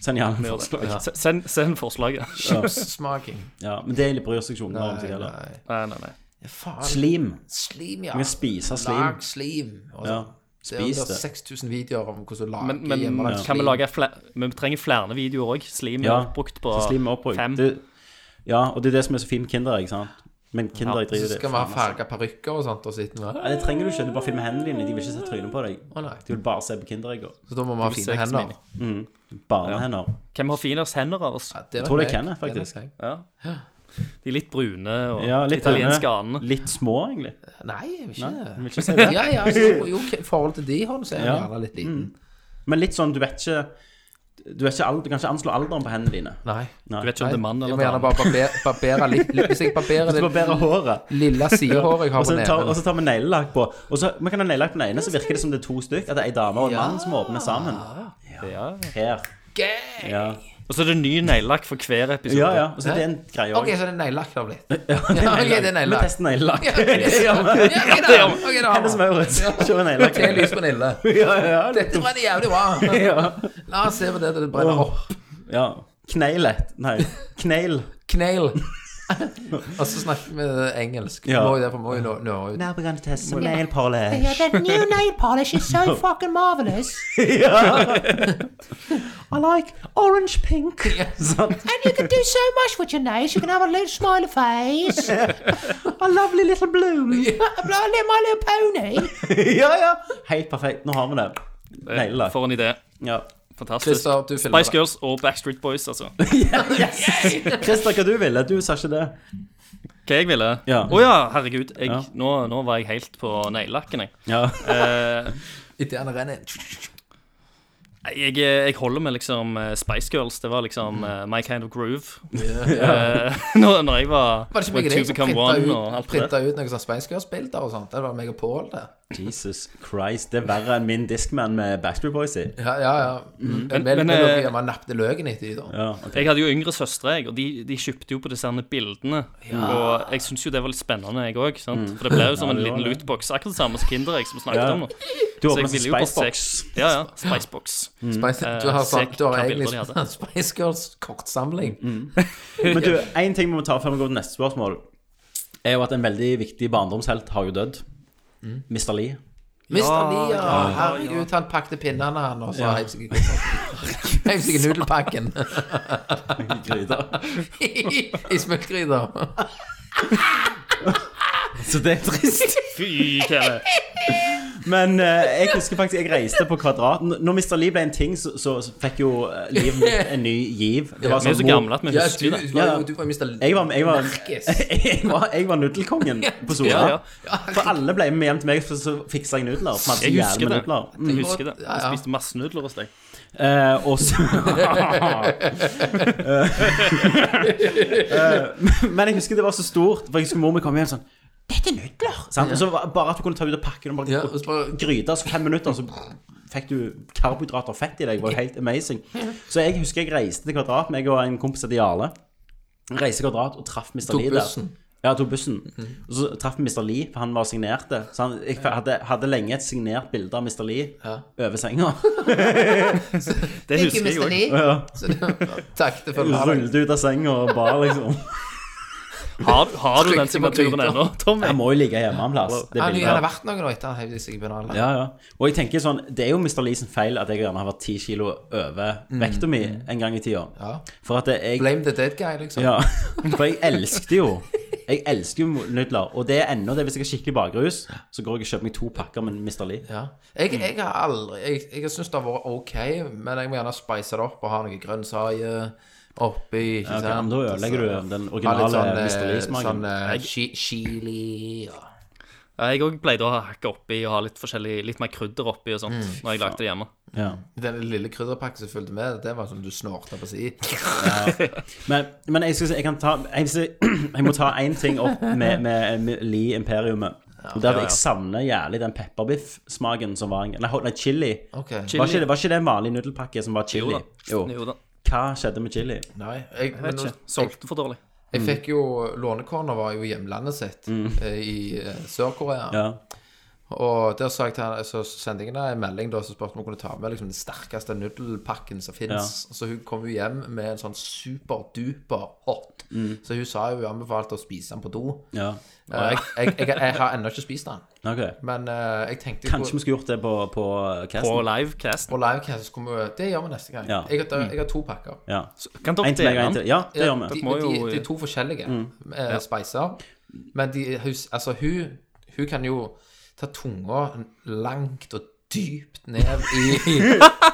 Speaker 2: Send gjerne
Speaker 4: Vi gjør det.
Speaker 2: forslag.
Speaker 4: Se- Send, send forslaget.
Speaker 3: Chipssmaking.
Speaker 2: Ja, men det er egentlig bryr seg ikke unger om. så det gjelder.
Speaker 3: Nei.
Speaker 4: Nei, nei, nei.
Speaker 3: Faen.
Speaker 2: Slim.
Speaker 3: Slim, ja.
Speaker 2: Vi kan spise slim.
Speaker 3: Lag slim. Og
Speaker 2: Ja.
Speaker 3: sånn. Det er
Speaker 2: Spis
Speaker 3: under
Speaker 2: det.
Speaker 3: 6000 videoer om hvordan du lager
Speaker 4: Men, men
Speaker 3: hjemmelagd
Speaker 4: kan vi
Speaker 3: slim.
Speaker 4: lage flere Vi trenger flere videoer òg. Slim er
Speaker 2: Ja,
Speaker 4: oppbrukt på
Speaker 2: så slim er oppbrukt.
Speaker 4: fem.
Speaker 2: Det, ja, og det er det som er så fint med Kinderegg, ikke sant? Men Kinderegg
Speaker 3: Så
Speaker 2: driter i det.
Speaker 3: skal vi ha farga parykker og sånt. Og sitte med.
Speaker 2: Nei, det trenger du ikke. Du bare filmer hendene dine. De vil ikke se trynet på deg.
Speaker 3: Å, nei.
Speaker 2: De vil bare se på Kinderegga.
Speaker 3: Så da må vi ha
Speaker 4: ser
Speaker 3: fine
Speaker 4: ikke så
Speaker 3: hender.
Speaker 4: mye.
Speaker 2: Barnehender.
Speaker 4: Hvem har finest hender av oss?
Speaker 3: Ja, det er
Speaker 2: tror
Speaker 3: nok
Speaker 2: det
Speaker 3: meg.
Speaker 2: kan jeg,
Speaker 3: er nok
Speaker 2: faktisk.
Speaker 3: meg.
Speaker 4: Ja. De litt brune og
Speaker 2: Ja, litt
Speaker 4: italienske
Speaker 2: brune.
Speaker 4: anene.
Speaker 2: Litt små, egentlig.
Speaker 3: Nei, jeg vil ikke det.
Speaker 2: Jeg vil ikke si det.
Speaker 3: Ja, ja, så, jo, ok, i forhold til de hånd, så er jeg
Speaker 2: Ja. Mm.
Speaker 3: gjerne litt liten.
Speaker 2: Men litt sånn, du vet ikke Du, vet ikke al- du kan ikke anslå alderen på hendene dine.
Speaker 3: Nei.
Speaker 4: Du vet ikke
Speaker 3: Nei.
Speaker 4: om det er mann
Speaker 3: Jeg
Speaker 4: eller
Speaker 3: må gjerne
Speaker 4: dame.
Speaker 3: bare barbere, barbere litt, litt. Hvis jeg barberer
Speaker 2: Du
Speaker 3: det
Speaker 2: barberer håret.
Speaker 3: lille sidehåret jeg
Speaker 2: Og
Speaker 3: har
Speaker 2: så
Speaker 3: på
Speaker 2: tar, og
Speaker 3: neven
Speaker 2: så tar vi neglelakk på. Og så, Man kan ha neglelakk på den ene, så virker det som det er to stykk. At det er ei dame og en mann som åpner sammen.
Speaker 4: Ja.
Speaker 2: Her. Ja.
Speaker 4: Og så er det ny neglelakk for hver episode.
Speaker 2: ja, ja. Og så er det en greie
Speaker 3: Ok,
Speaker 2: òg.
Speaker 3: så det er neglelakk det har blitt. Ja, ok, det er
Speaker 2: Vi
Speaker 3: neglelakk.
Speaker 2: tester neglelakk.
Speaker 3: Ja, ok, det er
Speaker 2: Ja, men-
Speaker 3: Ja, ok, da. Ok, da.
Speaker 2: Henne som er rødt. Kjør neglelakk.
Speaker 3: Te lys på Nille.
Speaker 2: Ja, ja, ja.
Speaker 3: Dette brenner jævlig bra. La oss se på det til det brenner opp.
Speaker 2: ja. Kneilet. Nei, kneil.
Speaker 3: Kneil. Og så snakker vi engelsk.
Speaker 2: Ja.
Speaker 3: Må jo derfor må jo nå, nå ut.
Speaker 2: Now we're going to test some nail polish.
Speaker 8: Yeah, that new nail polish is so fucking marvelous.
Speaker 2: I like orange pink. Sånn.
Speaker 8: And you can do so much with your nails. You can have a little smiley face, a lovely little bloom, a bl- a little My Little Pony.
Speaker 2: ja, ja. Helt perfekt. Nå har vi det. Neglelakk.
Speaker 4: Eh, For en idé.
Speaker 2: Ja.
Speaker 4: Fantastisk.
Speaker 3: Christer, du filmer
Speaker 4: Spice
Speaker 3: det.
Speaker 4: Girls og Backstreet Boys, altså.
Speaker 2: Christer, hva du ville? Du sa ikke det.
Speaker 4: Hva jeg ville? Å
Speaker 2: Ja.
Speaker 4: ja. herregud. Jeg,
Speaker 2: Ja.
Speaker 4: Nå, nå var jeg helt på neglelakken, jeg.
Speaker 2: Ja.
Speaker 4: Eh,
Speaker 3: Ideene renner inn.
Speaker 4: jeg. Jeg holder med liksom eh, Spice Girls. Det var liksom eh, my kind of groove. Eh, når, når jeg var,
Speaker 3: Var det ikke
Speaker 4: var
Speaker 3: meg og
Speaker 4: Two
Speaker 3: deg som
Speaker 4: Become
Speaker 3: printa
Speaker 4: One og
Speaker 3: ut,
Speaker 4: alt det der.
Speaker 3: printa ut noen sånne Spice Girls-bilder og sånt? Det var meg og Pål, det.
Speaker 2: Jesus Christ. Det er verre enn min Discman med Backstreet Boys i.
Speaker 3: Ja, ja. ja. Mm.
Speaker 2: Mm.
Speaker 3: Men,
Speaker 4: men,
Speaker 3: men, men,
Speaker 4: eh, Mm.
Speaker 3: man nappte løken etter dem, da.
Speaker 2: Ja, ok.
Speaker 4: Jeg hadde jo yngre søstre, jeg, og de, de kjøpte jo på disse her bildene. Og jeg syns jo det var litt spennende, jeg òg. For det ble jo som en
Speaker 2: Mm. det var
Speaker 4: liten
Speaker 2: det.
Speaker 4: lootbox. Akkurat det samme som Kinderegg som vi snakket
Speaker 2: Ja.
Speaker 4: om nå.
Speaker 2: Du
Speaker 4: Så
Speaker 2: åpner
Speaker 4: jeg ville jo bare
Speaker 2: Spicebox. Mm.
Speaker 4: se- Ja, ja. Spicebox.
Speaker 3: Spice, du
Speaker 4: Eh,
Speaker 3: har, sånn,
Speaker 4: se
Speaker 3: du har
Speaker 4: hva
Speaker 3: egentlig
Speaker 4: bilder de
Speaker 3: sånn Spice Girls-kortsamling.
Speaker 4: Mm.
Speaker 2: Men du, én ting vi må ta før vi går til neste spørsmål, er jo at en veldig viktig barndomshelt har jo dødd.
Speaker 4: Mm.
Speaker 2: Mr. Lee.
Speaker 3: Mr. Lia, herregud, han pakte pinnene, han, og så
Speaker 2: Ja.
Speaker 3: heiv seg i kofferten. Heiv seg i nudelpakken
Speaker 2: Gryta.
Speaker 3: i smultgryta.
Speaker 2: Så det er trist.
Speaker 4: Fy, Kelle.
Speaker 2: Men eh, jeg husker faktisk jeg reiste på Kvadrat. N- Når Mr. Lee ble en ting, så, så fikk jo eh, livet mitt en ny giv. Det var
Speaker 4: Vi er
Speaker 2: sånn,
Speaker 4: så
Speaker 2: hvor-
Speaker 4: gamle at vi
Speaker 3: Ja,
Speaker 4: husker
Speaker 3: du,
Speaker 4: det.
Speaker 3: du var
Speaker 2: Ja.
Speaker 3: jo du var jo Mr.
Speaker 2: Jeg var, jeg var,
Speaker 3: Nerkis.
Speaker 2: jeg var, jeg var nudelkongen på Sola.
Speaker 4: Ja, ja.
Speaker 2: For alle ble med hjem til meg, for så fiksa jeg nudler. For man hadde så
Speaker 4: Jeg
Speaker 2: jævlig
Speaker 4: husker
Speaker 2: med
Speaker 4: det.
Speaker 2: nudler. Mm.
Speaker 4: Jeg husker det.
Speaker 3: Ja, ja.
Speaker 4: Jeg spiste masse nudler hos deg.
Speaker 2: Eh, og så Eh, Men jeg husker det var så stort, for jeg husker mor mi kom hjem sånn Dette er nudler! Sant? Og så var- bare at du kunne ta ut av pakken og bare
Speaker 3: Ja, og så bare-
Speaker 2: gryte, så fem minutter, så fikk du karbohydrater og fett i deg. Det var jo helt amazing. Så jeg husker jeg reiste til Kvadrat, meg og en kompis av Jarle. Reiste til Kvadrat og traff Mr.
Speaker 3: Tok
Speaker 2: Lee der.
Speaker 3: bussen.
Speaker 2: Ja, tok bussen. Og så traff vi Mr. Lee, for han var signerte. Så han, jeg hadde, hadde lenge et signert bilde av Mr. Lee over senga.
Speaker 4: Det
Speaker 8: Thank you,
Speaker 4: husker jeg
Speaker 8: Mr.
Speaker 4: òg.
Speaker 8: Lee.
Speaker 3: Takk, det følger
Speaker 2: Rullet ut av senga og bar, liksom.
Speaker 4: Har, har du den
Speaker 3: Trykte på
Speaker 4: signaturen
Speaker 3: gryta.
Speaker 4: ennå, Tommy?
Speaker 2: Jeg må jo ligge hjemme en plass. Det
Speaker 3: Han har
Speaker 2: bildet.
Speaker 3: vært noen år etter han heiv seg i pinnene.
Speaker 2: Ja, ja. Og jeg tenker sånn, det er jo Mr. Lee sin feil at jeg gjerne har vært ti kilo over vekta mi en gang i tida.
Speaker 3: Ja.
Speaker 2: For at jeg
Speaker 3: Blame the dead guy, liksom.
Speaker 2: Ja, for jeg elsket jo Jeg elsket jo nudler. Og det er ennå det hvis jeg har skikkelig bakrus, så går jeg og kjøper meg to pakker med Mr. Lee.
Speaker 3: Ja. Jeg,
Speaker 2: Mm.
Speaker 3: jeg har aldri Jeg, jeg har syntes det har vært ok, men jeg må gjerne spice det opp og ha noe grønnsaker oppi. Ikke
Speaker 2: Ja, ok, men da ødelegger du den
Speaker 3: Ha
Speaker 2: originale
Speaker 3: litt sånn,
Speaker 2: Mr.
Speaker 3: eh,
Speaker 2: Lee-smaken.
Speaker 3: sånn eh, chi- chili og
Speaker 4: Ja, Jeg òg pleide å ha hakket oppi og ha litt forskjellig, litt mer krydder oppi og sånt
Speaker 2: Mm.
Speaker 4: når jeg lagde det hjemme.
Speaker 2: Ja.
Speaker 3: Den lille krydderpakken som fulgte med, det var sånn du snorta på si.
Speaker 2: Men, men jeg, skal si, jeg kan ta Jeg, skal si, jeg må ta én ting opp med, med, med Lee Imperiumet. Og det er at Jeg savner jævlig den pepperbiff-smaken som var en Nei, nei chili.
Speaker 3: Ok.
Speaker 2: Var ikke, det, var ikke det en vanlig nudelpakke som var chili? Jo.
Speaker 4: Jo da.
Speaker 2: Hva skjedde med chili?
Speaker 3: Nei, jeg, men
Speaker 4: Vet
Speaker 3: nå-
Speaker 4: ikke. Solgte for dårlig.
Speaker 3: jeg fikk jo Lånekorner var jo i hjemlandet sitt eh, i eh, Sør-Korea.
Speaker 2: Mm. Ja.
Speaker 3: Og der sa jeg til han, så sendte jeg henne en melding da, som spurte om hun kunne ta med liksom, den sterkeste nudelpakken som finnes. Så hun kom jo hjem med en sånn superduper hot. Så hun sa jo hun anbefalte å spise den på do.
Speaker 2: Mm. ja.
Speaker 3: Eh, Jeg, jeg, jeg, jeg har ennå ikke spist den.
Speaker 2: Ok.
Speaker 3: Men eh, jeg tenkte
Speaker 2: Kanskje vi skulle gjort det på, på
Speaker 4: På
Speaker 2: casten?
Speaker 4: livecast.
Speaker 3: på livecast så kommer vi Det gjør vi neste gang.
Speaker 2: Ja. Mm.
Speaker 3: Jeg, har- jeg har to pakker.
Speaker 2: Ja.
Speaker 4: Kan dere
Speaker 2: En til meg og
Speaker 4: dele
Speaker 2: en
Speaker 4: den?
Speaker 2: til. Ja, det Mm. gjør
Speaker 3: de,
Speaker 2: vi.
Speaker 3: de,
Speaker 4: må jo-
Speaker 3: de er to forskjellige eh, spicer. Men de, hun, altså, hun, hun kan jo ta tunga langt og dypt ned i, i,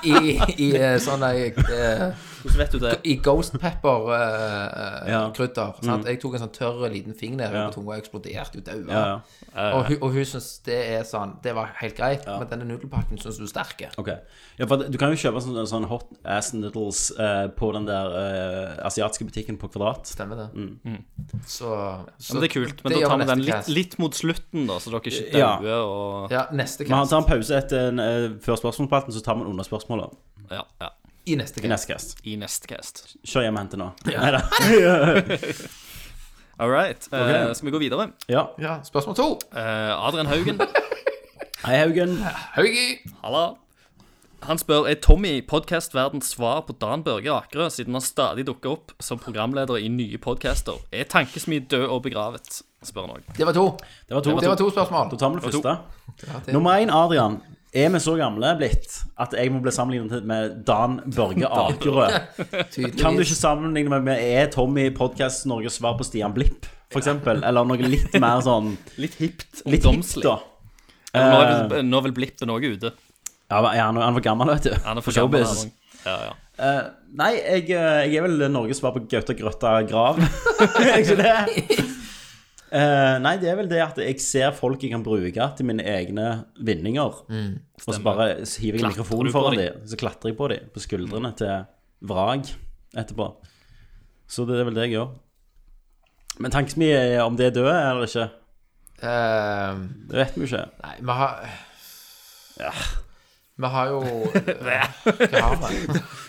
Speaker 3: i, i eh, sånn ei eh,
Speaker 4: Hvordan vet du det?
Speaker 3: I ghost pepper-krydder.
Speaker 2: Ja. Mm.
Speaker 3: Jeg tok en sånn tørr liten finger ned
Speaker 2: Ja.
Speaker 3: på tunga og eksploderte ut øynene.
Speaker 2: Ja, ja.
Speaker 3: Og hun, og hun syns det er sånn Det var helt greit, men denne nudelpakken syns hun er sterk.
Speaker 2: Ok. Ja, for du kan jo kjøpe sånn, sånn hot ass noodles eh, på den der eh, asiatiske butikken på Kvadrat.
Speaker 3: Stemmer det.
Speaker 2: Mm.
Speaker 3: Så, så
Speaker 4: Men det er kult. Men
Speaker 3: det
Speaker 4: da
Speaker 3: gjør vi
Speaker 4: tar vi den
Speaker 3: neste
Speaker 4: litt,
Speaker 3: cast.
Speaker 4: litt mot slutten, da, så dere ikke
Speaker 2: Ja.
Speaker 4: dauer og
Speaker 3: Ja, neste
Speaker 2: Vi har-
Speaker 3: cast.
Speaker 2: tar en pause etter en, eh, før spørsmålspalten, så tar vi den under spørsmålet
Speaker 4: Ja, ja.
Speaker 3: I neste
Speaker 2: i
Speaker 3: cast.
Speaker 2: neste cast.
Speaker 4: I neste cast.
Speaker 2: Kjør hjem og hente nå. Nei da.
Speaker 4: All right. eh, skal vi gå videre?
Speaker 2: Ja.
Speaker 3: Ja, spørsmål to.
Speaker 4: Eh, Adrian Haugen.
Speaker 2: Hei, Haugen.
Speaker 3: Haugi!
Speaker 4: Halla. Han spør er Tommy podkastverdens svar på Dan Børge Akerø, siden han stadig dukker opp som programleder i nye podcaster. Er tankesmi død og begravet? spør han òg.
Speaker 3: Det var to.
Speaker 2: Det var to.
Speaker 3: Det var to spørsmål.
Speaker 2: Da tar vi det
Speaker 4: Det
Speaker 2: første.
Speaker 3: det-
Speaker 2: Nummer én, Adrian. Er vi så gamle blitt at jeg må bli sammenlignet med Dan Børge Akerø? Kan du ikke sammenligne meg med Er Tommy podkast Norges svar på Stian Blipp, f.eks.? Eller noe litt mer sånn
Speaker 4: Litt hipt. Eh,
Speaker 2: Litt hipt, da.
Speaker 4: Nå er vel, nå er vel Blippen òg ute.
Speaker 2: Ja, men han, han var gammel, vet du.
Speaker 4: Han er
Speaker 2: På
Speaker 4: for gammel.
Speaker 2: showbiz.
Speaker 4: han også. Ja, ja.
Speaker 2: Eh, nei, jeg, eh, jeg er vel Norges svar på Gaute Grøtta Grav. er jeg ikke det? Eh, nei, det er vel det at jeg ser folk jeg kan bruke til mine egne vinninger. og så bare hiver jeg
Speaker 4: Mm, Klatrer du
Speaker 2: mikrofonen
Speaker 4: på
Speaker 2: foran
Speaker 4: de?
Speaker 2: dem, så klatrer jeg på dem på skuldrene til vrag etterpå. Så det er vel det jeg gjør. Men tankesmi er eh, om det er døde eller ikke,
Speaker 3: Eh,
Speaker 2: det vet vi jo ikke.
Speaker 4: Altså,
Speaker 3: nei, vi har Vi har jo Hva har vi?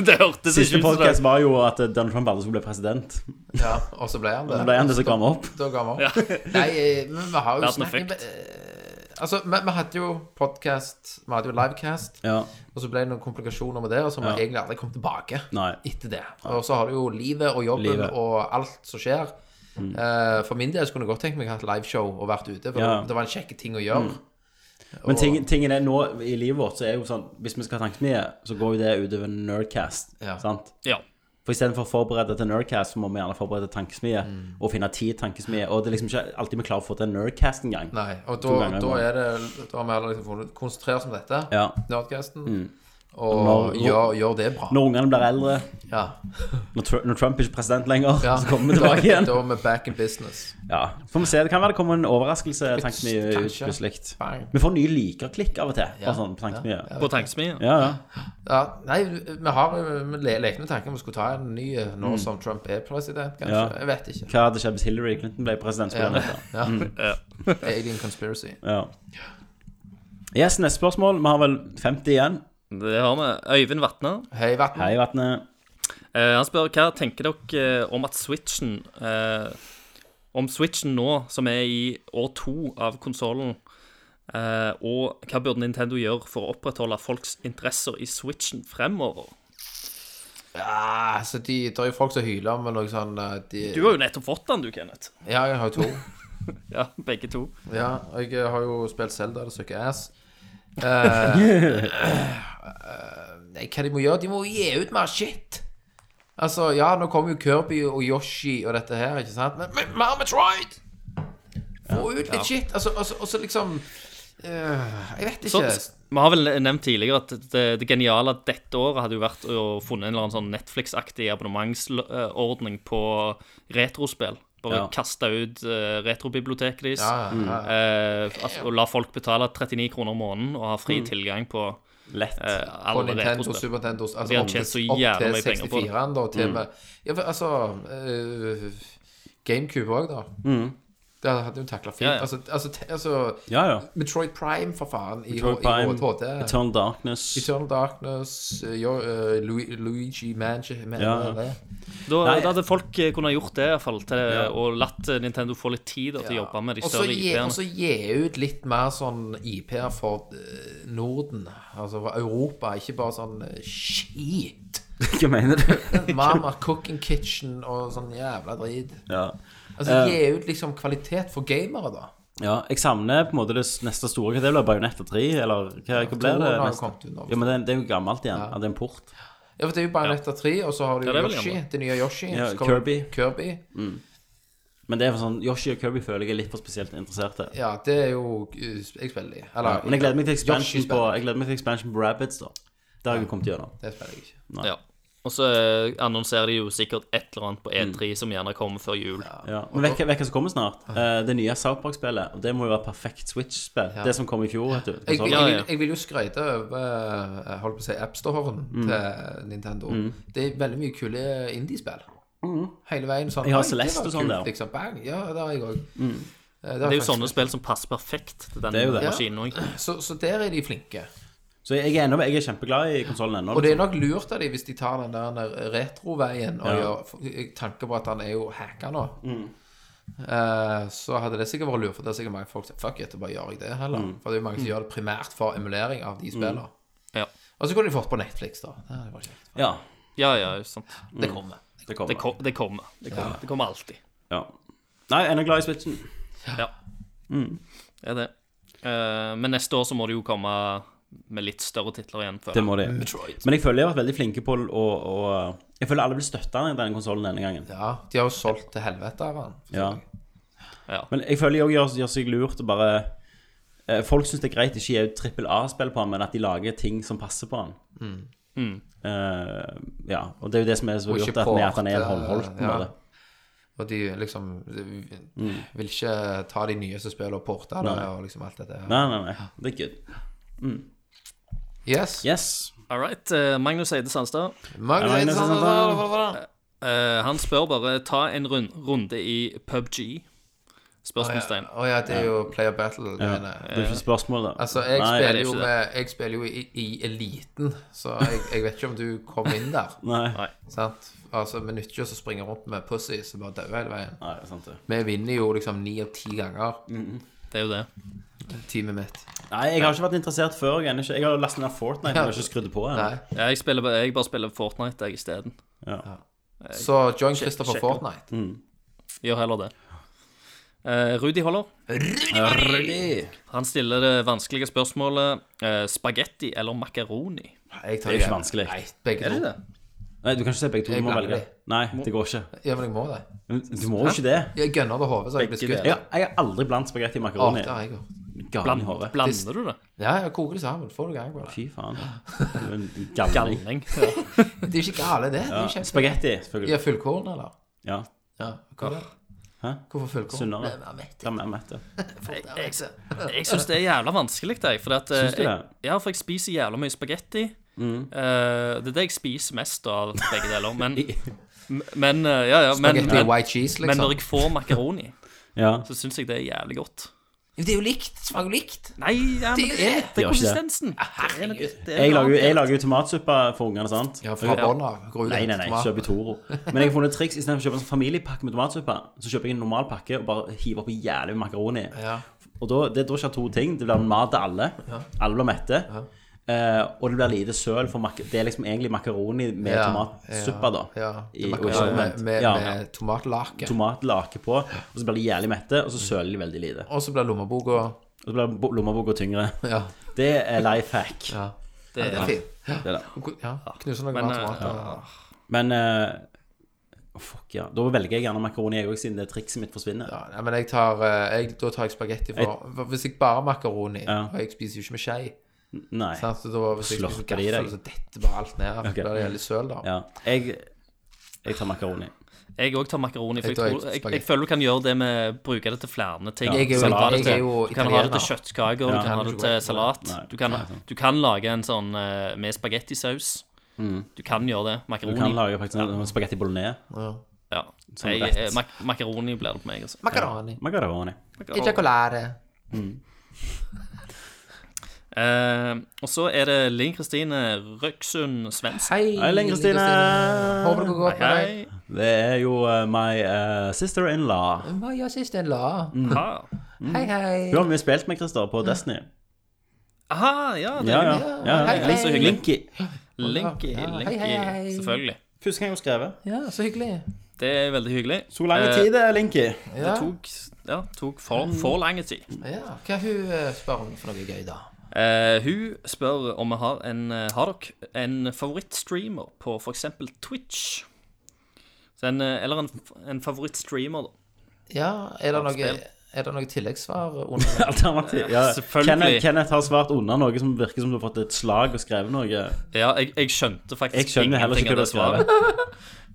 Speaker 4: Det hørtes
Speaker 2: Siste
Speaker 4: ikke ut som det.
Speaker 2: podkast var jo at eh, Donald Trump aldri skulle bli president.
Speaker 3: Ja, og så ble han det.
Speaker 2: Så ble han det som kom opp.
Speaker 3: Da ga vi opp. Nei, eh, men vi har jo
Speaker 4: Verden er
Speaker 3: snakket eh, Altså, vi, vi hadde jo podcast, vi hadde jo livecast,
Speaker 2: Ja,
Speaker 3: og så ble det noen komplikasjoner med det, og så har vi egentlig aldri kommet tilbake
Speaker 2: Nei.
Speaker 3: etter det. Og så har du jo livet og jobben
Speaker 2: Livet. Mm.
Speaker 3: og alt som skjer. Eh, for min del så kunne jeg godt tenkt meg å ha et liveshow og vært ute, for
Speaker 2: Ja. Mm.
Speaker 3: det var en kjekke ting å gjøre.
Speaker 2: Men ting, tingen er nå i livet vårt, så er jo sånn Hvis vi skal ha tankesmie, så går jo det utover Nerdcast.
Speaker 3: Ja.
Speaker 2: Sant?
Speaker 4: Ja.
Speaker 2: For istedenfor å forberede til Nerdcast, så må vi gjerne forberede tankesmie.
Speaker 3: Mm.
Speaker 2: Og finne tid til tankesmie. Og det er liksom ikke alltid vi klarer å få til en Nerdcast engang.
Speaker 3: Nei, og
Speaker 2: To
Speaker 3: da,
Speaker 2: ganger i
Speaker 3: da
Speaker 2: måneden.
Speaker 3: er det Da har vi heller liksom funnet konsentrere oss om dette,
Speaker 2: Ja. Mm.
Speaker 3: Nerdcasten, og
Speaker 2: Når-
Speaker 3: gjør, gjør det bra.
Speaker 2: Når ungene blir eldre,
Speaker 3: Ja.
Speaker 2: når, Tr når Trump er ikke president lenger,
Speaker 3: ja.
Speaker 2: så kommer vi tilbake igjen.
Speaker 3: da er vi back in business.
Speaker 2: Ja, Får vi se. Det kan være det kommer en overraskelse tankesmie ut
Speaker 3: Kanskje.
Speaker 2: plutselig.
Speaker 3: Bang.
Speaker 2: Vi får nye likerklikk av og til. Bare sånn på tankesmie. Ja,
Speaker 4: På tankesmi. Ja.
Speaker 2: ja.
Speaker 3: Ja, nei, vi har jo vi le- lekte med tanken om vi skulle ta en ny eh, nå som Trump er president, kanskje.
Speaker 2: Mm. Ja.
Speaker 3: Jeg vet ikke.
Speaker 2: Hva hadde skjedd hvis Hillary Clinton ble president?
Speaker 3: Ja.
Speaker 2: skulle han hete.
Speaker 3: Ja. Alien conspiracy.
Speaker 2: Ja. Yes, neste spørsmål. Vi har vel 50 igjen.
Speaker 4: Det har vi. Øyvind Vatne.
Speaker 3: Hei, Vatn.
Speaker 2: Hei, Vatnet.
Speaker 4: Eh, han spør hva tenker dere eh, om at Switchen eh, Om Switchen nå, som er i år to av konsollen, eh, og hva burde Nintendo gjøre for å opprettholde folks interesser i Switchen fremover?
Speaker 3: Ja, så Altså, de, det er jo folk som hyler om noe sånn eh, de,
Speaker 4: Du har jo nettopp fått den, du, Kenneth.
Speaker 3: Ja, jeg har jo to.
Speaker 4: Ja, begge to.
Speaker 3: Ja, og jeg eh, har jo spilt Zelda, det sukker ass. Eh, nei, hva de må gjøre? De må gi ut mer shit. Altså, ja, nå kommer jo Kirby og Yoshi og dette her, ikke sant? Men- Men mer Metroid! Få ut litt shit. Altså, altså, altså liksom eh, Jeg vet
Speaker 4: Så,
Speaker 3: ikke.
Speaker 4: vi har vel nevnt tidligere at det, det geniale dette året hadde jo vært å funne en eller annen sånn Netflix-aktig abonnementsordning på retrospill. Bare
Speaker 2: Ja.
Speaker 4: kaste ut eh, retrobiblioteket deres.
Speaker 3: Ja, ja, ja.
Speaker 4: eh, at- og la folk betale 39 kroner om måneden og ha fri tilgang på
Speaker 2: Lett.
Speaker 4: eh,
Speaker 3: Mm. På
Speaker 4: alle
Speaker 3: Nintendo,
Speaker 4: retrospill.
Speaker 3: Super Nintendo altså
Speaker 4: De har
Speaker 3: opp
Speaker 4: tjent så
Speaker 3: til- opp
Speaker 4: jævla
Speaker 3: til
Speaker 4: mye penger på det. Mm.
Speaker 3: 64-en, da. Til med, ja, men altså eh, GameCube òg, da. Det hadde jo takla fint.
Speaker 4: Ja, ja.
Speaker 3: Altså, altså, te- altså
Speaker 2: Mm. Ja, ja.
Speaker 3: Metroid Prime, for faen, i,
Speaker 2: Metroid
Speaker 3: H-
Speaker 2: Prime,
Speaker 3: i HT.
Speaker 2: Eternal Darkness.
Speaker 3: Eternal Darkness, eh, jo, eh, Lu- Luigi Mansion
Speaker 2: Ja, ja.
Speaker 4: Da,
Speaker 2: Nei.
Speaker 4: da hadde folk eh, kunnet gjort det, i hvert fall, til,
Speaker 2: Ja.
Speaker 4: og latt eh, Nintendo få litt tid da, til å jobbe med de
Speaker 3: Og så
Speaker 4: større
Speaker 3: gi- og
Speaker 4: IP-ene.
Speaker 3: så gi ut litt mer sånn IP-er for eh, Norden, altså for Europa, ikke bare sånn eh, skit.
Speaker 2: Hva mener du?
Speaker 3: Mama Cooking Kitchen og sånn jævla drit.
Speaker 2: ja.
Speaker 3: Altså gi ut liksom kvalitet for gamere, da.
Speaker 2: ja. Jeg savner på en måte det s- neste store. Hva det blir Bajonetta 3, eller hva, hva blir det?
Speaker 3: Toren har jo
Speaker 2: neste?
Speaker 3: kommet ut nå.
Speaker 2: Ja, men det, er- det er jo gammelt igjen. At det er en port.
Speaker 3: Ja, for det er jo Bayonetta 3, og så har du
Speaker 4: Ja, det er vel
Speaker 3: Yoshi,
Speaker 4: gammel.
Speaker 3: det nye Yoshi.
Speaker 2: Ja,
Speaker 3: så kommer
Speaker 2: Kirby.
Speaker 3: Kirby.
Speaker 2: Men det er for sånn Yoshi og Kirby føler jeg er litt for spesielt interesserte.
Speaker 3: Ja, det er jo eh, Jeg spiller de. Eller
Speaker 2: Men jeg gleder meg til
Speaker 3: Yoshi
Speaker 2: expansion på,
Speaker 3: spiller.
Speaker 2: jeg gleder meg til expansion på Rabbids, da. Det har jeg jo kommet gjennom.
Speaker 3: Det spiller jeg ikke.
Speaker 4: Ja. Og så eh, annonserer de jo sikkert et eller annet på E3
Speaker 3: Mm.
Speaker 4: som gjerne kommer før jul.
Speaker 2: Ja. Men vet hva som kommer snart? Eh, Det nye South Park-spillet. Og det må jo være perfekt Switch-spill. Det sånn- som kom i fjor, vet du.
Speaker 3: Jeg, jeg,
Speaker 4: Ja,
Speaker 3: jeg,
Speaker 4: ja.
Speaker 3: vil- jeg vil jo skryte over jeg holdt på å si appstoren
Speaker 2: Mm.
Speaker 3: til Nintendo. Det er veldig mye kule indiespill. Hele veien sånn
Speaker 2: Mm. Jeg har
Speaker 3: «Oi, det
Speaker 2: Celeste
Speaker 3: var
Speaker 2: og sånn
Speaker 3: kult»,
Speaker 2: der. Mm.
Speaker 3: Liksom, bang. Ja, det har jeg Eh, òg.
Speaker 4: Det er jo sånne spill som passer perfekt til den
Speaker 2: Det er jo det.
Speaker 4: maskinen òg.
Speaker 3: Så, så der er de flinke.
Speaker 2: Så jeg er, ennå, jeg er kjempeglad i konsollen ennå.
Speaker 3: Og det er nok lurt av de hvis de tar den der retroveien og
Speaker 2: Ja. Mm.
Speaker 3: gjør for- i tanke på at han er jo hacka nå. Eh, så hadde det sikkert vært lurt, for det er sikkert mange folk som Fuck it, bare gjør jeg det heller.
Speaker 2: Mm.
Speaker 3: For det er jo mange som gjør det primært for emulering av de spillene.
Speaker 4: Ja.
Speaker 3: Og så kunne de fått på Netflix, da. Det, hadde vært kjekt.
Speaker 2: liksom. Ja,
Speaker 4: ja, ja, sant. Mm.
Speaker 3: det kommer.
Speaker 2: det kommer.
Speaker 4: Det, ko det kommer. Det kommer, det kommer alltid.
Speaker 2: Ja. Nei, jeg er glad i Switchen.
Speaker 4: Ja. Mm. Det er det. Eh, men neste år så må det jo komme med litt større titler igjen. Før.
Speaker 2: Det må de. Men jeg føler de har vært veldig flinke på å å- Jeg føler alle blir støtta av den konsollen denne gangen.
Speaker 3: Ja, de har jo solgt til helvete av han.
Speaker 2: Ja.
Speaker 4: Ja.
Speaker 2: Men jeg føler de òg gjør, gjør seg lurt og bare eh, Folk syns det er greit ikke å gi ut trippel A-spill på den, men at de lager ting som passer på den. Eh, ja, og det er jo det som er så
Speaker 3: Mm. Og ikke
Speaker 2: gjort at den er- at den er en
Speaker 3: port, eh,
Speaker 2: håndholdt. på en
Speaker 3: ja.
Speaker 2: måte.
Speaker 3: Og de liksom de vil ikke ta de nyeste spillene og porte det og liksom alt dette. her.
Speaker 2: Mm. Nei, nei, nei. Det er good.
Speaker 3: Yes.
Speaker 2: Yes.
Speaker 4: All right. eh, Magnus Eide Sandstad.
Speaker 3: Magnus
Speaker 2: Ja, Magnus,
Speaker 3: Eidesen,
Speaker 2: sant,
Speaker 4: eh, han spør bare ta en rund runde i PubG. Spørsmålstegn.
Speaker 3: Å ja, det er jo Player Battle-greiene.
Speaker 2: Det er ikke spørsmål, da.
Speaker 3: Altså, jeg
Speaker 2: nei,
Speaker 3: spiller
Speaker 4: det er
Speaker 3: jo,
Speaker 4: ikke
Speaker 3: med, jeg spiller jo i, i eliten, så jeg, jeg vet ikke om du kom inn der.
Speaker 2: Nei.
Speaker 4: Nei.
Speaker 3: sant? Altså, Vi nytter ikke å springe rundt med pussy som bare dauer hele veien.
Speaker 2: nei, sant det.
Speaker 3: Vi vinner jo liksom ni av ti ganger
Speaker 4: Det er jo det.
Speaker 3: teamet mitt.
Speaker 2: Nei, jeg har ikke vært interessert før. Jeg, er ikke, jeg har lastet ned Fortnite, men jeg har ikke skrudd på ennå.
Speaker 3: Nei.
Speaker 4: Ja, Jeg, spiller, bare- jeg bare spiller Fortnite jeg isteden.
Speaker 3: Så join Christopher
Speaker 4: sjekk opp.
Speaker 3: Fortnite.
Speaker 4: Gjør heller det. Eh, Rudi Holler.
Speaker 2: Rudi!
Speaker 4: Han stiller det vanskelige spørsmålet uh, spagetti eller makaroni.
Speaker 3: Jeg tar
Speaker 2: Det er jo ikke
Speaker 3: igjen.
Speaker 2: vanskelig.
Speaker 3: Nei, begge to.
Speaker 2: Nei, du kan ikke se begge to.
Speaker 3: Jeg
Speaker 2: Du må
Speaker 3: blander
Speaker 2: velge. Nei, det går ikke.
Speaker 3: Ja, men jeg må det.
Speaker 2: Men Du må jo ikke det.
Speaker 3: Jeg gønner det hodet, så jeg blir
Speaker 4: Begge
Speaker 3: skutt.
Speaker 2: Jeg, jeg har aldri blandt spagetti og
Speaker 3: Å,
Speaker 2: makaroni.
Speaker 3: det har jeg gjort.
Speaker 2: Galen i hodet.
Speaker 4: Blander du det?
Speaker 3: Ja, jeg koker det sammen. Får du gang på det.
Speaker 2: Fy faen. Du er en Galning.
Speaker 4: Galning.
Speaker 3: Det er jo ikke gale, det. det er jo kjempe...
Speaker 2: Spagetti,
Speaker 3: Ja,
Speaker 2: selvfølgelig.
Speaker 3: fullkorn, eller?
Speaker 2: Ja.
Speaker 3: Ja, hva er det?
Speaker 2: Hæ?
Speaker 3: Hvorfor fullkorn?
Speaker 2: Sunnere.
Speaker 3: Nei, jeg vet
Speaker 2: Da er vi mette.
Speaker 3: ikke. Jeg- jeg-
Speaker 4: Jeg syns det er jævla vanskelig, jeg. For at, eh,
Speaker 2: Synes du det? Mm.
Speaker 4: Jeg, ja, for jeg spiser jævla mye spagetti. Eh, det er det jeg spiser mest av begge deler. Men, men eh, ja, ja, men,
Speaker 3: Spagetti
Speaker 4: men,
Speaker 3: white cheese,
Speaker 4: men
Speaker 3: liksom.
Speaker 4: når jeg får makaroni,
Speaker 2: Ja.
Speaker 4: så syns jeg det er jævlig godt.
Speaker 3: Det er jo likt. Det smaker likt.
Speaker 4: Nei, ja, men det er, det
Speaker 2: Gjør
Speaker 4: er
Speaker 2: ikke det.
Speaker 4: konsistensen. Det er noe- det er
Speaker 2: Jeg
Speaker 4: noe
Speaker 2: lager, jo-
Speaker 4: annet.
Speaker 2: jeg lager jo tomatsuppe for ungene, sant?
Speaker 3: Ja, fra
Speaker 4: Ja.
Speaker 3: bånn av. Gror
Speaker 2: Nei, nei, nei, kjøp i Toro. Men jeg har funnet et triks. Istedenfor å kjøpe en sånn familiepakke med tomatsuppe, så kjøper jeg en normal pakke og bare hiver oppi jævlig makaroni.
Speaker 3: Ja.
Speaker 2: Og da, det, da skjer to ting. Det blir mat til alle. Alle blir mette. Eh, og det blir lite søl, for mak det er liksom egentlig makaroni med
Speaker 3: Ja,
Speaker 2: tomatsuppe, da.
Speaker 3: Ja.
Speaker 2: I, og
Speaker 3: Makaroni
Speaker 2: ikke
Speaker 3: med,
Speaker 2: omvendt.
Speaker 3: med,
Speaker 2: ja.
Speaker 3: med tomatlake.
Speaker 2: Tomatlake på, og så blir de jævlig mette, og så søler de veldig lite.
Speaker 3: Og så blir lommeboka
Speaker 2: Og så blir bo- lommeboka tyngre.
Speaker 3: ja.
Speaker 2: Det er life hack.
Speaker 3: ja.
Speaker 4: Det
Speaker 3: Det er
Speaker 4: er-
Speaker 3: fint. Ja.
Speaker 2: Det er det.
Speaker 3: Ja. Knuse noen
Speaker 4: Men,
Speaker 2: eh,
Speaker 3: mer tomater.
Speaker 2: Men eh, Fuck, ja. Da velger jeg gjerne makaroni, jeg òg, siden det trikset mitt forsvinner.
Speaker 3: Ja, nei, men jeg tar, eh, jeg, da tar jeg spagetti for for Hvis jeg bare har makaroni,
Speaker 2: Ja.
Speaker 3: og jeg spiser jo ikke med skje
Speaker 2: Nei.
Speaker 3: sant, så da, Hvis jeg spiser
Speaker 2: Slurker det i
Speaker 3: gaffel,
Speaker 2: deg.
Speaker 3: så detter bare alt ned.
Speaker 2: Ok.
Speaker 3: Da er det litt søl, da.
Speaker 2: Ja. Jeg, Jeg tar makaroni.
Speaker 4: Jeg òg tar makaroni. For
Speaker 3: Jeg
Speaker 4: jeg,
Speaker 3: tar
Speaker 4: tror, jeg, jeg
Speaker 3: spagetti.
Speaker 4: føler du kan gjøre det med å bruke det til flere ting.
Speaker 3: Jeg er jo-
Speaker 4: Du kan ha
Speaker 3: jeg
Speaker 4: det til-
Speaker 3: er jo
Speaker 4: du kan ha det til
Speaker 3: italiener.
Speaker 4: kjøttkaker, du kan ha det til salat.
Speaker 2: Nei,
Speaker 4: Du kan,
Speaker 2: nei, sant.
Speaker 4: du kan lage en sånn eh, med spagettisaus. Du kan gjøre det.
Speaker 2: Mm. Du kan
Speaker 4: Makaroni.
Speaker 2: lage faktisk en spagetti bolognese.
Speaker 4: Ja.
Speaker 2: Sånn
Speaker 4: Jeg-
Speaker 2: rett.
Speaker 4: eh, mak makaroni blir det på meg, altså.
Speaker 3: Macaroni.
Speaker 2: Makaroni.
Speaker 3: Ejaculare.
Speaker 4: Eh, og så er det Linn Kristine Røksund Svendsen.
Speaker 3: Hei,
Speaker 2: Hei, Linn Kristine.
Speaker 3: Håper det går godt med deg.
Speaker 4: Hei.
Speaker 2: Det er jo eh, my eh, sister-in-law.
Speaker 3: Hva gjør sist en la?
Speaker 2: Mm.
Speaker 4: Aha.
Speaker 3: Hei, hei.
Speaker 2: Hun har vi spilt med, Christer, på Destiny.
Speaker 4: Aha, ja, det
Speaker 2: Ja, ja.
Speaker 4: er
Speaker 2: ja,
Speaker 3: Hei,
Speaker 2: ja.
Speaker 3: hei.
Speaker 4: Så hyggelig.
Speaker 2: Linky.
Speaker 4: Linky,
Speaker 3: Ja, hei,
Speaker 4: Linky,
Speaker 3: hei, hei.
Speaker 4: selvfølgelig.
Speaker 2: Første gang hun skrev.
Speaker 3: Ja, så hyggelig.
Speaker 4: Det er veldig hyggelig.
Speaker 2: Så lang
Speaker 4: Eh,
Speaker 2: tid det er, Linky.
Speaker 3: Ja,
Speaker 4: Det tok, ja, tok for,
Speaker 3: Mm.
Speaker 4: for lang tid.
Speaker 3: ja. Hva hun eh, spør hun for noe gøy, da?
Speaker 4: Eh, hun spør om vi har en eh, Har dere en favorittstreamer på f.eks. Twitch? Så en, eh, eller en, en favorittstreamer, da.
Speaker 3: Ja, er det noe,
Speaker 4: Spill.
Speaker 3: er det noe tilleggssvar under
Speaker 2: Alternativ. Ja.
Speaker 4: Selvfølgelig.
Speaker 2: Kenneth, Kenneth har svart unna noe som virker som du har fått et slag og skrevet noe.
Speaker 4: Ja, jeg, jeg skjønte
Speaker 2: Jeg
Speaker 4: faktisk
Speaker 2: skjønner heller ikke hva du har skrevet.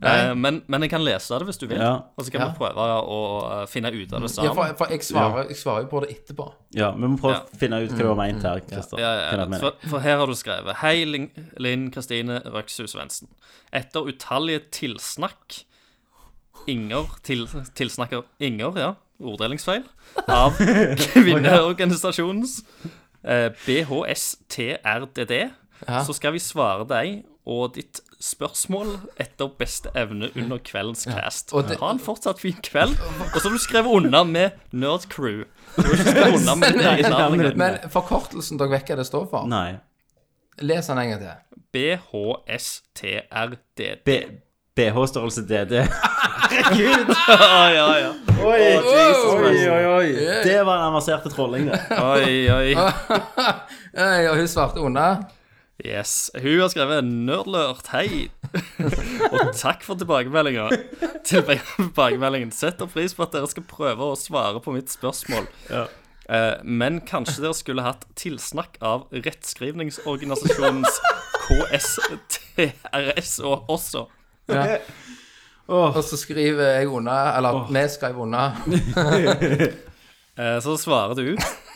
Speaker 4: Eh, men, men jeg kan lese det hvis du vil,
Speaker 2: Ja.
Speaker 4: og så kan
Speaker 3: Ja.
Speaker 4: vi prøve å eh, finne ut av det
Speaker 3: Ja,
Speaker 4: sammen.
Speaker 3: for, for jeg svarer jeg svarer jo på det etterpå.
Speaker 2: Ja, vi må prøve
Speaker 4: Ja.
Speaker 2: å finne ut hva du har ment her, Christer.
Speaker 3: altså.
Speaker 4: Ja, ja,
Speaker 2: Kenneth
Speaker 4: ja.
Speaker 2: mener.
Speaker 4: For, for her har du skrevet Hei, Lin- Linn Kristine Røksrud Svendsen. Etter utallige tilsnakk Inger til, Tilsnakker Inger, ja. Orddelingsfeil. Av kvinneorganisasjonens eh, BHSTRDD. Så skal vi svare deg og ditt spørsmål etter beste evne under kveldens cast.
Speaker 3: og det-
Speaker 4: ha en fortsatt fin kveld. Og så har du skrevet unna med Nerd Crew. Du har ikke skrevet unna med ditt eget navn. engang.
Speaker 3: Men forkortelsen dere vet hva det står for,
Speaker 2: Nei.
Speaker 3: les den en gang til.
Speaker 4: BHSTRDD.
Speaker 2: B BH-størrelse DD.
Speaker 4: Ja, ja, ja.
Speaker 2: Oi, oi, oi. Det var en avanserte trolling, det.
Speaker 4: Oi, oi.
Speaker 3: Ei, Og hun svarte unna.
Speaker 4: Yes. Hun har skrevet 'Nerdlurt, hei'. Og takk for tilbakemeldinga. Tilbakemeldingen setter pris på at dere skal prøve å svare på mitt spørsmål. Eh, Men kanskje dere skulle hatt tilsnakk av rettskrivningsorganisasjonens KSTRS og også.
Speaker 3: Og så skriver jeg unna, eller vi skrev unna.
Speaker 4: Eh, Så svarer du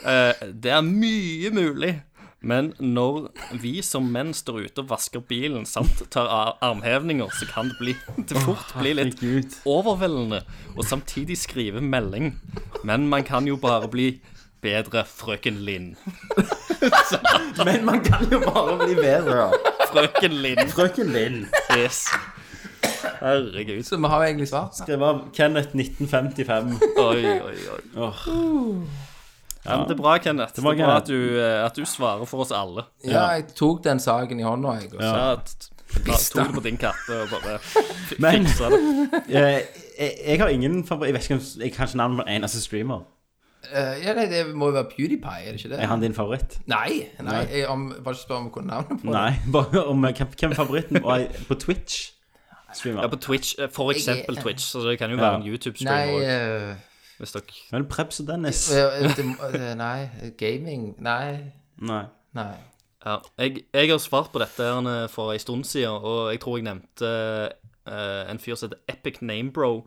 Speaker 4: eh, Det er mye mulig Men når vi som menn står ute og vasker bilen Samt tar ar- armhevninger Så kan det, bli, det fort bli litt
Speaker 2: Herregud.
Speaker 4: overveldende Og samtidig skrive melding Men man kan jo bare bli bedre frøken Linn
Speaker 2: Men man kan jo bare bli bedre.
Speaker 4: Frøken Linn,
Speaker 2: Frøken Lind.
Speaker 4: yes Herregud
Speaker 3: Så vi har jo egentlig svart.
Speaker 2: Det var Kenneth 1955.
Speaker 4: Oi, oi, oi
Speaker 2: Åh.
Speaker 4: ja, men Det er bra, Kenneth Det
Speaker 2: bra,
Speaker 4: er
Speaker 2: Kenneth.
Speaker 4: bra at du, eh, at du svarer for oss alle
Speaker 3: Ja, jeg tok den saken i hånda, jeg. Og så.
Speaker 4: Ja, t- t- Tok det på din kappe og bare f-
Speaker 2: Men-
Speaker 4: fiksa det
Speaker 2: Eh, Jeg, jeg har ingen favoritt Jeg vet ikke om jeg kan ikke navnet på en eneste streamer.
Speaker 3: Eh, Ja, nei, det må jo være PewDiePie, er det ikke det?
Speaker 2: Er han din favoritt?
Speaker 3: Nei, nei, jeg, om, bare spør om hva navnet på
Speaker 2: Nei, bare om eh, hvem hvem er favoritten var på Twitch. Streamer.
Speaker 4: Ja, på Twitch, eh, for eksempel
Speaker 3: Jeg-
Speaker 4: Twitch. Så det kan jo være en
Speaker 3: Nei,
Speaker 4: YouTube-stream òg,
Speaker 3: eh,
Speaker 4: hvis dere
Speaker 2: Men Prebz og Dennis
Speaker 3: eh, det, eh, nei, gaming Nei,
Speaker 2: Nei.
Speaker 3: nei.
Speaker 4: ja. jeg, jeg har svart på dette her eh, for en stund siden, og jeg tror jeg nevnte eh, en fyr som heter Epic Namebro,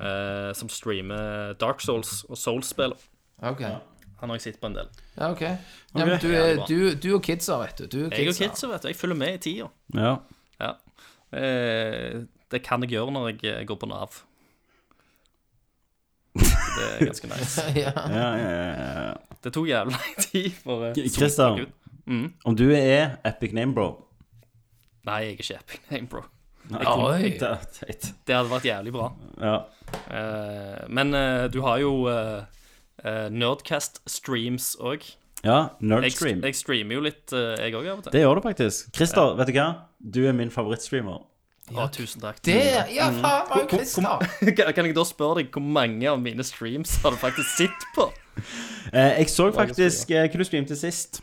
Speaker 4: eh, som streamer Dark Souls og Souls-spill.
Speaker 3: OK.
Speaker 4: Han har jeg sett på en del.
Speaker 3: Ja, ok. Ja, men du,
Speaker 4: Ja, det
Speaker 3: er,
Speaker 4: var-
Speaker 3: du, du og kidsa, vet du. Du og
Speaker 4: Jeg og
Speaker 3: kidsa.
Speaker 4: kidsa, vet du. Jeg følger med i tida.
Speaker 2: Ja.
Speaker 4: Ja. Eh, det kan jeg gjøre når jeg eh, går på Nav. Det er ganske nice.
Speaker 3: ja.
Speaker 2: Ja, ja, ja, ja.
Speaker 4: Det tok jævlig lang tid for eh,
Speaker 2: Christian.
Speaker 4: Gud.
Speaker 2: Om du er epic name, bro
Speaker 4: Nei, jeg er ikke Epic Namebro.
Speaker 3: Oi.
Speaker 2: Det er teit.
Speaker 4: Det hadde vært jævlig bra.
Speaker 2: Ja.
Speaker 4: Eh, men eh, du har jo eh, eh, Nerdcast streams òg.
Speaker 2: ja
Speaker 4: Jeg,
Speaker 2: Nerdstream.
Speaker 4: jeg streamer jo litt, eh, jeg òg, av og til.
Speaker 2: Det gjør du faktisk. Christer, vet du hva? Du er min favorittstreamer.
Speaker 4: Å, tusen takk.
Speaker 3: Det Ja, faen, var jo Christer.
Speaker 4: Kan kan jeg da spørre deg hvor mange av mine streams har du faktisk sett på?
Speaker 2: Eh, jeg så faktisk eh, hva du streamte sist.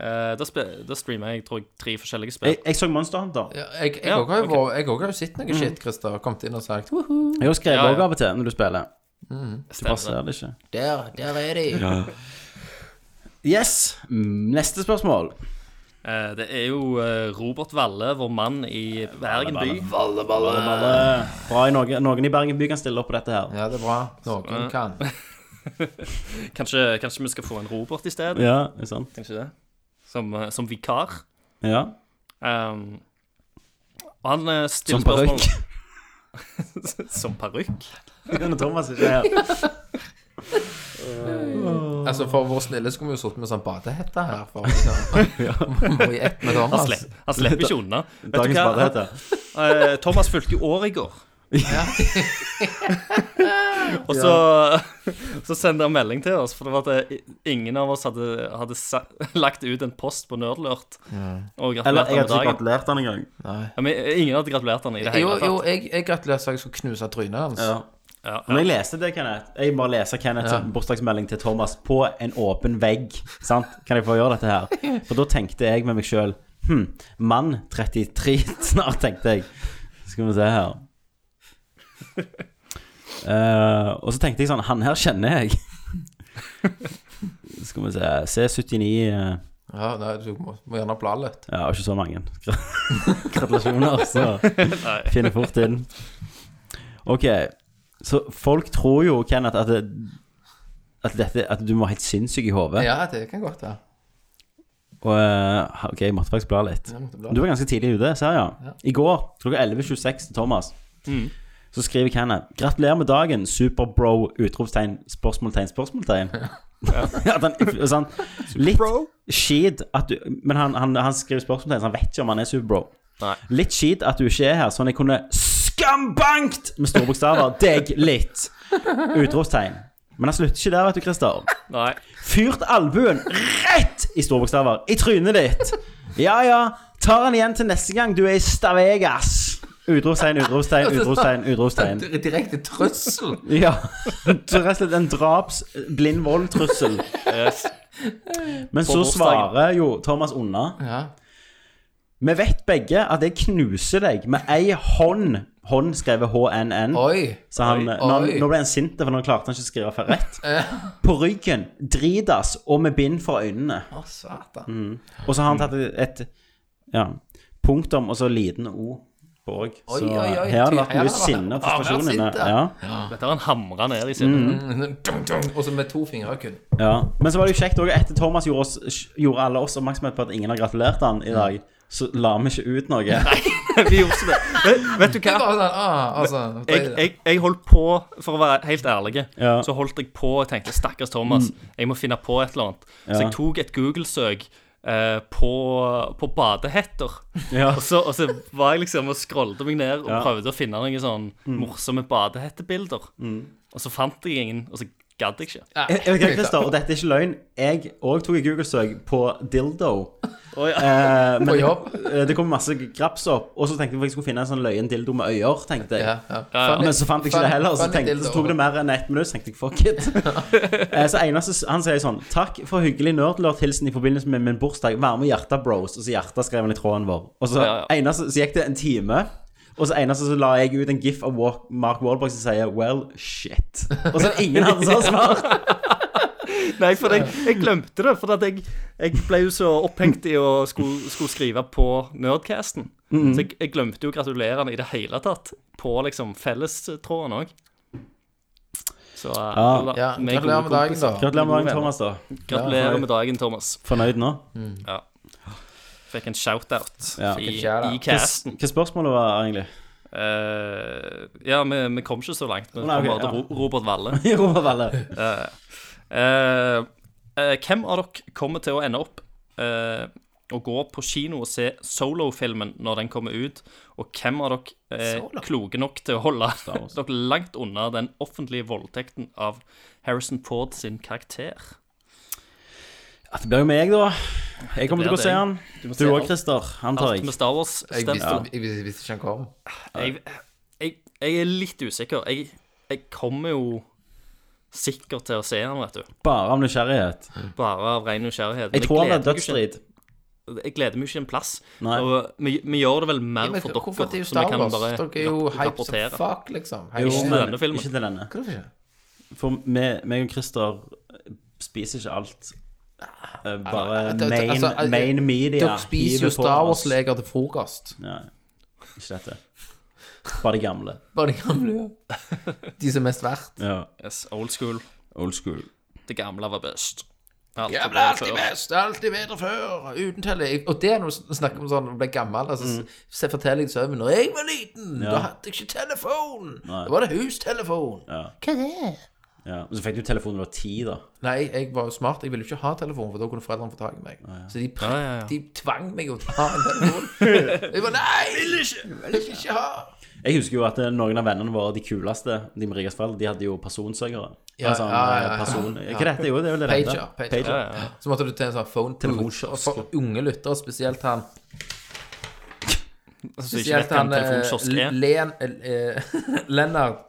Speaker 4: Eh, da, spe- da streamer jeg tror jeg, tre forskjellige spill.
Speaker 2: Jeg, jeg så Monster Hunter.
Speaker 3: Ja, Jeg jeg
Speaker 4: Ja,
Speaker 3: også har jo
Speaker 4: ok. Mm.
Speaker 3: vært- jeg også har jo sett noe shit, Christer. og Kommet inn og sagt «Woho,
Speaker 2: Jeg har skrevet
Speaker 4: Ja, ja.
Speaker 2: også av og til når du spiller. Du bare
Speaker 4: Stemmer det.
Speaker 2: ser det ikke.
Speaker 3: Der, der er de.
Speaker 2: Yes. Mm, Neste spørsmål.
Speaker 4: Eh, Det er jo eh, Robert Valle, vår mann i Bergen by.
Speaker 2: Alle- Bra i noen, noen i Bergen by kan stille opp på dette her.
Speaker 3: Ja, det er bra. Noen kan.
Speaker 4: Kanskje, kanskje vi skal få en Robert i stedet?
Speaker 2: Ja, det er sant.
Speaker 4: Kanskje det? Som, eh, som vikar.
Speaker 2: Ja.
Speaker 4: Um, og han eh, stiller
Speaker 2: Som parykk.
Speaker 4: spørsmål- som parykk?
Speaker 2: Når Thomas ikke er her.
Speaker 3: Altså, for vår snille skulle vi jo sittet med sånn badehette her. For å gå i ett med
Speaker 4: Han,
Speaker 3: Thomas.
Speaker 4: slipp, han slipper ikke unna.
Speaker 2: Altså,
Speaker 4: Vet du
Speaker 2: Dagens
Speaker 4: hva?
Speaker 2: badehette.
Speaker 4: Eh, Thomas fylte jo år i går. og så, så sendte han melding til oss, for det var at eh, ingen av oss hadde, hadde sa, lagt ut en post på Nerdlurt. Og
Speaker 2: Eller jeg
Speaker 4: gratulerte han med
Speaker 2: hadde ikke
Speaker 4: dagen.
Speaker 2: gratulert han engang.
Speaker 4: Ja, men eh, ingen hadde gratulert han i det
Speaker 3: Jo,
Speaker 4: hele
Speaker 3: jo,
Speaker 4: tatt.
Speaker 3: jeg, jeg gratulerer så jeg skulle knuse trynet hans.
Speaker 2: Ja.
Speaker 4: Ja,
Speaker 2: Når
Speaker 4: ja.
Speaker 2: jeg leste det, Kenneth Jeg bare leser Kenneths
Speaker 3: Ja.
Speaker 2: bursdagsmelding til Thomas på en åpen vegg. Sant? Kan jeg få gjøre dette her? For da tenkte jeg med meg sjøl Hm, mann 33 snart, tenkte jeg. Skal vi se her. Eh, og så tenkte jeg sånn Han her kjenner jeg. Skal vi se C79 eh,
Speaker 3: Ja, nei, du må, må gjerne bla litt.
Speaker 2: Ja, ikke så mange. Gratulasjoner, så finner fort inn. Ok, så folk tror jo, Kenneth, at, det, at, dette, at du må være helt sinnssyk i hodet.
Speaker 3: Ja, det kan godt være.
Speaker 2: Og eh, ok, jeg måtte faktisk bla litt.
Speaker 3: Jeg måtte bla.
Speaker 2: Du var ganske tidlig ute, ser jeg. I går klokka 11.26 til Thomas. Så skriver Kenneth 'Gratulerer med dagen, superbro!' Utropstegn, spørsmålstegn, spørsmålstegn. At han, sånn, litt skid at du Men han, han, han skriver spørsmålstegn, så han vet ikke om han er superbro.
Speaker 4: Nei.
Speaker 2: Litt skid at du ikke er her, sånn jeg kunne skambankt med store bokstaver deg litt. Utropstegn. Men han slutter ikke der, vet du, Christer.
Speaker 4: Nei.
Speaker 2: Fyrt albuen rett i store bokstaver i trynet ditt. Ja, ja. Tar han igjen til neste gang du er i Stavegas. Utropstegn, utropstegn, utropstegn, utropstegn.
Speaker 3: Direkte trussel!
Speaker 2: Ja. Så rett og slett en draps blind vold-trussel. Men så
Speaker 4: bursdagen.
Speaker 2: svarer jo Thomas unna.
Speaker 3: Ja.
Speaker 2: Vi vet begge at jeg knuser deg med ei hånd. Hånd skrevet HNN.
Speaker 3: Oi!
Speaker 2: Så han,
Speaker 3: Oi,
Speaker 2: nå,
Speaker 3: oi.
Speaker 2: nå ble han sint, for nå klarte han ikke å skrive for rett. På ryggen, dridas og med bind for øynene.
Speaker 3: Å, satan.
Speaker 2: Og så har han tatt et, et ja, punktum og så liten O på òg. Så
Speaker 3: Oi, oi, oi.
Speaker 2: her har det vært
Speaker 3: Her har
Speaker 2: mye
Speaker 3: det vært-
Speaker 2: sinne og
Speaker 3: Å, her
Speaker 2: frustrasjon inne.
Speaker 3: sitter.
Speaker 2: Ja,
Speaker 4: Dette har han hamra ned i sinnet.
Speaker 2: Mm.
Speaker 3: Dun, dun. Og så med to fingre kun.
Speaker 2: ja. Men så var det jo kjekt òg, etter Thomas gjorde, oss, gjorde alle oss oppmerksomhet på at ingen har gratulert han i dag, så la vi ikke ut noe.
Speaker 4: Vi gjorde ikke det. Vet, vet du
Speaker 3: Det
Speaker 4: hva?
Speaker 3: var sånn, ah, altså
Speaker 4: Jeg, jeg, jeg holdt på, for å være helt ærlig,
Speaker 2: Ja. Mm.
Speaker 4: så holdt jeg på og tenkte stakkars Thomas, jeg må finne på et eller annet. Så jeg tok et Google-søk eh, på, på badehetter.
Speaker 2: Ja.
Speaker 4: Og, så, og så var jeg liksom og scrollet meg ned og
Speaker 2: Ja. Mm.
Speaker 4: prøvde å finne noen sånn morsomme badehette-bilder. Og så fant jeg ingen, og så gadd jeg ikke.
Speaker 2: Jeg, jeg vet ikke, Christer, og dette er ikke løgn. Jeg òg tok et Google-søk på dildo.
Speaker 4: Å, ja.
Speaker 2: Eh, men
Speaker 3: På
Speaker 2: det,
Speaker 3: jobb.
Speaker 2: eh, det kom masse graps opp, og så tenkte jeg at jeg skulle finne en sånn løyen dildo med øyer. tenkte jeg
Speaker 3: Ja, ja.
Speaker 4: ja.
Speaker 2: Men så fant jeg ikke det heller, og så,
Speaker 3: Funny
Speaker 2: tenkte,
Speaker 3: dildo.
Speaker 2: så tok det mer enn ett minutt. Så tenkte jeg fuck it. Eh, så eneste han sier sånn Takk for hyggelig nerdlurt-hilsen i forbindelse med min bursdag. Varme hjerter, bros. Og så hjertet skrev han i tråden vår. Og så,
Speaker 4: Ja, ja.
Speaker 2: eneste, så gikk det en time. Og så eneste så la jeg ut en gif av Walk, Mark Wahlberg som sier 'well, shit'. Og så er det ingen andre som har svart.
Speaker 4: Nei, for jeg, jeg glemte det. For at jeg, jeg ble jo så opphengt i å skulle, skulle skrive på Nerdcasten.
Speaker 2: Mm.
Speaker 4: Så jeg, jeg glemte jo å gratulere han i det hele tatt. På liksom fellestråden òg. Så alle-
Speaker 3: Ja,
Speaker 4: vi er
Speaker 3: Gratulerer
Speaker 4: gode
Speaker 3: med dagen,
Speaker 4: kompiser.
Speaker 3: da.
Speaker 2: Gratulerer med dagen, Thomas. da
Speaker 4: Gratulerer med dagen, Thomas.
Speaker 2: Fornøyd nå?
Speaker 4: Ja. Fikk en shout-out
Speaker 2: Ja.
Speaker 4: i,
Speaker 3: Fikk en shout-out.
Speaker 4: i casten.
Speaker 2: Hva spørsmålet var egentlig?
Speaker 4: Eh, ja, vi, vi kom ikke så langt. Vi
Speaker 2: Nei, ok,
Speaker 4: kom bare til
Speaker 2: ja.
Speaker 4: Ro- Robert Valle.
Speaker 2: Robert Valle.
Speaker 4: Eh, eh, hvem av dere kommer til å ende opp eh, å gå på kino og se Solo-filmen når den kommer ut, og hvem av dere er kloke nok til å holde
Speaker 2: altså.
Speaker 4: dere langt unna den offentlige voldtekten av Harrison Ford sin karakter?
Speaker 2: Ja, Det blir jo meg, da. Jeg kommer
Speaker 4: Det
Speaker 2: til
Speaker 4: blir
Speaker 2: å se
Speaker 4: deg.
Speaker 2: han.
Speaker 4: må
Speaker 2: Du
Speaker 4: se
Speaker 2: òg,
Speaker 4: alt.
Speaker 2: Christer. Han tar
Speaker 4: Alt med
Speaker 2: jeg.
Speaker 4: Star Wars
Speaker 3: Jeg
Speaker 4: stemmer.
Speaker 3: visste, jeg visste- jeg visste ikke han kom.
Speaker 4: Jeg, jeg, jeg er litt usikker. Jeg, jeg kommer jo sikkert til å se den, vet du.
Speaker 2: Bare av nysgjerrighet.
Speaker 4: Bare av ren nysgjerrighet. Men
Speaker 2: Jeg tror han er
Speaker 4: gleder meg ikke-
Speaker 2: dødsstrid.
Speaker 4: jeg gleder meg ikke en plass.
Speaker 2: Nei.
Speaker 4: Og vi, vi gjør det vel mer
Speaker 3: Men
Speaker 4: for dere,
Speaker 3: hvorfor det er jo
Speaker 4: så vi
Speaker 3: Star
Speaker 4: kan
Speaker 3: Wars?
Speaker 4: bare
Speaker 3: Dere er jo
Speaker 4: rap-
Speaker 3: hype som
Speaker 4: rapportere.
Speaker 3: fuck, liksom. Hype
Speaker 2: Jo,
Speaker 3: som-
Speaker 4: til
Speaker 2: men-
Speaker 4: denne filmen.
Speaker 2: Ikke til denne.
Speaker 3: Hvorfor ikke?
Speaker 2: For meg, meg og Christer spiser ikke alt Eh, Bare
Speaker 3: Altså,
Speaker 2: main,
Speaker 3: altså, eh,
Speaker 2: main media
Speaker 3: Dere spiser jo
Speaker 2: hiver på
Speaker 3: Star
Speaker 2: oss.
Speaker 3: Wars-leker til frokost.
Speaker 2: Nei, ikke dette. Bare de gamle.
Speaker 3: Bare de gamle. ja. De som er mest verdt.
Speaker 2: Ja.
Speaker 4: Yes, old school.
Speaker 2: Old school.
Speaker 4: Det gamle var best. Alt
Speaker 3: Ja, men det
Speaker 4: var
Speaker 3: er alltid
Speaker 4: før.
Speaker 3: best, det er alltid bedre før, uten telling. Og det er når du snakker om sånn, når du ble gammel, altså, så forteller jeg søvn, når jeg var liten, da hadde jeg ikke telefon,
Speaker 2: Nei.
Speaker 3: da var det hustelefon.
Speaker 8: Hva er det?
Speaker 2: Ja. Og så fikk du telefon da du var ti, da.
Speaker 3: Nei, jeg var jo smart, jeg ville jo ikke ha telefon, for da kunne foreldrene få tag i meg. Så de, pre-
Speaker 4: ja, ja.
Speaker 3: de tvang meg å ta en telefon. jeg var, nei, vil ikke, vil ikke ha.
Speaker 2: Jeg husker jo at eh, noen av vennene våre, de kuleste, de med rikest foreldre, de hadde jo personsøkere.
Speaker 3: Ja,
Speaker 2: altså,
Speaker 3: ja, ja, ja.
Speaker 2: Person... Hva er dette? Jo, det er vel det det
Speaker 3: Pager,
Speaker 2: heter.
Speaker 3: pager. Så måtte du til en sånn phone booth, og for unge lyttere, spesielt han,
Speaker 4: Så ikke
Speaker 3: Spesielt
Speaker 4: vet hva en
Speaker 3: han
Speaker 4: telefonkiosk
Speaker 3: eh,
Speaker 4: er.
Speaker 3: Len, eh, Lennart,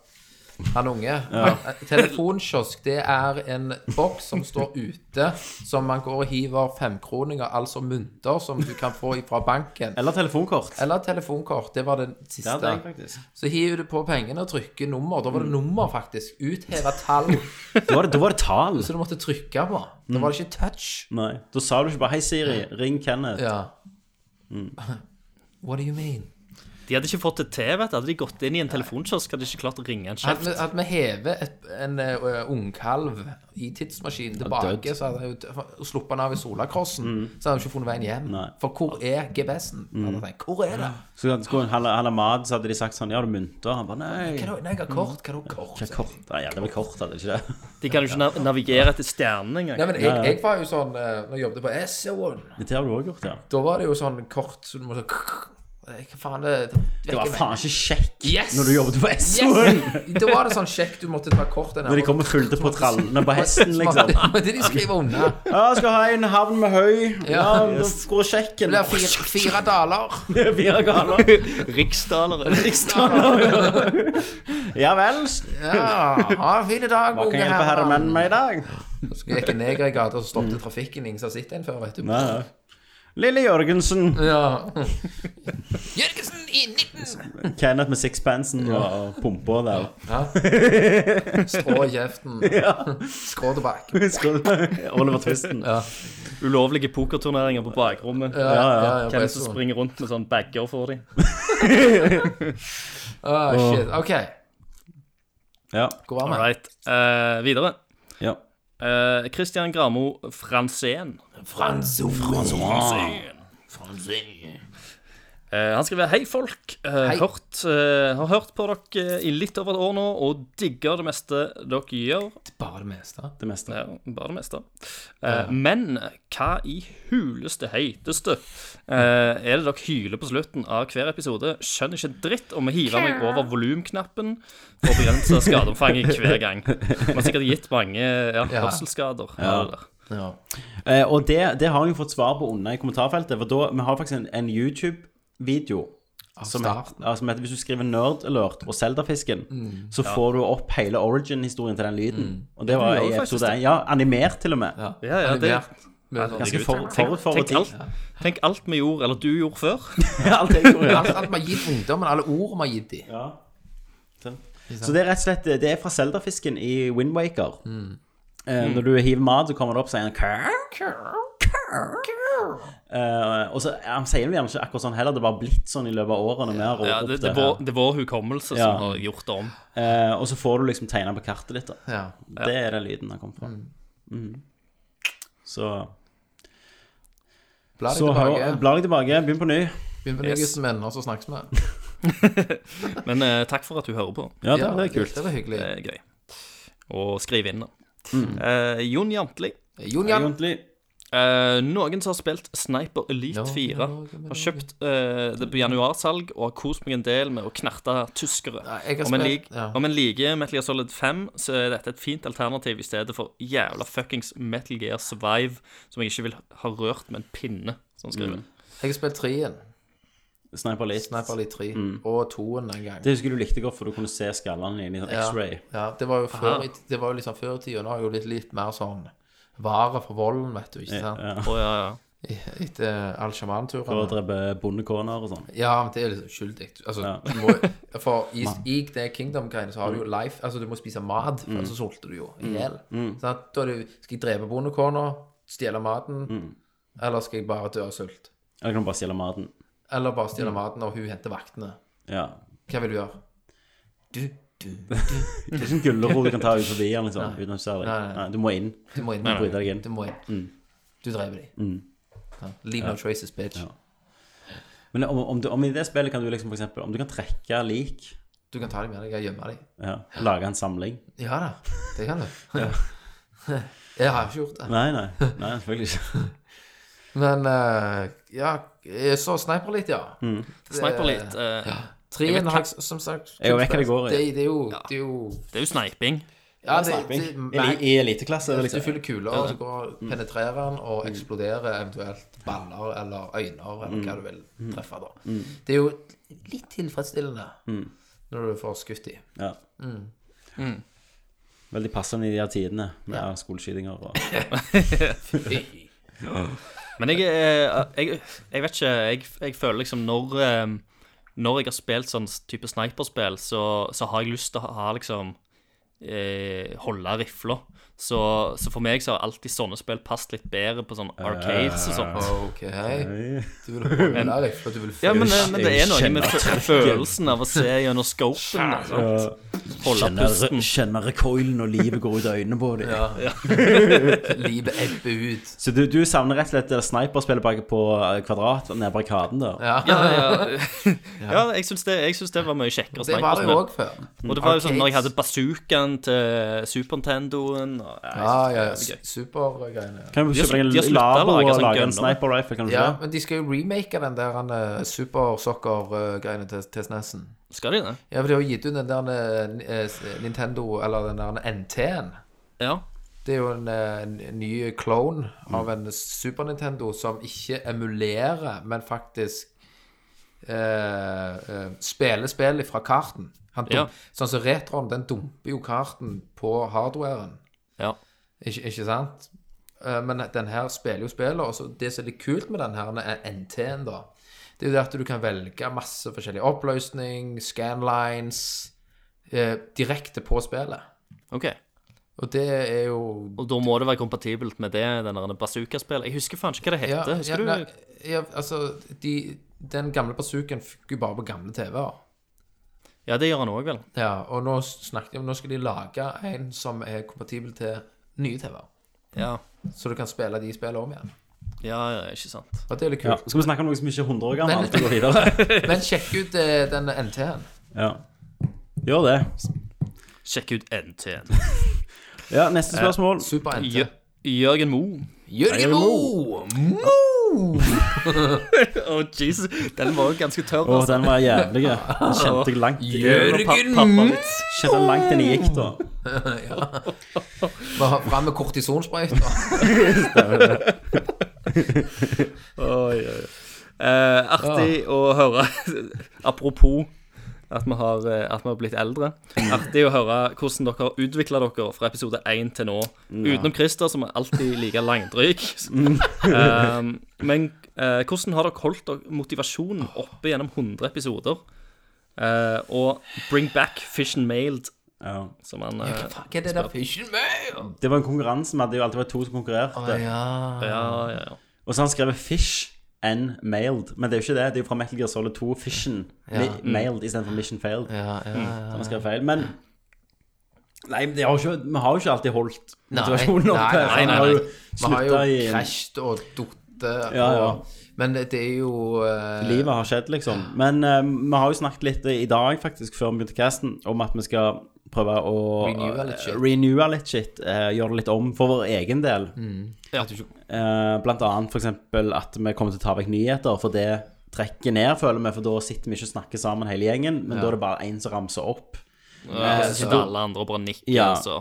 Speaker 3: han unge. Han- eh, Telefonkiosk det er en boks som står ute, som man går og hiver femkroninger, altså mynter, som du kan få fra banken.
Speaker 2: Eller telefonkort.
Speaker 3: Eller telefonkort. Det var den
Speaker 2: Ja, det er jeg
Speaker 3: siste.
Speaker 2: faktisk.
Speaker 3: Så hiver du på pengene og trykker nummer. Da var det nummer, faktisk. Utheva tall.
Speaker 2: Da var det, da var det tall.
Speaker 3: Så du måtte trykke på. Da var det ikke touch.
Speaker 2: Nei. Da sa du ikke bare 'Hei, Siri, ring Kenneth'.
Speaker 3: Ja.
Speaker 4: Mm.
Speaker 3: What do you mean?
Speaker 4: De hadde ikke fått det til, vet du. Hadde de gått inn i en telefonkiosk, hadde de ikke klart å ringe en sjef.
Speaker 3: Hadde vi, hadde vi hevet et, en eh, ungkalv i tidsmaskinen tilbake, så hadde jeg jo dø- og sluppet han av i solakrossen, så hadde han ikke funnet veien hjem.
Speaker 2: Mm. Nei. Mm.
Speaker 3: For hvor er GPS-en? Hadde jeg tenkt, Hvor er det?
Speaker 2: Så skulle han ha mat, så hadde de sagt sånn 'Ja, har du mynter?' Han bare 'Nei'.
Speaker 3: Hva er det? Nei, jeg har kort. Hva er det kort?
Speaker 2: Kort. Nei, ja, det var kort, hadde det ikke det?
Speaker 4: De kan jo ikke nav- navigere etter stjernene engang.
Speaker 3: Nei, men jeg, jeg var jo sånn eh, Når jeg jobbet på SO-en,
Speaker 2: Det har du også gjort, ja.
Speaker 3: da var det jo sånn kort så du måtte sånn, Hva faen det
Speaker 2: Det var faen ikke kjekk
Speaker 3: Yes!
Speaker 2: når du jobbet på SO-en!
Speaker 3: Yes! Da var det sånn sjekk, du måtte ta kortet
Speaker 2: Når de kom og fulgte på trallene på hesten, liksom.
Speaker 3: Men det de skriver unna.
Speaker 2: Ja, skal ha en havn med høy.
Speaker 3: Ja.
Speaker 2: Ja, da går sjekken.
Speaker 3: Det blir fire, fire daler.
Speaker 2: Fire galer.
Speaker 4: Riksdalere.
Speaker 2: Ja vel.
Speaker 3: Ja, ha en fin dag,
Speaker 2: Hva kan
Speaker 3: unge
Speaker 2: hjelpe herre
Speaker 3: herrer.
Speaker 2: menn med i dag?
Speaker 3: Så gikk en neger i gata og stoppet trafikken. Ingen som har sett en før, vet du.
Speaker 2: Nei. Lille Jørgensen.
Speaker 3: Ja. Jørgensen i 19!
Speaker 2: Kenneth med sixpensen og pumpa der.
Speaker 3: Strå i kjeften. Skråtobakk.
Speaker 2: Skål. Oliver Twisten.
Speaker 4: Ulovlige pokerturneringer på bakrommet.
Speaker 3: Ja, ja, ja.
Speaker 4: Hvem
Speaker 3: bare
Speaker 4: som
Speaker 3: sånn.
Speaker 4: springer rundt med sånn bager for dem.
Speaker 3: Ah, shit. OK.
Speaker 2: Ja.
Speaker 3: Hvor var
Speaker 4: All
Speaker 3: vi?
Speaker 4: right. Eh, videre.
Speaker 2: ja.
Speaker 4: Eh, Christian Gramo Franzén. Eh, han skriver Hei, folk. Eh, Hørt, eh, har hørt på dere i litt over et år nå og digger det meste dere gjør.
Speaker 3: Bare det meste.
Speaker 2: Det meste.
Speaker 4: Ja, bare det meste. Eh, Men hva i huleste heiteste eh, er det dere hyler på slutten av hver episode? Skjønner ikke dritt og må hive meg over volumknappen for å begrense skadeomfanget hver gang. Man har sikkert gitt mange ja, hørselsskader. av det der.
Speaker 3: Ja.
Speaker 2: Eh, og det, det har jeg jo fått svar på under i kommentarfeltet. For da, vi har faktisk en, en YouTube-video som, het-
Speaker 3: starten.
Speaker 2: ja, som heter Hvis du skriver 'Nerd Alert' og Zelda-fisken, så får du opp hele origin-historien til den lyden. Og det var
Speaker 4: gjør
Speaker 2: i
Speaker 4: jo faktisk
Speaker 2: episode 1. Ja, animert til og med.
Speaker 4: Ja, ja, det,
Speaker 3: Animert. Med sånn-
Speaker 2: Ganske for, forut for vår
Speaker 4: tenk, alt,
Speaker 2: tid.
Speaker 4: tenk alt vi gjorde, eller du gjorde før.
Speaker 2: Alt jeg gjorde, ja.
Speaker 3: Alt alt vi har gitt ungdommen, alle ord vi har gitt dem.
Speaker 2: Så det er rett og slett eh, Det er fra Zelda-fisken i Windwaker. Eh, når du hiver mat, så kommer det opp og sier han «Kar, kar, kar». Eh, Og så Han sier det gjerne ikke akkurat sånn heller, det har bare blitt sånn i løpet av årene. vi har ropt
Speaker 4: Ja, det, det, er
Speaker 2: her.
Speaker 4: vår, det er vår hukommelse
Speaker 2: Ja.
Speaker 4: som har gjort det om.
Speaker 2: Eh, og så får du liksom tegna på kartet ditt. da
Speaker 3: Ja.
Speaker 2: Det er den lyden han kom fra. Mm. Så,
Speaker 3: Bla deg
Speaker 2: så
Speaker 3: tilbake.
Speaker 2: hør- bla deg tilbake, begynn på ny.
Speaker 3: Begynn på
Speaker 4: Yes.
Speaker 3: nyhetens venner, så snakkes vi.
Speaker 4: Men eh, takk for at du hører på.
Speaker 2: Ja, det
Speaker 3: Ja,
Speaker 2: er kult.
Speaker 3: Det var hyggelig.
Speaker 4: Det er gøy. Og skriv inn, da. Eh, Jon Jantli.
Speaker 3: Jon Jan.
Speaker 2: Egentlig.
Speaker 4: Eh, noen som har spilt Sniper Elite
Speaker 3: Ja,
Speaker 4: 4, har kjøpt eh, det på januarsalg og har kost meg en del med å knerte tyskere.
Speaker 3: jeg har
Speaker 4: Om en,
Speaker 3: spilt-
Speaker 4: lik,
Speaker 3: ja.
Speaker 4: om en liker Metal Gear Solid 5, så er dette et fint alternativ i stedet for jævla fuckings Metal Gear Survive, som jeg ikke vil ha rørt med en pinne. Sånn skriver han.
Speaker 3: Jeg har spilt treen.
Speaker 2: Sniper Elite.
Speaker 3: Sniper Elite 3.
Speaker 2: Mm.
Speaker 3: Og toen en gang.
Speaker 2: Det husker du likte godt, for du kunne se skallene dine i sånn
Speaker 3: Ja,
Speaker 2: X-ray.
Speaker 3: Ja, det var jo før, i- det var jo liksom før i tida. Nå er jo litt, litt mer sånn vare for volden, vet du. ikke sant?
Speaker 2: Ja.
Speaker 4: Å, ja, ja.
Speaker 3: I- Etter all
Speaker 2: For å
Speaker 3: sjamanturen.
Speaker 2: drepe bondekåner og sånn.
Speaker 3: Ja, men det er liksom skyldig. Altså,
Speaker 2: Ja.
Speaker 3: du må, for i, i det Kingdom-greiene så har du jo
Speaker 2: Mm.
Speaker 3: life Altså, du må spise mat, for ellers så sulter du jo i hjel. Sant? Da er det jo Skal jeg drepe bondekona? Stjele maten.
Speaker 2: Mm.
Speaker 3: Eller skal jeg bare dø av sult?
Speaker 2: Eller kan du bare stjele maten?
Speaker 3: Eller bare
Speaker 2: Mm.
Speaker 3: stjele maten når hun henter vaktene?
Speaker 2: Ja.
Speaker 3: Hva vil du gjøre? Du, du,
Speaker 2: Det er ikke en gulrot du kan ta ut forbi den, liksom, uten at du ser deg.
Speaker 3: Nei, nei.
Speaker 2: Nei, du må inn.
Speaker 3: du må inn.
Speaker 2: nei. Bryte deg inn.
Speaker 3: Du må inn.
Speaker 2: Mm.
Speaker 3: Du dreper dem. Ja. Leave no traces, bitch.
Speaker 2: Men om, om, du, om i det spillet kan du liksom for eksempel, om du kan trekke lik,
Speaker 3: Du kan ta dem med deg og gjemme dem.
Speaker 2: ja, lage en samling.
Speaker 3: Ja da, det kan du. Jeg har ikke gjort det.
Speaker 2: Nei, nei, nei, selvfølgelig ikke.
Speaker 3: Men eh, ja, jeg så Sniper litt, ja.
Speaker 2: Mm.
Speaker 4: Sniper litt. eh,
Speaker 3: Treen har jeg som sagt
Speaker 2: Jeg vet hva det går i.
Speaker 3: Det, det er jo Det er jo
Speaker 4: Det er jo sniping.
Speaker 3: Ja, det, det,
Speaker 2: Sniping.
Speaker 3: man-
Speaker 2: I, I eliteklasse, er det Mm.
Speaker 3: Hvis du
Speaker 2: liksom.
Speaker 3: fyller kuler, og så går, penetrerer den og eksploderer eventuelt
Speaker 2: Mm.
Speaker 3: baller eller øyne eller hva du vil treffe. da. Det er jo litt tilfredsstillende
Speaker 2: Mm.
Speaker 3: når du får skutt i.
Speaker 2: Ja.
Speaker 3: Mm.
Speaker 4: Mm.
Speaker 2: Veldig passende i de her tidene, med skoleskytinger og
Speaker 4: Men jeg, eh, jeg, jeg vet ikke jeg, jeg føler liksom når eh, Når jeg har spilt sånn type sniperspill, så, så har jeg lyst til å ha liksom eh, Holde rifla. Så, så for meg så har alltid sånne spill passet litt bedre på sånn arcades og sånt.
Speaker 3: OK. Du vil holde deg, for liksom, du vil
Speaker 4: Ja, men,
Speaker 3: føle-
Speaker 4: eh, men det er noe med fø- følelsen av å se gjennom scopen. sant? Holde pusten.
Speaker 2: Kjenner recoilen og livet går ut av øynene på dem.
Speaker 3: livet ebbe ut.
Speaker 2: Så du, du savner rett og slett det sniperspillet bak på eh, kvadrat nede på arkaden, da?
Speaker 3: Ja.
Speaker 4: Ja, ja. ja jeg syns det, jeg syns det var mye kjekkere
Speaker 3: Det var det jo
Speaker 4: sniperspill.
Speaker 3: òg før.
Speaker 4: Og det var jo sånn når jeg hadde
Speaker 3: Arcades.
Speaker 4: bazookaen til Super Nintendoen og,
Speaker 3: Ja, ja,
Speaker 4: Det er gøy.
Speaker 3: Supergreiene.
Speaker 2: Kan du
Speaker 4: De har
Speaker 2: kjøpe
Speaker 4: slutt- de
Speaker 2: deg en
Speaker 4: har sluttet å
Speaker 2: labo
Speaker 4: lage
Speaker 2: og
Speaker 4: sånn
Speaker 2: lage en
Speaker 4: gunner.
Speaker 2: sniper rifle? Kan du
Speaker 3: Ja,
Speaker 2: ikke det?
Speaker 3: men de skal jo remake den der eh, supersoccer-greiene til, til SNES-en.
Speaker 4: Skal de det?
Speaker 3: Ja, for de har jo gitt ut den der eh, eh, Nintendo, eller den der NT-en.
Speaker 4: Ja.
Speaker 3: Det er jo en, eh, en ny clone av en Super Nintendo som ikke emulerer, men faktisk eh, eh, spiller spillet fra karten. Han dum-
Speaker 4: Ja.
Speaker 3: Sånn som retroen, den dumper jo karten på hardwaren,
Speaker 4: ja.
Speaker 3: ikke, ikke sant? Eh, men den her spiller jo spillet, og så det som er litt kult med den her eh, NT-en, da, det er jo det at du kan velge masse forskjellig oppløsning, scanlines, eh, direkte på spillet.
Speaker 4: Ok.
Speaker 3: Og det er jo
Speaker 4: Og da må det være kompatibelt med det, den der bazookaspillet. Jeg husker faen ikke hva det
Speaker 3: Ja,
Speaker 4: heter.
Speaker 3: ja,
Speaker 4: Husker
Speaker 3: nei,
Speaker 4: du?
Speaker 3: ja, altså de, Den gamle bazookaen fikk jo bare på gamle TV-er.
Speaker 4: Ja, det gjør han òg, vel.
Speaker 3: Ja, og nå snakket jeg om Nå skal de lage en som er kompatibel til nye TV-er.
Speaker 4: Ja.
Speaker 3: Så du kan spille de spillene om igjen.
Speaker 4: ja, ja, ikke sant.
Speaker 3: Og det er litt
Speaker 2: Ja.
Speaker 3: kult.
Speaker 2: Skal vi snakke om noe som ikke er 100 år gammelt?
Speaker 3: Men-
Speaker 2: og gå videre?
Speaker 3: Men sjekk ut eh, den NT-en.
Speaker 2: Ja. Gjør det.
Speaker 4: Sjekk ut NTN.
Speaker 2: Ja, neste spørsmål.
Speaker 3: Super-NT.
Speaker 4: Jø- Jørgen Moe.
Speaker 3: Jørgen Moe!
Speaker 4: Å, Jesus. Den var jo ganske tørr.
Speaker 2: Å,
Speaker 4: altså.
Speaker 2: den var jævlig. Den kjente jeg langt
Speaker 4: Det var pa- pappavits.
Speaker 2: Kjente den langt inn i gikk, da.
Speaker 3: Bare Fram med kortisonsprøyter.
Speaker 4: Eh, artig
Speaker 2: Ah.
Speaker 4: å høre Apropos at vi, har, eh, at vi har blitt eldre. Artig å høre hvordan dere har utvikla dere fra episode 1 til nå. Utenom Christer, som er alltid like langdryg.
Speaker 2: Mm.
Speaker 4: um, men eh, hvordan har dere holdt dere motivasjonen oppe gjennom 100 episoder? Eh, og bring back fish and mailed,
Speaker 2: Ja.
Speaker 4: som han eh,
Speaker 3: Hva er det der fishen med?
Speaker 2: Det var en konkurranse. Vi hadde jo alltid vært to som konkurrerte.
Speaker 3: Ja.
Speaker 4: ja, ja, ja.
Speaker 2: Og så har han skrevet 'Fish and Mailed'. Men det er jo ikke det. Det er jo fra Metal Gear Solid 2, 'Fishen Mi- Mailed' istedenfor 'Mission Failed'.
Speaker 3: Mm. Ja, ja.
Speaker 2: Han har skrevet feil. Men Nei, men det har jo ikke, vi har jo ikke alltid holdt
Speaker 3: Nei,
Speaker 2: motivasjonen
Speaker 3: nei,
Speaker 2: oppe.
Speaker 3: nei,
Speaker 2: for han
Speaker 4: nei,
Speaker 2: har jo
Speaker 4: nei.
Speaker 3: Vi har jo
Speaker 2: slutta i
Speaker 3: krasjet og datt.
Speaker 2: Ja, ja.
Speaker 3: Men det er jo eh,
Speaker 2: Livet har skjedd, liksom. Men eh, vi har jo snakket litt i dag, faktisk, før vi begynte casten, om at vi skal prøve å
Speaker 3: Renewe litt shit.
Speaker 2: renewe litt shit, eh, gjøre det litt om for vår egen del.
Speaker 3: Mm.
Speaker 2: Eh, blant annet f.eks. at vi kommer til å ta vekk nyheter, for det trekker ned, føler vi, for da sitter vi ikke og snakker sammen hele gjengen, men da er det bare én som ramser opp.
Speaker 4: ja så sitter alle andre og bare nikker.
Speaker 2: Ja.
Speaker 4: Så.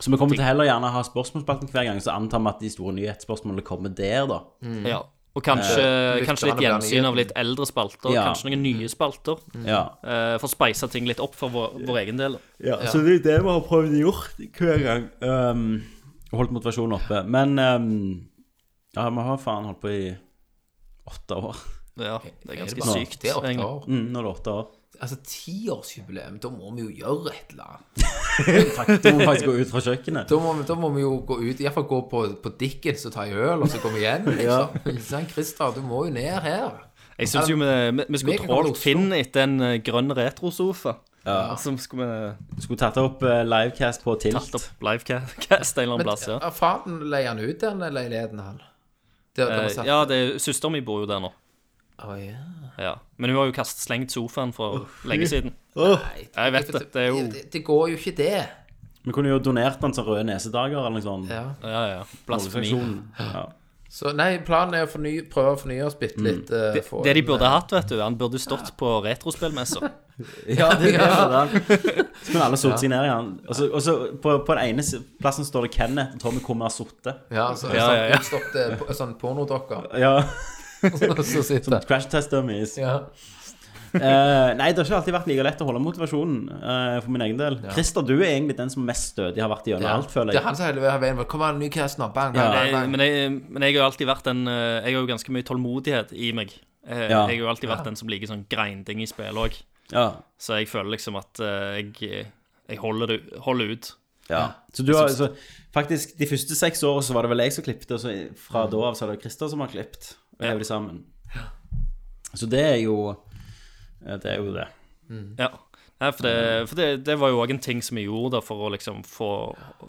Speaker 2: Så vi kommer til heller gjerne ha spørsmålsspalten hver gang, så antar vi at de store nyhetsspørsmålene kommer der, da.
Speaker 4: Ja. Og kanskje,
Speaker 3: litt
Speaker 4: kanskje litt
Speaker 3: grann
Speaker 4: gjensyn
Speaker 3: blanding.
Speaker 4: av litt eldre spalter.
Speaker 2: Ja.
Speaker 4: Kanskje noen nye spalter.
Speaker 3: Mm.
Speaker 2: Ja.
Speaker 4: eh, for å speise ting litt opp for vår, vår egen del.
Speaker 2: Ja, så det er det vi har prøvd å gjøre hver gang. Um, holdt motivasjonen oppe. Men um, ja, vi har faen holdt på i åtte år.
Speaker 4: Ja, det er ganske
Speaker 3: bare-
Speaker 4: sykt.
Speaker 3: Det er åtte
Speaker 4: egentlig.
Speaker 3: år.
Speaker 2: Mm, nå er det åtte år.
Speaker 3: Altså, tiårsjubileum, da må vi jo gjøre et eller annet.
Speaker 2: Faktisk, må faktisk gå ut fra kjøkkenet.
Speaker 3: Da må, vi- da må vi jo gå ut, iallfall gå på, på Dickens og ta en øl, og så komme igjen. Liksom. Ikke sant, Christer, du må jo ned her.
Speaker 4: Jeg syns jo vi, vi, vi
Speaker 3: Vi
Speaker 4: skulle
Speaker 3: kan holde
Speaker 4: trålt
Speaker 3: oss
Speaker 4: Finn etter en eh, grønn retrosofa. Ja. Som skulle vi
Speaker 2: Skulle tatt opp eh, livecast på
Speaker 4: tatt
Speaker 2: Tilt.
Speaker 4: opp livecast en eller annen plass. Ja,
Speaker 3: Ja, Faen, leier han ut den leiligheten, han? Der, der vi
Speaker 4: Eh,
Speaker 3: satt.
Speaker 4: ja det, er- søsteren min bor jo der nå.
Speaker 3: Å, ja.
Speaker 4: Ja. Men hun har jo kastet slengt sofaen for lenge siden. jeg vet det. Det er jo
Speaker 3: det, det går jo ikke, det.
Speaker 2: Vi kunne jo donert den til Røde Nesedager eller noe sånt.
Speaker 3: Ja.
Speaker 4: Ja, ja. Blasfemi.
Speaker 2: Organisasjonen. Ja.
Speaker 3: Så nei, planen er å forny, prøve å fornye oss bitte litt. eh,
Speaker 4: Mm. Det,
Speaker 3: få
Speaker 4: det de
Speaker 3: en-
Speaker 4: burde hatt, vet du, han burde stått på retrospillmessa.
Speaker 2: Ja, det er det. Så kunne alle satt seg ned igjen. Og så- Og så på, på den ene s- plassen står det Kenneth og Tommy kommer og sotte.
Speaker 3: Ja, så,
Speaker 4: Ja, ja, ja.
Speaker 3: sånn oppstått eh, po- sånn pornodokker.
Speaker 2: Ja,
Speaker 3: Så sitter det.
Speaker 2: Crash Test Dummies.
Speaker 4: Sånn-
Speaker 3: Ja.
Speaker 2: Eh, nei, det har ikke alltid vært like lett å holde motivasjonen eh, for min egen del. Christer, du er egentlig den som mest stødig har vært gjennom alt, føler
Speaker 3: Det er
Speaker 2: jeg.
Speaker 3: han som hele veien var Kom an, ny cast nå. Bang, bang,
Speaker 2: Ja.
Speaker 3: bang. bang.
Speaker 4: Men jeg, men jeg har jo alltid vært en eh, Jeg har jo ganske mye tålmodighet i meg. Eh,
Speaker 2: Ja.
Speaker 4: Jeg har jo alltid vært den som liker sånn grinding i spill òg.
Speaker 2: Ja.
Speaker 4: Så jeg føler liksom at eh, jeg, jeg holder, det- holder ut.
Speaker 2: Ja. Så du har altså Faktisk, de første seks åra så var det vel jeg som klippet, og så fra da av så er det Christer som har klippet. Og hevet det sammen. Så det er jo eh, Det er jo det.
Speaker 3: Mm.
Speaker 4: Ja. Nei, for det, for det, det var jo òg en ting som jeg gjorde da, for å liksom få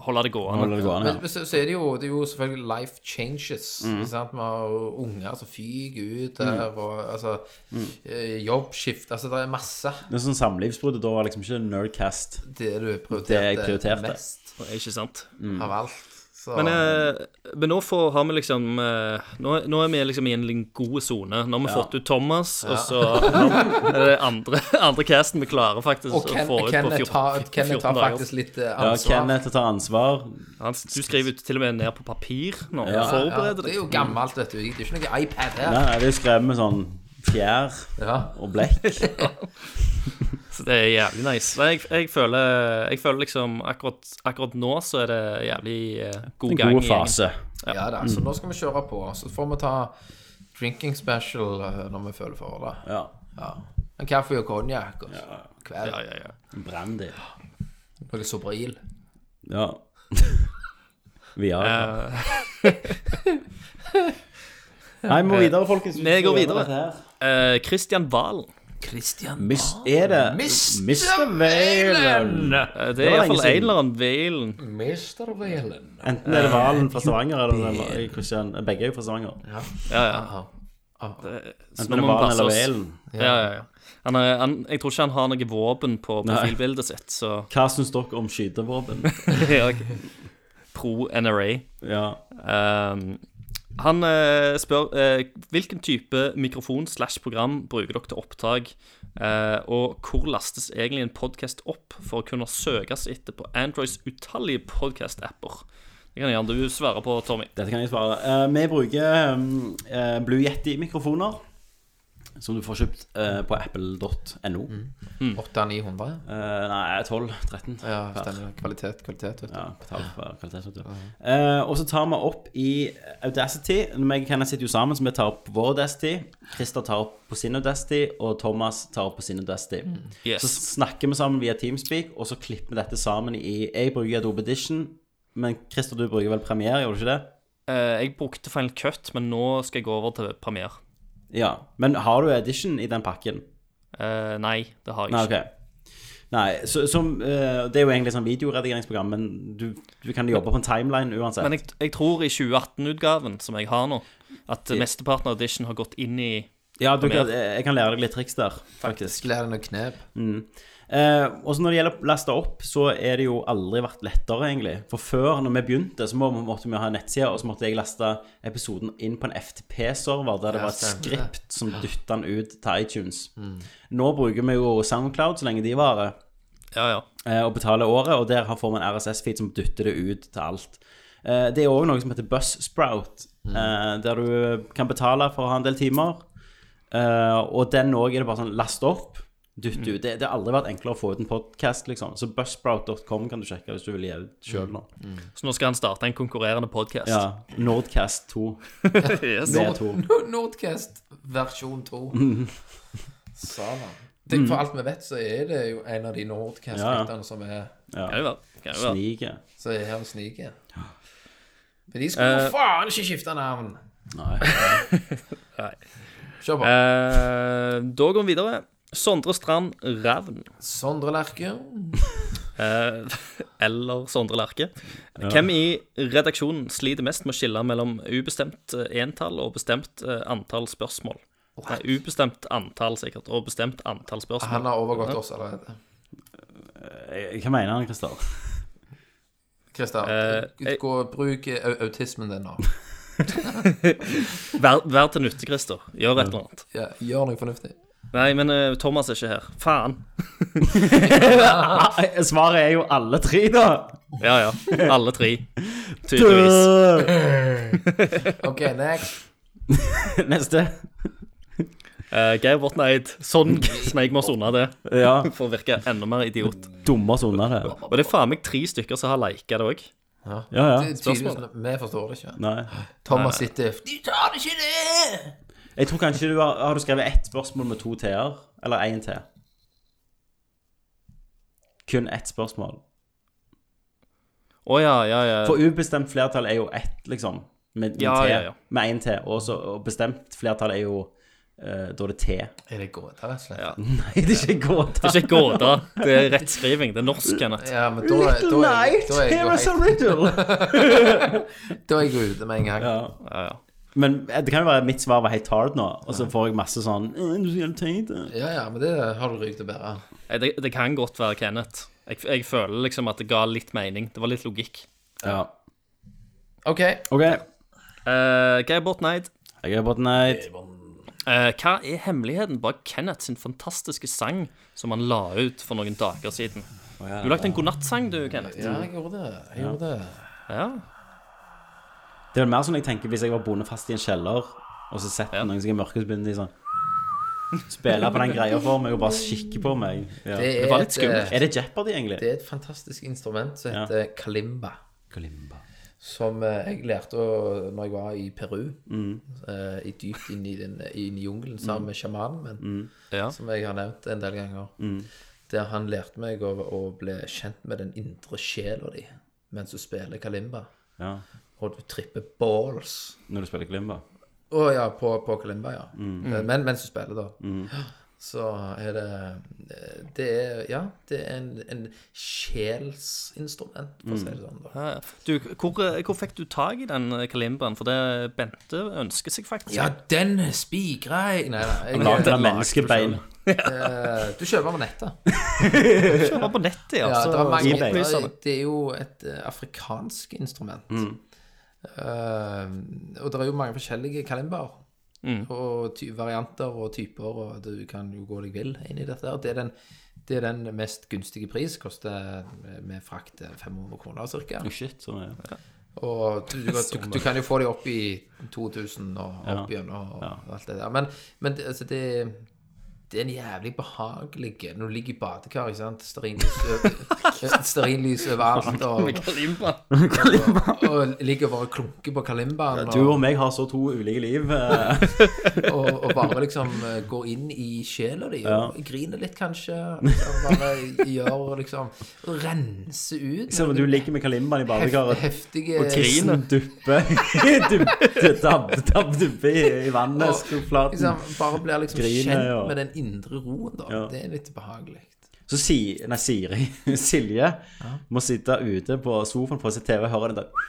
Speaker 4: holde
Speaker 2: Holder
Speaker 4: det gående.
Speaker 2: det gående.
Speaker 3: Men så, så er det jo, det er jo selvfølgelig life changes.
Speaker 2: Mm.
Speaker 3: ikke sant? Vi har jo unger som fyker ut der, og altså
Speaker 2: Mm.
Speaker 3: eh, Jobbskift Altså, det er masse
Speaker 2: Det er sånn samlivsbrudd, og da var liksom ikke Nerdcast
Speaker 3: det du
Speaker 2: det jeg
Speaker 3: prioriterte
Speaker 2: prioriterte. Mm.
Speaker 3: mest
Speaker 4: Ikke sant?
Speaker 3: av alt. Så
Speaker 4: Men, eh, men nå får, har vi liksom eh, nå, nå er vi liksom i en liten god sone. Nå har vi fått ut Thomas, og så nå er det andre, andre casten vi klarer faktisk
Speaker 3: og Ken,
Speaker 4: å få ut på
Speaker 3: Kenneth
Speaker 4: 14,
Speaker 3: tar, Kenneth
Speaker 4: 14
Speaker 3: tar
Speaker 4: dager.
Speaker 3: faktisk litt eh,
Speaker 2: Ja,
Speaker 3: ansvar.
Speaker 2: Kenneth tar ansvar.
Speaker 4: Han, du skriver ut til og med ned på papir nå og
Speaker 3: ja,
Speaker 4: forbereder
Speaker 3: det er
Speaker 4: deg.
Speaker 3: jo gammelt, vet du. Det er ikke noe iPad her.
Speaker 2: Mm. Nei, nei, det er skrevet med sånn fjær
Speaker 3: Ja.
Speaker 2: og blekk.
Speaker 4: Så det er jævlig nice. Nei, jeg, jeg, føler, jeg føler liksom akkurat, akkurat nå så er det jævlig eh, god
Speaker 2: En
Speaker 4: gang. i
Speaker 2: god
Speaker 4: gjengen.
Speaker 2: fase.
Speaker 3: Ja da,
Speaker 2: Mm.
Speaker 3: så nå skal vi kjøre på. Så får vi ta drinking special eh, når vi føler for det.
Speaker 2: Ja.
Speaker 3: Ja. En kaffe og konjakk og kveld.
Speaker 4: Ja, ja, ja.
Speaker 2: Brandy.
Speaker 3: Noe Sobril.
Speaker 2: Ja. Vi har Nei, vi må videre, folkens.
Speaker 4: Vi går videre.
Speaker 2: Dette her.
Speaker 4: Eh, Christian Valen.
Speaker 3: Christian.
Speaker 2: Miss, er det
Speaker 4: Ah,
Speaker 2: Mr. Valen? var
Speaker 4: Eh, det er
Speaker 2: lenge
Speaker 4: iallfall
Speaker 2: siden.
Speaker 4: en eller annen Valen.
Speaker 3: Mr. Valen.
Speaker 2: Enten er det Valen fra Stavanger, eller det er Christian Begge er jo fra Stavanger.
Speaker 4: Ja, ja. Så
Speaker 2: Enten er
Speaker 4: nå
Speaker 2: det
Speaker 4: må vi
Speaker 2: Valen
Speaker 4: passe
Speaker 2: eller
Speaker 4: oss.
Speaker 2: Valen.
Speaker 4: Ja, ja, ja. Han er, han, jeg tror ikke han har noe våpen på
Speaker 2: Nei.
Speaker 4: profilbildet sitt, så
Speaker 2: Hva syns dere om skytevåpen?
Speaker 4: ja, ok. Pro NRA.
Speaker 2: Ja.
Speaker 4: Ehm, han eh, spør eh, hvilken type mikrofon slash program bruker dere til opptak, eh, og hvor lastes egentlig en podkast opp for å kunne søkes etter på Androids utallige podcast-apper? Det kan gjerne du svare på, Tommy.
Speaker 2: Dette kan jeg svare. Eh, vi bruker mm, eh, Blue Yeti-mikrofoner. Som du får kjøpt eh, på apple.no.
Speaker 4: Mm.
Speaker 3: 8900.
Speaker 2: Eh, nei, 12-13.
Speaker 3: Ja, stemmer. Kvalitet, kvalitet, vet du.
Speaker 2: Ja, på tall for kvalitet, vet du. Eh, og så tar vi opp i Audacity. Meg og Kenneth sitter jo sammen, så vi tar opp vår Audacity. Christer tar opp på sin Audacity, og Thomas tar opp på sin Audacity. Så
Speaker 4: Yes.
Speaker 2: snakker vi sammen via Teamspeak, og så klipper vi dette sammen i Jeg bruker Adobe Edition, men Christer, du bruker vel Premiere, gjør du ikke det?
Speaker 4: Eh, jeg brukte Final Cut, men nå skal jeg gå over til Premiere.
Speaker 2: Ja. Men har du Edition i den pakken?
Speaker 4: Eh, nei, det har jeg
Speaker 2: Nei,
Speaker 4: ikke.
Speaker 2: ok. Nei, så, som, eh, det er jo egentlig sånn videoredigeringsprogram, men du, du kan jobbe på en timeline uansett.
Speaker 4: Men jeg, jeg tror i 2018-utgaven som jeg har nå, at mesteparten av audition har gått inn i
Speaker 2: ja, du, kan, jeg kan lære deg litt triks der, faktisk.
Speaker 3: Lære noen knep.
Speaker 2: Eh, og så når det gjelder å laste opp, så er det jo aldri vært lettere, egentlig. For før, når vi begynte, så må, måtte vi ha en nettside, og så måtte jeg laste episoden inn på en FTP-server, der det var et skript som dyttet den ut til iTunes. Nå bruker vi jo SoundCloud så lenge de varer,
Speaker 4: Ja, ja.
Speaker 2: eh, og betaler året, og der har- får vi en RSS-feed som dytter det ut til alt. Eh, det er òg noe som heter Buzzsprout, eh, der du kan betale for å ha en del timer. Eh, og den òg er det bare sånn last opp, dytt ut. Det, det har aldri vært enklere å få ut en podkast, liksom. Så buzzsprout.com kan du sjekke hvis du vil gi ut sjøl nå.
Speaker 4: Så nå skal han starte en konkurrerende podkast.
Speaker 2: Ja, Nordcast 2.
Speaker 4: yes.
Speaker 2: Det er to.
Speaker 3: Nordcast versjon 2. Sa han. Det, for alt vi vet, så er det jo en av de Nordcast-lytterne som er
Speaker 4: Kan det være. Kan det være.
Speaker 2: Snike.
Speaker 3: som er her og sniker. Men de skulle jo faen ikke skifte navn!
Speaker 2: Nei.
Speaker 3: Kjør på.
Speaker 4: Eh, da går vi videre. Sondre Strand Ravn.
Speaker 3: Sondre Lerche.
Speaker 4: Eh, eller Sondre Lerche. Hvem i redaksjonen sliter mest med å skille mellom ubestemt eh, entall og bestemt eh, antall spørsmål? Nei, ubestemt antall, sikkert, og bestemt antall spørsmål.
Speaker 3: Han har overgått oss allerede.
Speaker 2: Eh, Hva mener han, Christer?
Speaker 3: Christer,
Speaker 4: Eh, jeg-
Speaker 3: gå, bruk eh, au- autismen din nå.
Speaker 4: Vær, vær til nytte, Christer. Gjør et eller annet.
Speaker 3: Ja, gjør noe fornuftig.
Speaker 4: Nei, men eh, Thomas er ikke her. Faen.
Speaker 2: Ah, Svaret er jo alle tre, da.
Speaker 4: Ja, ja. Alle tre. Tydeligvis.
Speaker 3: OK, next.
Speaker 2: Neste.
Speaker 4: Eh, Geir Botneid. Sånn smeik vi oss unna det,
Speaker 2: Ja.
Speaker 4: for å virke enda mer idiot.
Speaker 2: Dumme oss unna det.
Speaker 4: Og det er faen meg tre stykker som har lika det òg.
Speaker 2: Ja,
Speaker 3: Det
Speaker 2: ja.
Speaker 3: er tydeligvis- Vi forstår det ikke.
Speaker 2: Nei.
Speaker 3: Thomas sitter De tar det ikke ned!
Speaker 2: Jeg tror kanskje du har, har du skrevet ett spørsmål med to t-er, eller én t. Kun ett spørsmål.
Speaker 4: Å ja, ja, ja.
Speaker 2: For ubestemt flertall er jo ett, liksom. Med
Speaker 4: Ja,
Speaker 2: én
Speaker 4: ja, ja.
Speaker 2: ja, t. Og, så- og bestemt flertall er jo eh, da er det t.
Speaker 3: Er det gåte, rett og slett?
Speaker 4: Ja.
Speaker 2: Nei, det er ikke gåta.
Speaker 4: Det er ikke gåte. Det er rettskriving. Det er norsk, Kenneth.
Speaker 3: Ja, men da, er- da, er, jeg- da, er jeg jo helt,
Speaker 2: riddle.
Speaker 3: da er jeg jo ute med en gang.
Speaker 2: Ja.
Speaker 4: Ja, ja.
Speaker 2: Men eh, det kan jo være at mitt svar var helt hard nå, og så får jeg masse sånn «Eh, Du skulle tenkt det.
Speaker 3: Ja, ja, men det har du rygg til å bære.
Speaker 4: Nei, Det, det kan godt være Kenneth. Jeg, jeg føler liksom at det ga litt mening. Det var litt logikk.
Speaker 2: Ja.
Speaker 3: OK.
Speaker 2: OK.
Speaker 4: Eh, Geir Botneid.
Speaker 2: Jeg er Botnight.
Speaker 4: eh, hva er hemmeligheten bak Kenneth sin fantastiske sang som han la ut for noen dager siden? Du lagde en godnattsang, du, Kenneth.
Speaker 3: Mm. Ja, jeg gjorde det. Jeg gjorde det.
Speaker 4: Ja.
Speaker 2: Det er vel mer sånn jeg tenker hvis jeg var bonde fast i en kjeller, og så setter noen som er mørke, så begynner de sånn Spille på den greia for meg og bare kikke på meg. Ja.
Speaker 3: Det, er
Speaker 4: var litt skummelt.
Speaker 3: Et, eh,
Speaker 2: Er det Jeopardy, egentlig?
Speaker 3: det er et fantastisk instrument som heter kalimba. Som eh, jeg lærte å- når jeg var i Peru. eh, i dypt inn i, den, inn i jungelen sammen med sjamanen min,
Speaker 4: Ja.
Speaker 3: som jeg har nevnt en del ganger. Der han lærte meg å, å bli kjent med den indre sjela di mens du spiller kalimba.
Speaker 2: Ja.
Speaker 3: Og du tripper balls.
Speaker 2: Når du spiller Glimba.
Speaker 3: Å ja, på, på Kalimba, ja. Eh, Men mens du spiller, da. Så er det eh, Det er Ja, det er en, en sjelsinstrument, for å si det sånn. da.
Speaker 4: Ja, ja. Du, hvor, eh, hvor fikk du tak i den eh, kalimbaen? For det Bente ønsker seg faktisk.
Speaker 3: Ja, den spikra jeg Nei, nei. Jeg,
Speaker 2: Lagd
Speaker 3: eh,
Speaker 2: av menneskebein.
Speaker 3: du kjøper den på nettet.
Speaker 4: Kjøper på nettet, altså. ja.
Speaker 3: Ja,
Speaker 4: så-
Speaker 3: det, er mange,
Speaker 2: så
Speaker 3: det, er,
Speaker 4: opplysende.
Speaker 3: det er jo et eh, afrikansk instrument. Eh, og det er jo mange forskjellige kalimbaer. Og ty varianter og typer, og du kan jo gå deg vill inn i dette. her. Det er den, det er den mest gunstige pris. Koster med- med frakt eh, 500 kroner ca.
Speaker 2: Oh, shit, sånn er det.
Speaker 3: Og du, du, du, du kan jo få de opp i 2000 og opp igjen og alt det der. Men, men det, altså det, det er en jævlig behagelig Når du ligger i badekar, ikke sant. Stearinlys ø- Stearinlys overalt. Og,
Speaker 4: Kalimba.
Speaker 3: og ligger og bare klunker på kalimbaen.
Speaker 2: Du og
Speaker 3: Og,
Speaker 2: meg har så to ulike liv. eh,
Speaker 3: og, og bare liksom eh, går inn i sjela di. Og griner litt, kanskje. Og bare gjør liksom og Renser ut.
Speaker 2: Som om du ligger med Kalimbaen i badekaret.
Speaker 3: Heftige
Speaker 2: Tissen dupper Dupp- dab- dab- Dupper i, i vannet,
Speaker 3: Og,
Speaker 2: skuflaten.
Speaker 3: Liksom, bare blir liksom
Speaker 2: Griner,
Speaker 3: kjent
Speaker 2: ja.
Speaker 3: med den indre roen, da.
Speaker 2: Ja.
Speaker 3: Det er litt behagelig.
Speaker 2: Så si, nei, Siri, Silje må sitte ute på sofaen på sitt TV og høre det der.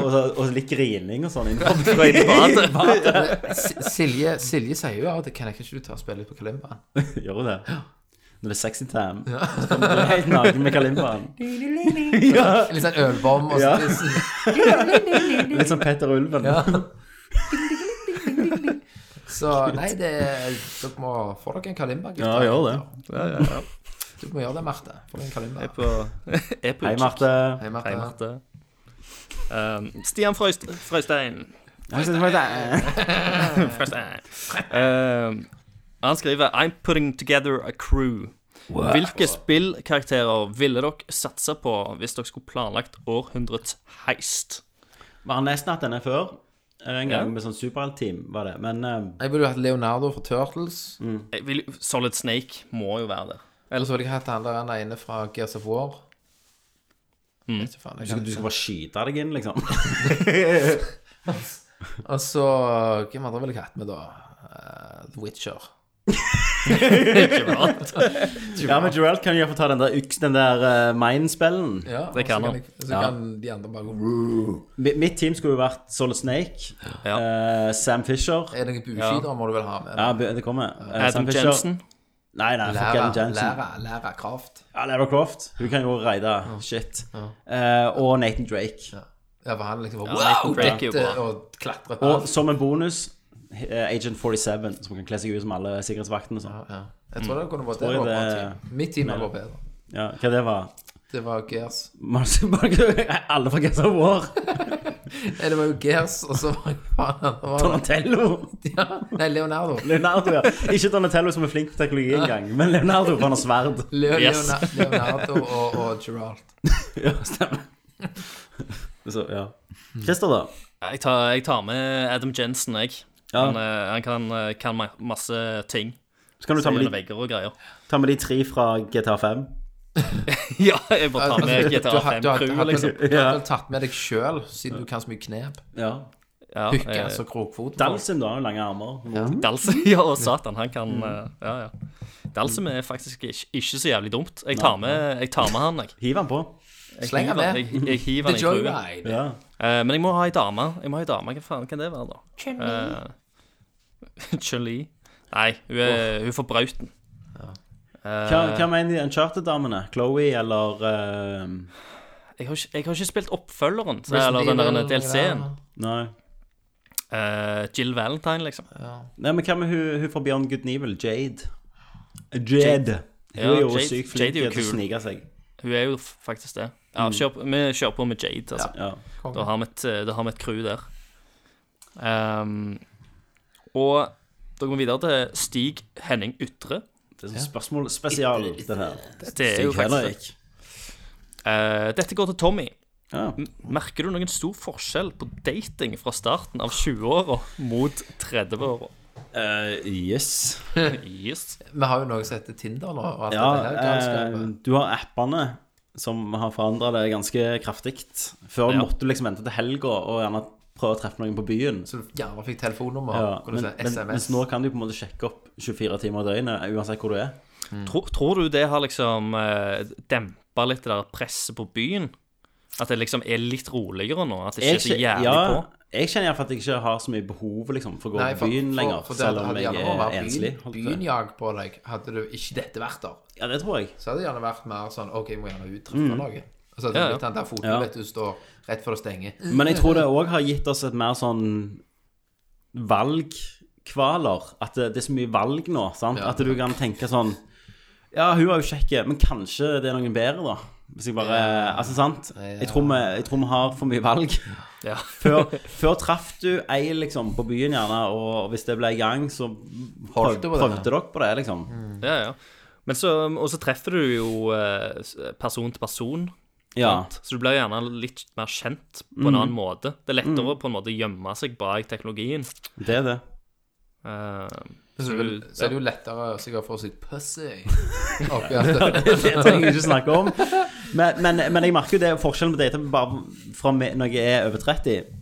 Speaker 2: Og, så, og litt grining og sånn. innenfor.
Speaker 3: S- Silje, Silje sier jo av og til Kan jeg ikke du ta og spille litt på kalimbaen?
Speaker 2: Gjør hun det? Når det er sexy time, så kommer du helt naken med kalimbaen. Ja,
Speaker 3: Litt sånn ølbom og
Speaker 2: Ja.
Speaker 3: sånn.
Speaker 2: litt som Petter Ulven.
Speaker 3: Så nei, det er- Dere må få dere en kalimba, gutter.
Speaker 2: Ja, gjør det.
Speaker 4: Ja, ja, ja.
Speaker 3: Du må gjøre det, Marte. Få deg en kalimba.
Speaker 4: Er på, er på
Speaker 2: Hei,
Speaker 4: utkikk.
Speaker 2: Marte.
Speaker 3: Hei, Marte.
Speaker 4: Hei, Marte. Um, Stian Frøyst, Frøystein.
Speaker 2: Jeg synes det var det.
Speaker 4: Frøystein. Um, han skriver I'm putting together a crew. Hvilke spillkarakterer ville dere satsa på hvis dere skulle planlagt århundrets heist?
Speaker 2: Vi har nesten hatt denne før. en gang med sånn superheltteam, var det. Men eh,
Speaker 3: Jeg ville jo hatt Leonardo fra Turtles.
Speaker 2: Mm.
Speaker 4: Jeg vil, Solid Snake må jo være der.
Speaker 3: Eller så ville jeg hatt han der han ene fra Gears of War. Mm. Faen, jeg kan
Speaker 2: du
Speaker 3: ikke.
Speaker 2: skal bare skyte deg inn, liksom.
Speaker 3: Og så Hvem andre ville jeg hatt med, da? Eh, The Witcher.
Speaker 4: Ikke sant?
Speaker 2: ja, men Geralt kan jo iallfall ta den der, yks- den der eh, Mine-spillen.
Speaker 3: Ja,
Speaker 4: Det kan
Speaker 3: og så
Speaker 4: han.
Speaker 3: jeg- Så kan de andre bare gå
Speaker 2: Mi- Mitt team skulle jo vært Solid Snake,
Speaker 4: Ja.
Speaker 2: eh, Sam Fisher
Speaker 3: Er det noen bueskytere må du vel ha med?
Speaker 2: Ja, be- det kommer. Eh, Sam
Speaker 4: Adam
Speaker 2: Fisher-
Speaker 4: Jensen.
Speaker 2: Nei, nei, fuck Adam
Speaker 3: Lære,
Speaker 2: Jensen.
Speaker 3: lære, lære kraft.
Speaker 2: Ja, Lara Croft. Hun kan jo raide shit. Eh, og Nathan Drake.
Speaker 3: Ja, for han liksom bare,
Speaker 4: Nathan
Speaker 3: Wow,
Speaker 4: Drake er jo
Speaker 3: dette!
Speaker 4: bra.
Speaker 3: Og klatre på.
Speaker 2: Og som en bonus eh, Agent 47, som kan kle seg ut som alle sikkerhetsvaktene. og sånn.
Speaker 3: Ja. Jeg
Speaker 4: Mm.
Speaker 3: tror det kunne vært det.
Speaker 2: Tror jeg
Speaker 3: var bra
Speaker 2: det-
Speaker 3: team. Mitt team var bedre.
Speaker 2: Ja, hva det var
Speaker 3: Det var Gears.
Speaker 2: Alle fra Gaza War.
Speaker 3: Nei, Eh, det var jo Gears, og så var det var,
Speaker 2: Donatello.
Speaker 3: ja, Nei, Leonardo.
Speaker 2: Leonardo, ja. Ikke Donatello som er flink til teknologi engang, men Leonardo, for han har sverd.
Speaker 3: Leo,
Speaker 4: Yes.
Speaker 3: Leona- Leonardo og, og Geralt.
Speaker 2: Ja, stemmer. Så, ja. Christer, da?
Speaker 4: Jeg tar, jeg tar med Adam Jensen, jeg.
Speaker 2: Ja.
Speaker 4: Han, eh, han kan, eh, kan ma- masse ting.
Speaker 2: Så kan du ta med,
Speaker 4: Gjennom
Speaker 2: de,
Speaker 4: vegger og greier.
Speaker 2: ta med de tre fra GTA 5.
Speaker 4: Ja, jeg bare tar med
Speaker 3: Altså, Du
Speaker 4: GTA
Speaker 3: har- du har-
Speaker 4: 5-crew,
Speaker 3: hadde-
Speaker 4: liksom.
Speaker 3: Du hadde vel tatt med deg sjøl, siden du kan så mye knep.
Speaker 2: Ja.
Speaker 4: Ja,
Speaker 3: Pukke,
Speaker 4: eh,
Speaker 3: altså krokfot.
Speaker 2: Dalsim, da. har jo Lange armer.
Speaker 4: Dalsum, ja, og satan, han kan eh, Ja, ja. Dalsum er faktisk ikke, ikke så jævlig dumt. Jeg tar med, jeg tar med han, jeg.
Speaker 2: Hiv han på.
Speaker 4: Jeg
Speaker 3: Sleng han
Speaker 4: hiver-
Speaker 3: med.
Speaker 4: Jeg, jeg hiver
Speaker 3: The
Speaker 4: han i crewet.
Speaker 3: Joyride.
Speaker 2: Ja.
Speaker 4: Eh, men jeg må ha ei dame. Jeg må ha ei dame. Hva faen kan det være, da? Uh, Eh, Jolie. Nei, hun er, hun er for brauten. Eh,
Speaker 2: Hva, hva mener de Uncharted-damene? Chloé eller eh,
Speaker 4: Jeg har, ikke, jeg har ikke spilt oppfølgeren, så,
Speaker 3: Resident
Speaker 4: eller den der
Speaker 3: Evil,
Speaker 4: DLC-en.
Speaker 3: ja.
Speaker 2: Nei.
Speaker 4: Eh, Jill Valentine, liksom.
Speaker 2: Nei, men hva med hun, hun fra Beyond Good and Evil? Jade. Jade. Hun
Speaker 4: Ja,
Speaker 2: er jo
Speaker 4: Jade-
Speaker 2: sykt
Speaker 4: Jade
Speaker 2: flink
Speaker 4: er
Speaker 2: til
Speaker 4: jo
Speaker 2: å
Speaker 4: kul.
Speaker 2: snike seg.
Speaker 4: Hun er jo faktisk det.
Speaker 3: Mm.
Speaker 4: Ja, kjør, på- vi kjører på med Jade, altså.
Speaker 2: Ja.
Speaker 4: Da har vi et, eh, da har vi et crew der. Ehm, og da går vi videre til Stig Henning Ytre.
Speaker 2: Det er sånn spørsmål spesial, den her.
Speaker 4: Det er jo
Speaker 2: Stig
Speaker 4: faktisk
Speaker 2: Henrik.
Speaker 4: Eh, Dette går til Tommy.
Speaker 2: Ja.
Speaker 4: M- Merker du noen stor forskjell på dating fra starten av 20-åra mot 30-åra?
Speaker 2: Eh, yes.
Speaker 4: Yes.
Speaker 3: Vi har jo noe som heter Tinder nå. Og alt
Speaker 2: Ja,
Speaker 3: dette her
Speaker 2: eh,
Speaker 3: galskapet.
Speaker 2: du har appene som har forandra det ganske kraftig. Før
Speaker 4: Ja.
Speaker 2: måtte du liksom vente til helga og gjerne prøve å treffe noen på byen.
Speaker 3: Så du gjerne fikk telefonnummer.
Speaker 2: Ja,
Speaker 3: kan du
Speaker 2: men,
Speaker 3: si,
Speaker 2: men, mens
Speaker 3: SMS.
Speaker 2: nå kan du på en måte sjekke opp 24 timer i døgnet uansett hvor du er.
Speaker 4: Tror, tror du det har liksom eh, dempa litt det der presset på byen? At det liksom er litt roligere nå? At det ikke er så
Speaker 2: kje-
Speaker 4: jævlig
Speaker 2: ja,
Speaker 4: på?
Speaker 2: jeg kjenner iallfall at jeg ikke har så mye behov liksom, for å gå
Speaker 3: Nei,
Speaker 2: på byen lenger,
Speaker 3: for det
Speaker 2: selv om
Speaker 3: hadde
Speaker 2: jeg
Speaker 3: gjerne vært
Speaker 2: er
Speaker 3: byen-
Speaker 2: enslig. holdt jeg på å si.
Speaker 3: Bynjag på deg hadde du ikke dette vært der.
Speaker 2: Ja, det tror jeg.
Speaker 3: Så hadde det gjerne vært mer sånn OK, jeg må gjerne ut treffe noe. Og så hadde det
Speaker 4: Ja, ja.
Speaker 3: blitt den der foten
Speaker 2: Mm. Ja.
Speaker 3: vet du, står rett før det stenger.
Speaker 2: Men jeg tror det òg har gitt oss et mer sånn valgkvaler. At det, det er så mye valg nå. sant?
Speaker 3: Ja.
Speaker 2: at du kan tenke sånn Ja, hun var jo kjekk, men kanskje det er noen bedre, da. Hvis jeg bare Altså, sant? Jeg, tror vi, jeg tror vi har for mye valg.
Speaker 4: Ja.
Speaker 2: Før, før traff du ei liksom på byen, gjerne, og hvis det ble i gang, så prøv,
Speaker 3: Holdt du på det? Mm.
Speaker 2: prøvde dere på det, liksom.
Speaker 4: Ja, ja. Men så, og så treffer du jo eh, s- person til person,
Speaker 2: Ja.
Speaker 4: sant? så du blir gjerne litt mer kjent på en annen måte. Det er lettere på en måte å gjemme seg bak teknologien.
Speaker 2: Det er det.
Speaker 4: Eh,
Speaker 3: Så,
Speaker 4: så du,
Speaker 3: så er det jo lettere sikkert for å si pussy oppi alt det.
Speaker 2: det trenger jeg ikke snakke om. Men, men, men jeg merker jo det forskjellen på date bare fra me- når jeg er over 30,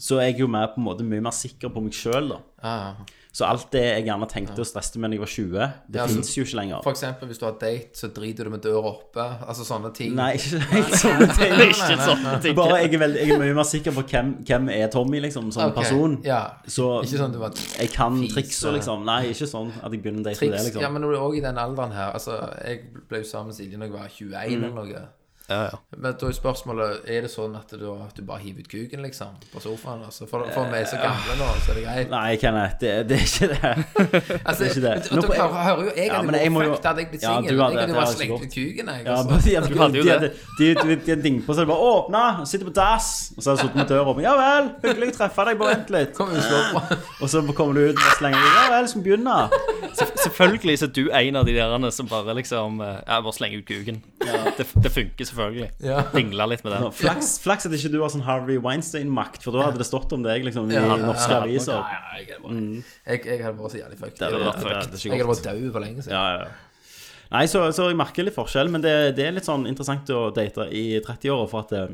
Speaker 2: så er jeg jo mer, på en måte, mye mer sikker på meg sjøl, da.
Speaker 3: Ah.
Speaker 2: Så alt det jeg gjerne tenkte og stresste med da jeg var 20, det
Speaker 3: Ja,
Speaker 2: finnes
Speaker 3: så-
Speaker 2: jo ikke lenger.
Speaker 3: For eksempel hvis du har date, så driter du med døra oppe. Altså sånne ting.
Speaker 2: Nei, ikke helt sånne ting.
Speaker 4: ikke sånne ting.
Speaker 2: Bare jeg er, veldig, jeg er mye mer sikker på hvem, hvem er Tommy, liksom, som
Speaker 3: Ok,
Speaker 2: person.
Speaker 3: Ja.
Speaker 2: Så
Speaker 3: Ikke sånn du var
Speaker 2: jeg kan
Speaker 3: Fise.
Speaker 2: triksa, liksom. Nei, ikke sånn at jeg begynner å date med det,
Speaker 3: triks. Ja,
Speaker 2: liksom.
Speaker 3: men du er òg i den alderen her. Altså, jeg ble jo sammen med Silje når jeg var 21
Speaker 2: Mm.
Speaker 3: eller noe. Men da er spørsmålet Er det sånn at du, at du bare hiver ut kuken, liksom? På sofaen? Altså? For, for meg så gamle nå, så er det greit.
Speaker 2: Nei, Kenneth, det, det er ikke det.
Speaker 3: Altså,
Speaker 2: det er ikke det.
Speaker 3: Og,
Speaker 2: Nå på-
Speaker 3: dere hører, hører jo jeg
Speaker 2: Ja, men
Speaker 3: hadde
Speaker 2: jeg
Speaker 3: vært
Speaker 2: må jo-
Speaker 3: fucked hadde jeg blitt
Speaker 2: Ja,
Speaker 3: singel.
Speaker 2: du
Speaker 3: Jeg
Speaker 2: hadde-
Speaker 3: hadde
Speaker 2: det
Speaker 3: bare
Speaker 2: hadde ikke
Speaker 3: slengt ut kuken, jeg.
Speaker 2: Ja,
Speaker 3: altså.
Speaker 2: bare de hadde,
Speaker 4: Du hadde jo
Speaker 2: de
Speaker 4: det.
Speaker 2: hadde, de, de, de hadde ding på seg bare åpna, sitter på dass. Og så hadde jeg sittet med døra åpen. Ja vel, hyggelig å treffe deg, bare vent litt.
Speaker 3: Kom, Oslo.
Speaker 2: Og så kommer du ut og slenger deg. Ja vel, skal vi begynne?
Speaker 4: selvfølgelig så er du en av de derene som bare liksom eh, Ja, bare slenger ut kuken. Det, det funker selvfølgelig.
Speaker 3: Ja.
Speaker 4: Dingla litt med den.
Speaker 2: Flaks, flaks at ikke du har sånn Harvey Weinstein-makt, for da hadde det stått om deg liksom, i norske aviser.
Speaker 3: Nei, nei, jeg, hadde bare- jeg, jeg hadde vært så jævlig fucked.
Speaker 2: Mm. Det
Speaker 3: Jeg hadde
Speaker 2: hadde vært fucked. Det er ikke
Speaker 3: jeg hadde
Speaker 2: godt.
Speaker 3: vært død for lenge siden.
Speaker 2: Ja, ja. Nei, så, så jeg merker litt forskjell, men det, det er litt sånn interessant å date i 30-åra, for at eh,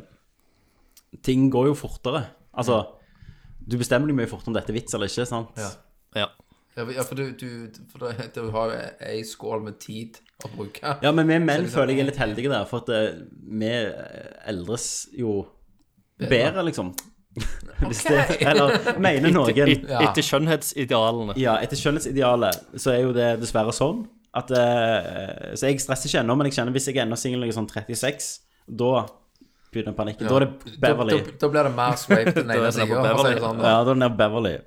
Speaker 2: ting går jo fortere. Altså, du bestemmer deg mye fortere om dette er vits eller ikke, sant?
Speaker 3: Ja.
Speaker 4: Ja.
Speaker 3: Ja, for- ja, for du, du, for det, du har jo ei skål med tid å bruke.
Speaker 2: Ja, men vi menn føler jeg er sånn- litt heldige der, for at eh, vi eh, eldres jo bedre, liksom. Hvis det, eller mener
Speaker 4: Etter,
Speaker 2: noen.
Speaker 4: et, etter skjønnhetsidealene.
Speaker 2: Ja, etter skjønnhetsidealet så er jo det dessverre sånn at eh, Så jeg stresser ikke ennå, men jeg kjenner hvis jeg er ennå singel i sånn 36, da begynner panikken. Da er det
Speaker 3: Da,
Speaker 2: Beverly.
Speaker 3: da, da blir det mer swipe til den
Speaker 4: Da er
Speaker 3: ene
Speaker 4: det
Speaker 3: siden,
Speaker 4: på
Speaker 3: og så er det
Speaker 4: Beverly.
Speaker 3: Sånn,
Speaker 2: Ja, da er det nede på Beverly.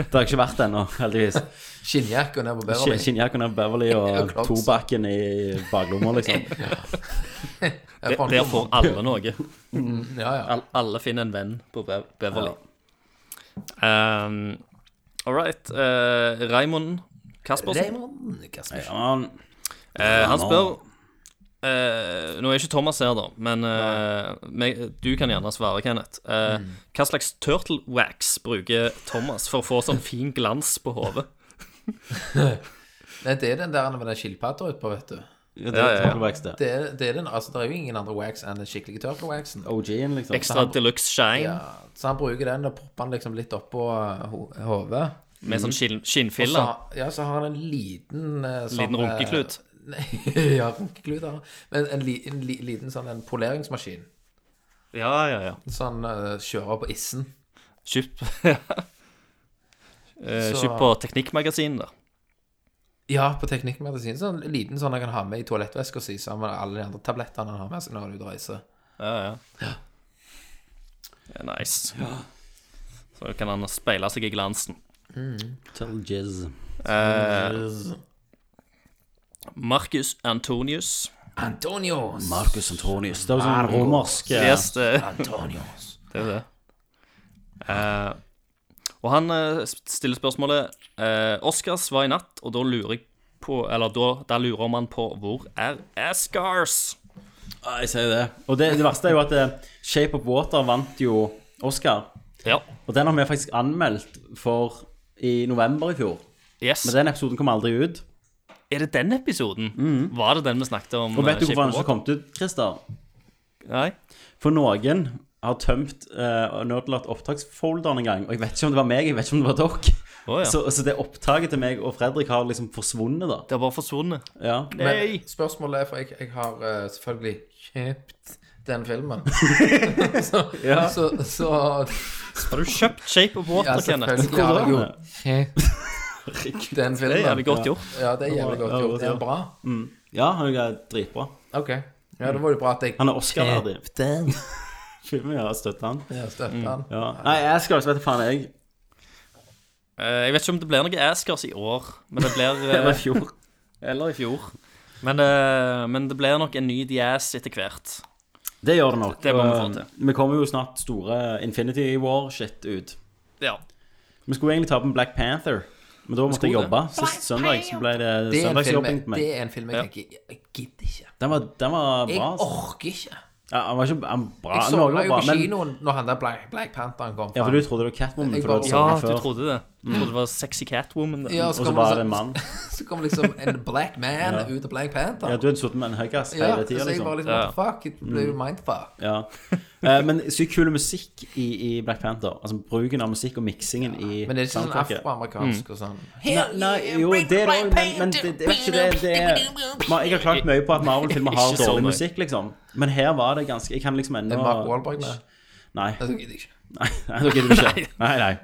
Speaker 2: Det har jeg ikke vært ennå, heldigvis.
Speaker 3: Skinnjakke og ned på Beverly.
Speaker 2: Skin- Skinnjakken er på Beverly
Speaker 3: Ja,
Speaker 2: og
Speaker 3: klart.
Speaker 2: tobakken i baklomma, liksom.
Speaker 3: Ja, faen,
Speaker 4: Der
Speaker 3: kom.
Speaker 4: får alle noe.
Speaker 3: Ja, ja.
Speaker 4: Al- alle finner en venn på Be Beverly. Um, All right. eh, Raymond Kaspersen.
Speaker 3: Raymond Kaspersen.
Speaker 2: Ja, men,
Speaker 4: Eh, han spør eh, Nå er ikke Thomas her, da, men eh, meg, du kan gjerne svare, Kenneth. Eh, Hva slags turtle wax bruker Thomas for å få sånn fin glans på hodet?
Speaker 3: Nei, det er den der med den skilpadda utpå, vet du.
Speaker 2: ja, det
Speaker 4: Ja, ja,
Speaker 2: er
Speaker 4: ja.
Speaker 2: Turtlewax, det.
Speaker 3: Det er, det er den, altså, det er jo ingen andre wax enn den skikkelige turtle-waxen.
Speaker 2: OG-en, liksom.
Speaker 4: Ekstra deluxe shine
Speaker 3: Ja, så han bruker den og propper den liksom litt oppå eh, ho- hodet.
Speaker 4: med sånn skinn,
Speaker 3: Og så
Speaker 4: skinnfiller.
Speaker 3: har- Ja, så har han en liten eh, sånn,
Speaker 4: Liten runkeklut.
Speaker 3: eh, Nei, ja, runkeklut har han. Men en, li, en li, liten sånn en poleringsmaskin.
Speaker 4: Ja, ja, ja.
Speaker 3: Sånn eh, kjører på issen.
Speaker 4: Kjøpt Eh,
Speaker 3: Så-
Speaker 4: kjøpt på Teknikkmagasinet, da.
Speaker 3: Ja, på teknikkmedisin. Sånn en liten sånn han kan ha med i toalettveska si sammen med alle de andre tablettene han har med seg når han er ute og reiser.
Speaker 4: Ja, ja. Ja, Nice. Så kan han speile seg i glansen.
Speaker 2: Turtle jizz.
Speaker 4: Marcus Antonius.
Speaker 3: Antonios!
Speaker 2: Marcus Antonius. Det er jo sånn romersk eh,
Speaker 4: Yes, det,
Speaker 3: Antonios.
Speaker 4: det er det. Eh, og han eh, stiller spørsmålet eh, Oscars var i natt, og da lurer jeg på Eller da, da lurer man på hvor er Ascars?
Speaker 2: Ja, jeg sier det. Og det, det verste er jo at eh, Shape of Water vant jo Oscar.
Speaker 4: Ja.
Speaker 2: Og den har vi faktisk anmeldt for i november i fjor.
Speaker 4: Yes.
Speaker 2: Men den episoden kom aldri ut.
Speaker 4: Er det den episoden? Var det den vi snakket om?
Speaker 2: Og vet
Speaker 4: eh,
Speaker 2: du hvorfor den
Speaker 4: Shape of
Speaker 2: ikke kom ut, Christer?
Speaker 4: Water? Nei?
Speaker 2: For noen har tømt uh, Nerdlert opptaksfolderen en gang. Og jeg vet ikke om det var meg, jeg vet ikke om det var dere.
Speaker 4: Å, ja.
Speaker 2: så, så det opptaket til meg og Fredrik har liksom forsvunnet, da.
Speaker 4: Det har bare forsvunnet.
Speaker 2: Ja.
Speaker 3: Men
Speaker 4: Nei.
Speaker 3: spørsmålet er, for jeg, jeg har eh, selvfølgelig kjøpt den filmen.
Speaker 2: Ja.
Speaker 3: Så, så
Speaker 4: Har du kjøpt Shape of
Speaker 3: ja,
Speaker 4: Water, Kenneth?
Speaker 3: selvfølgelig har jeg jo kjøpt den
Speaker 4: Det er jævlig
Speaker 3: filmen.
Speaker 4: godt gjort.
Speaker 3: Ja, det er jævlig godt
Speaker 2: Ja,
Speaker 3: gjort. Det
Speaker 2: ja.
Speaker 3: er bra.
Speaker 2: ja, han er dritbra.
Speaker 3: Ok. Ja, det var jo bra at jeg
Speaker 2: Han er Oscar-verdig.
Speaker 3: den.
Speaker 2: Filmen ja, støtter han.
Speaker 3: Ja, støtte han.
Speaker 2: Ja. Nei, Ascars vet du faen jeg.
Speaker 4: Eh, jeg vet ikke om det blir noe Ascars i år, men det blir eh,
Speaker 2: Eller i fjor.
Speaker 4: Eller i fjor. Men, eh, men det blir nok en ny Diaz etter hvert.
Speaker 2: Det gjør det nok.
Speaker 4: Det må vi få til.
Speaker 2: Eh, Vi kommer jo snart store Infinity War-shit ut.
Speaker 4: Ja.
Speaker 2: Vi skulle egentlig ta på en Black Panther, men da måtte jeg
Speaker 4: skulle
Speaker 2: jobbe. Sist søndag så ble det,
Speaker 3: Det er en film,
Speaker 2: søndagsjobbing på
Speaker 3: jeg-
Speaker 2: meg.
Speaker 3: det er en film jeg tenker Jeg gidder ikke.
Speaker 2: Den var, den var bra.
Speaker 3: Jeg
Speaker 2: altså.
Speaker 3: orker ikke.
Speaker 2: Ja, han var ikke han var bra.
Speaker 3: Jeg
Speaker 2: Noe var
Speaker 3: sovna jo
Speaker 2: bra,
Speaker 3: på
Speaker 2: men-
Speaker 3: kinoen når han der Black, Black Pantheren kom.
Speaker 2: Ja, for du trodde det var Catwoman,
Speaker 3: Jeg
Speaker 2: for du hadde
Speaker 3: bare-
Speaker 4: ja,
Speaker 2: sett
Speaker 4: du
Speaker 2: den før.
Speaker 4: trodde det. Du trodde det var Sexy Catwoman. Det.
Speaker 3: Ja,
Speaker 2: Og så
Speaker 3: kommer
Speaker 2: var
Speaker 3: liksom-
Speaker 2: det en mann.
Speaker 3: Så kom liksom en black man ut av Black Panther.
Speaker 2: Ja, du hadde sittet med en høygass
Speaker 3: Ja,
Speaker 2: hele tida,
Speaker 3: så jeg bare
Speaker 2: liksom. Mm.
Speaker 3: liksom What the fuck? Det ble jo mindfuck.
Speaker 2: Ja. Eh, Men sykt kul musikk i, i Black Panther. Altså bruken av musikk og miksingen i
Speaker 3: Men det er ikke sånn
Speaker 2: soundtracket.
Speaker 3: afroamerikansk og sånn
Speaker 2: Nei, nei, jo, det er det òg, men, men det, det er ikke det, det er, Ma- Jeg har klagt mye på at Marvel-filmer har
Speaker 4: Ikke så
Speaker 2: dårlig
Speaker 4: mye.
Speaker 2: musikk, liksom. Men her var det ganske Jeg kan liksom ennå
Speaker 3: Det er Mark Wahlberg med.
Speaker 2: Nei.
Speaker 3: Altså, gidder jeg ikke.
Speaker 2: Nei, nei, da gidder du ikke. Nei, nei.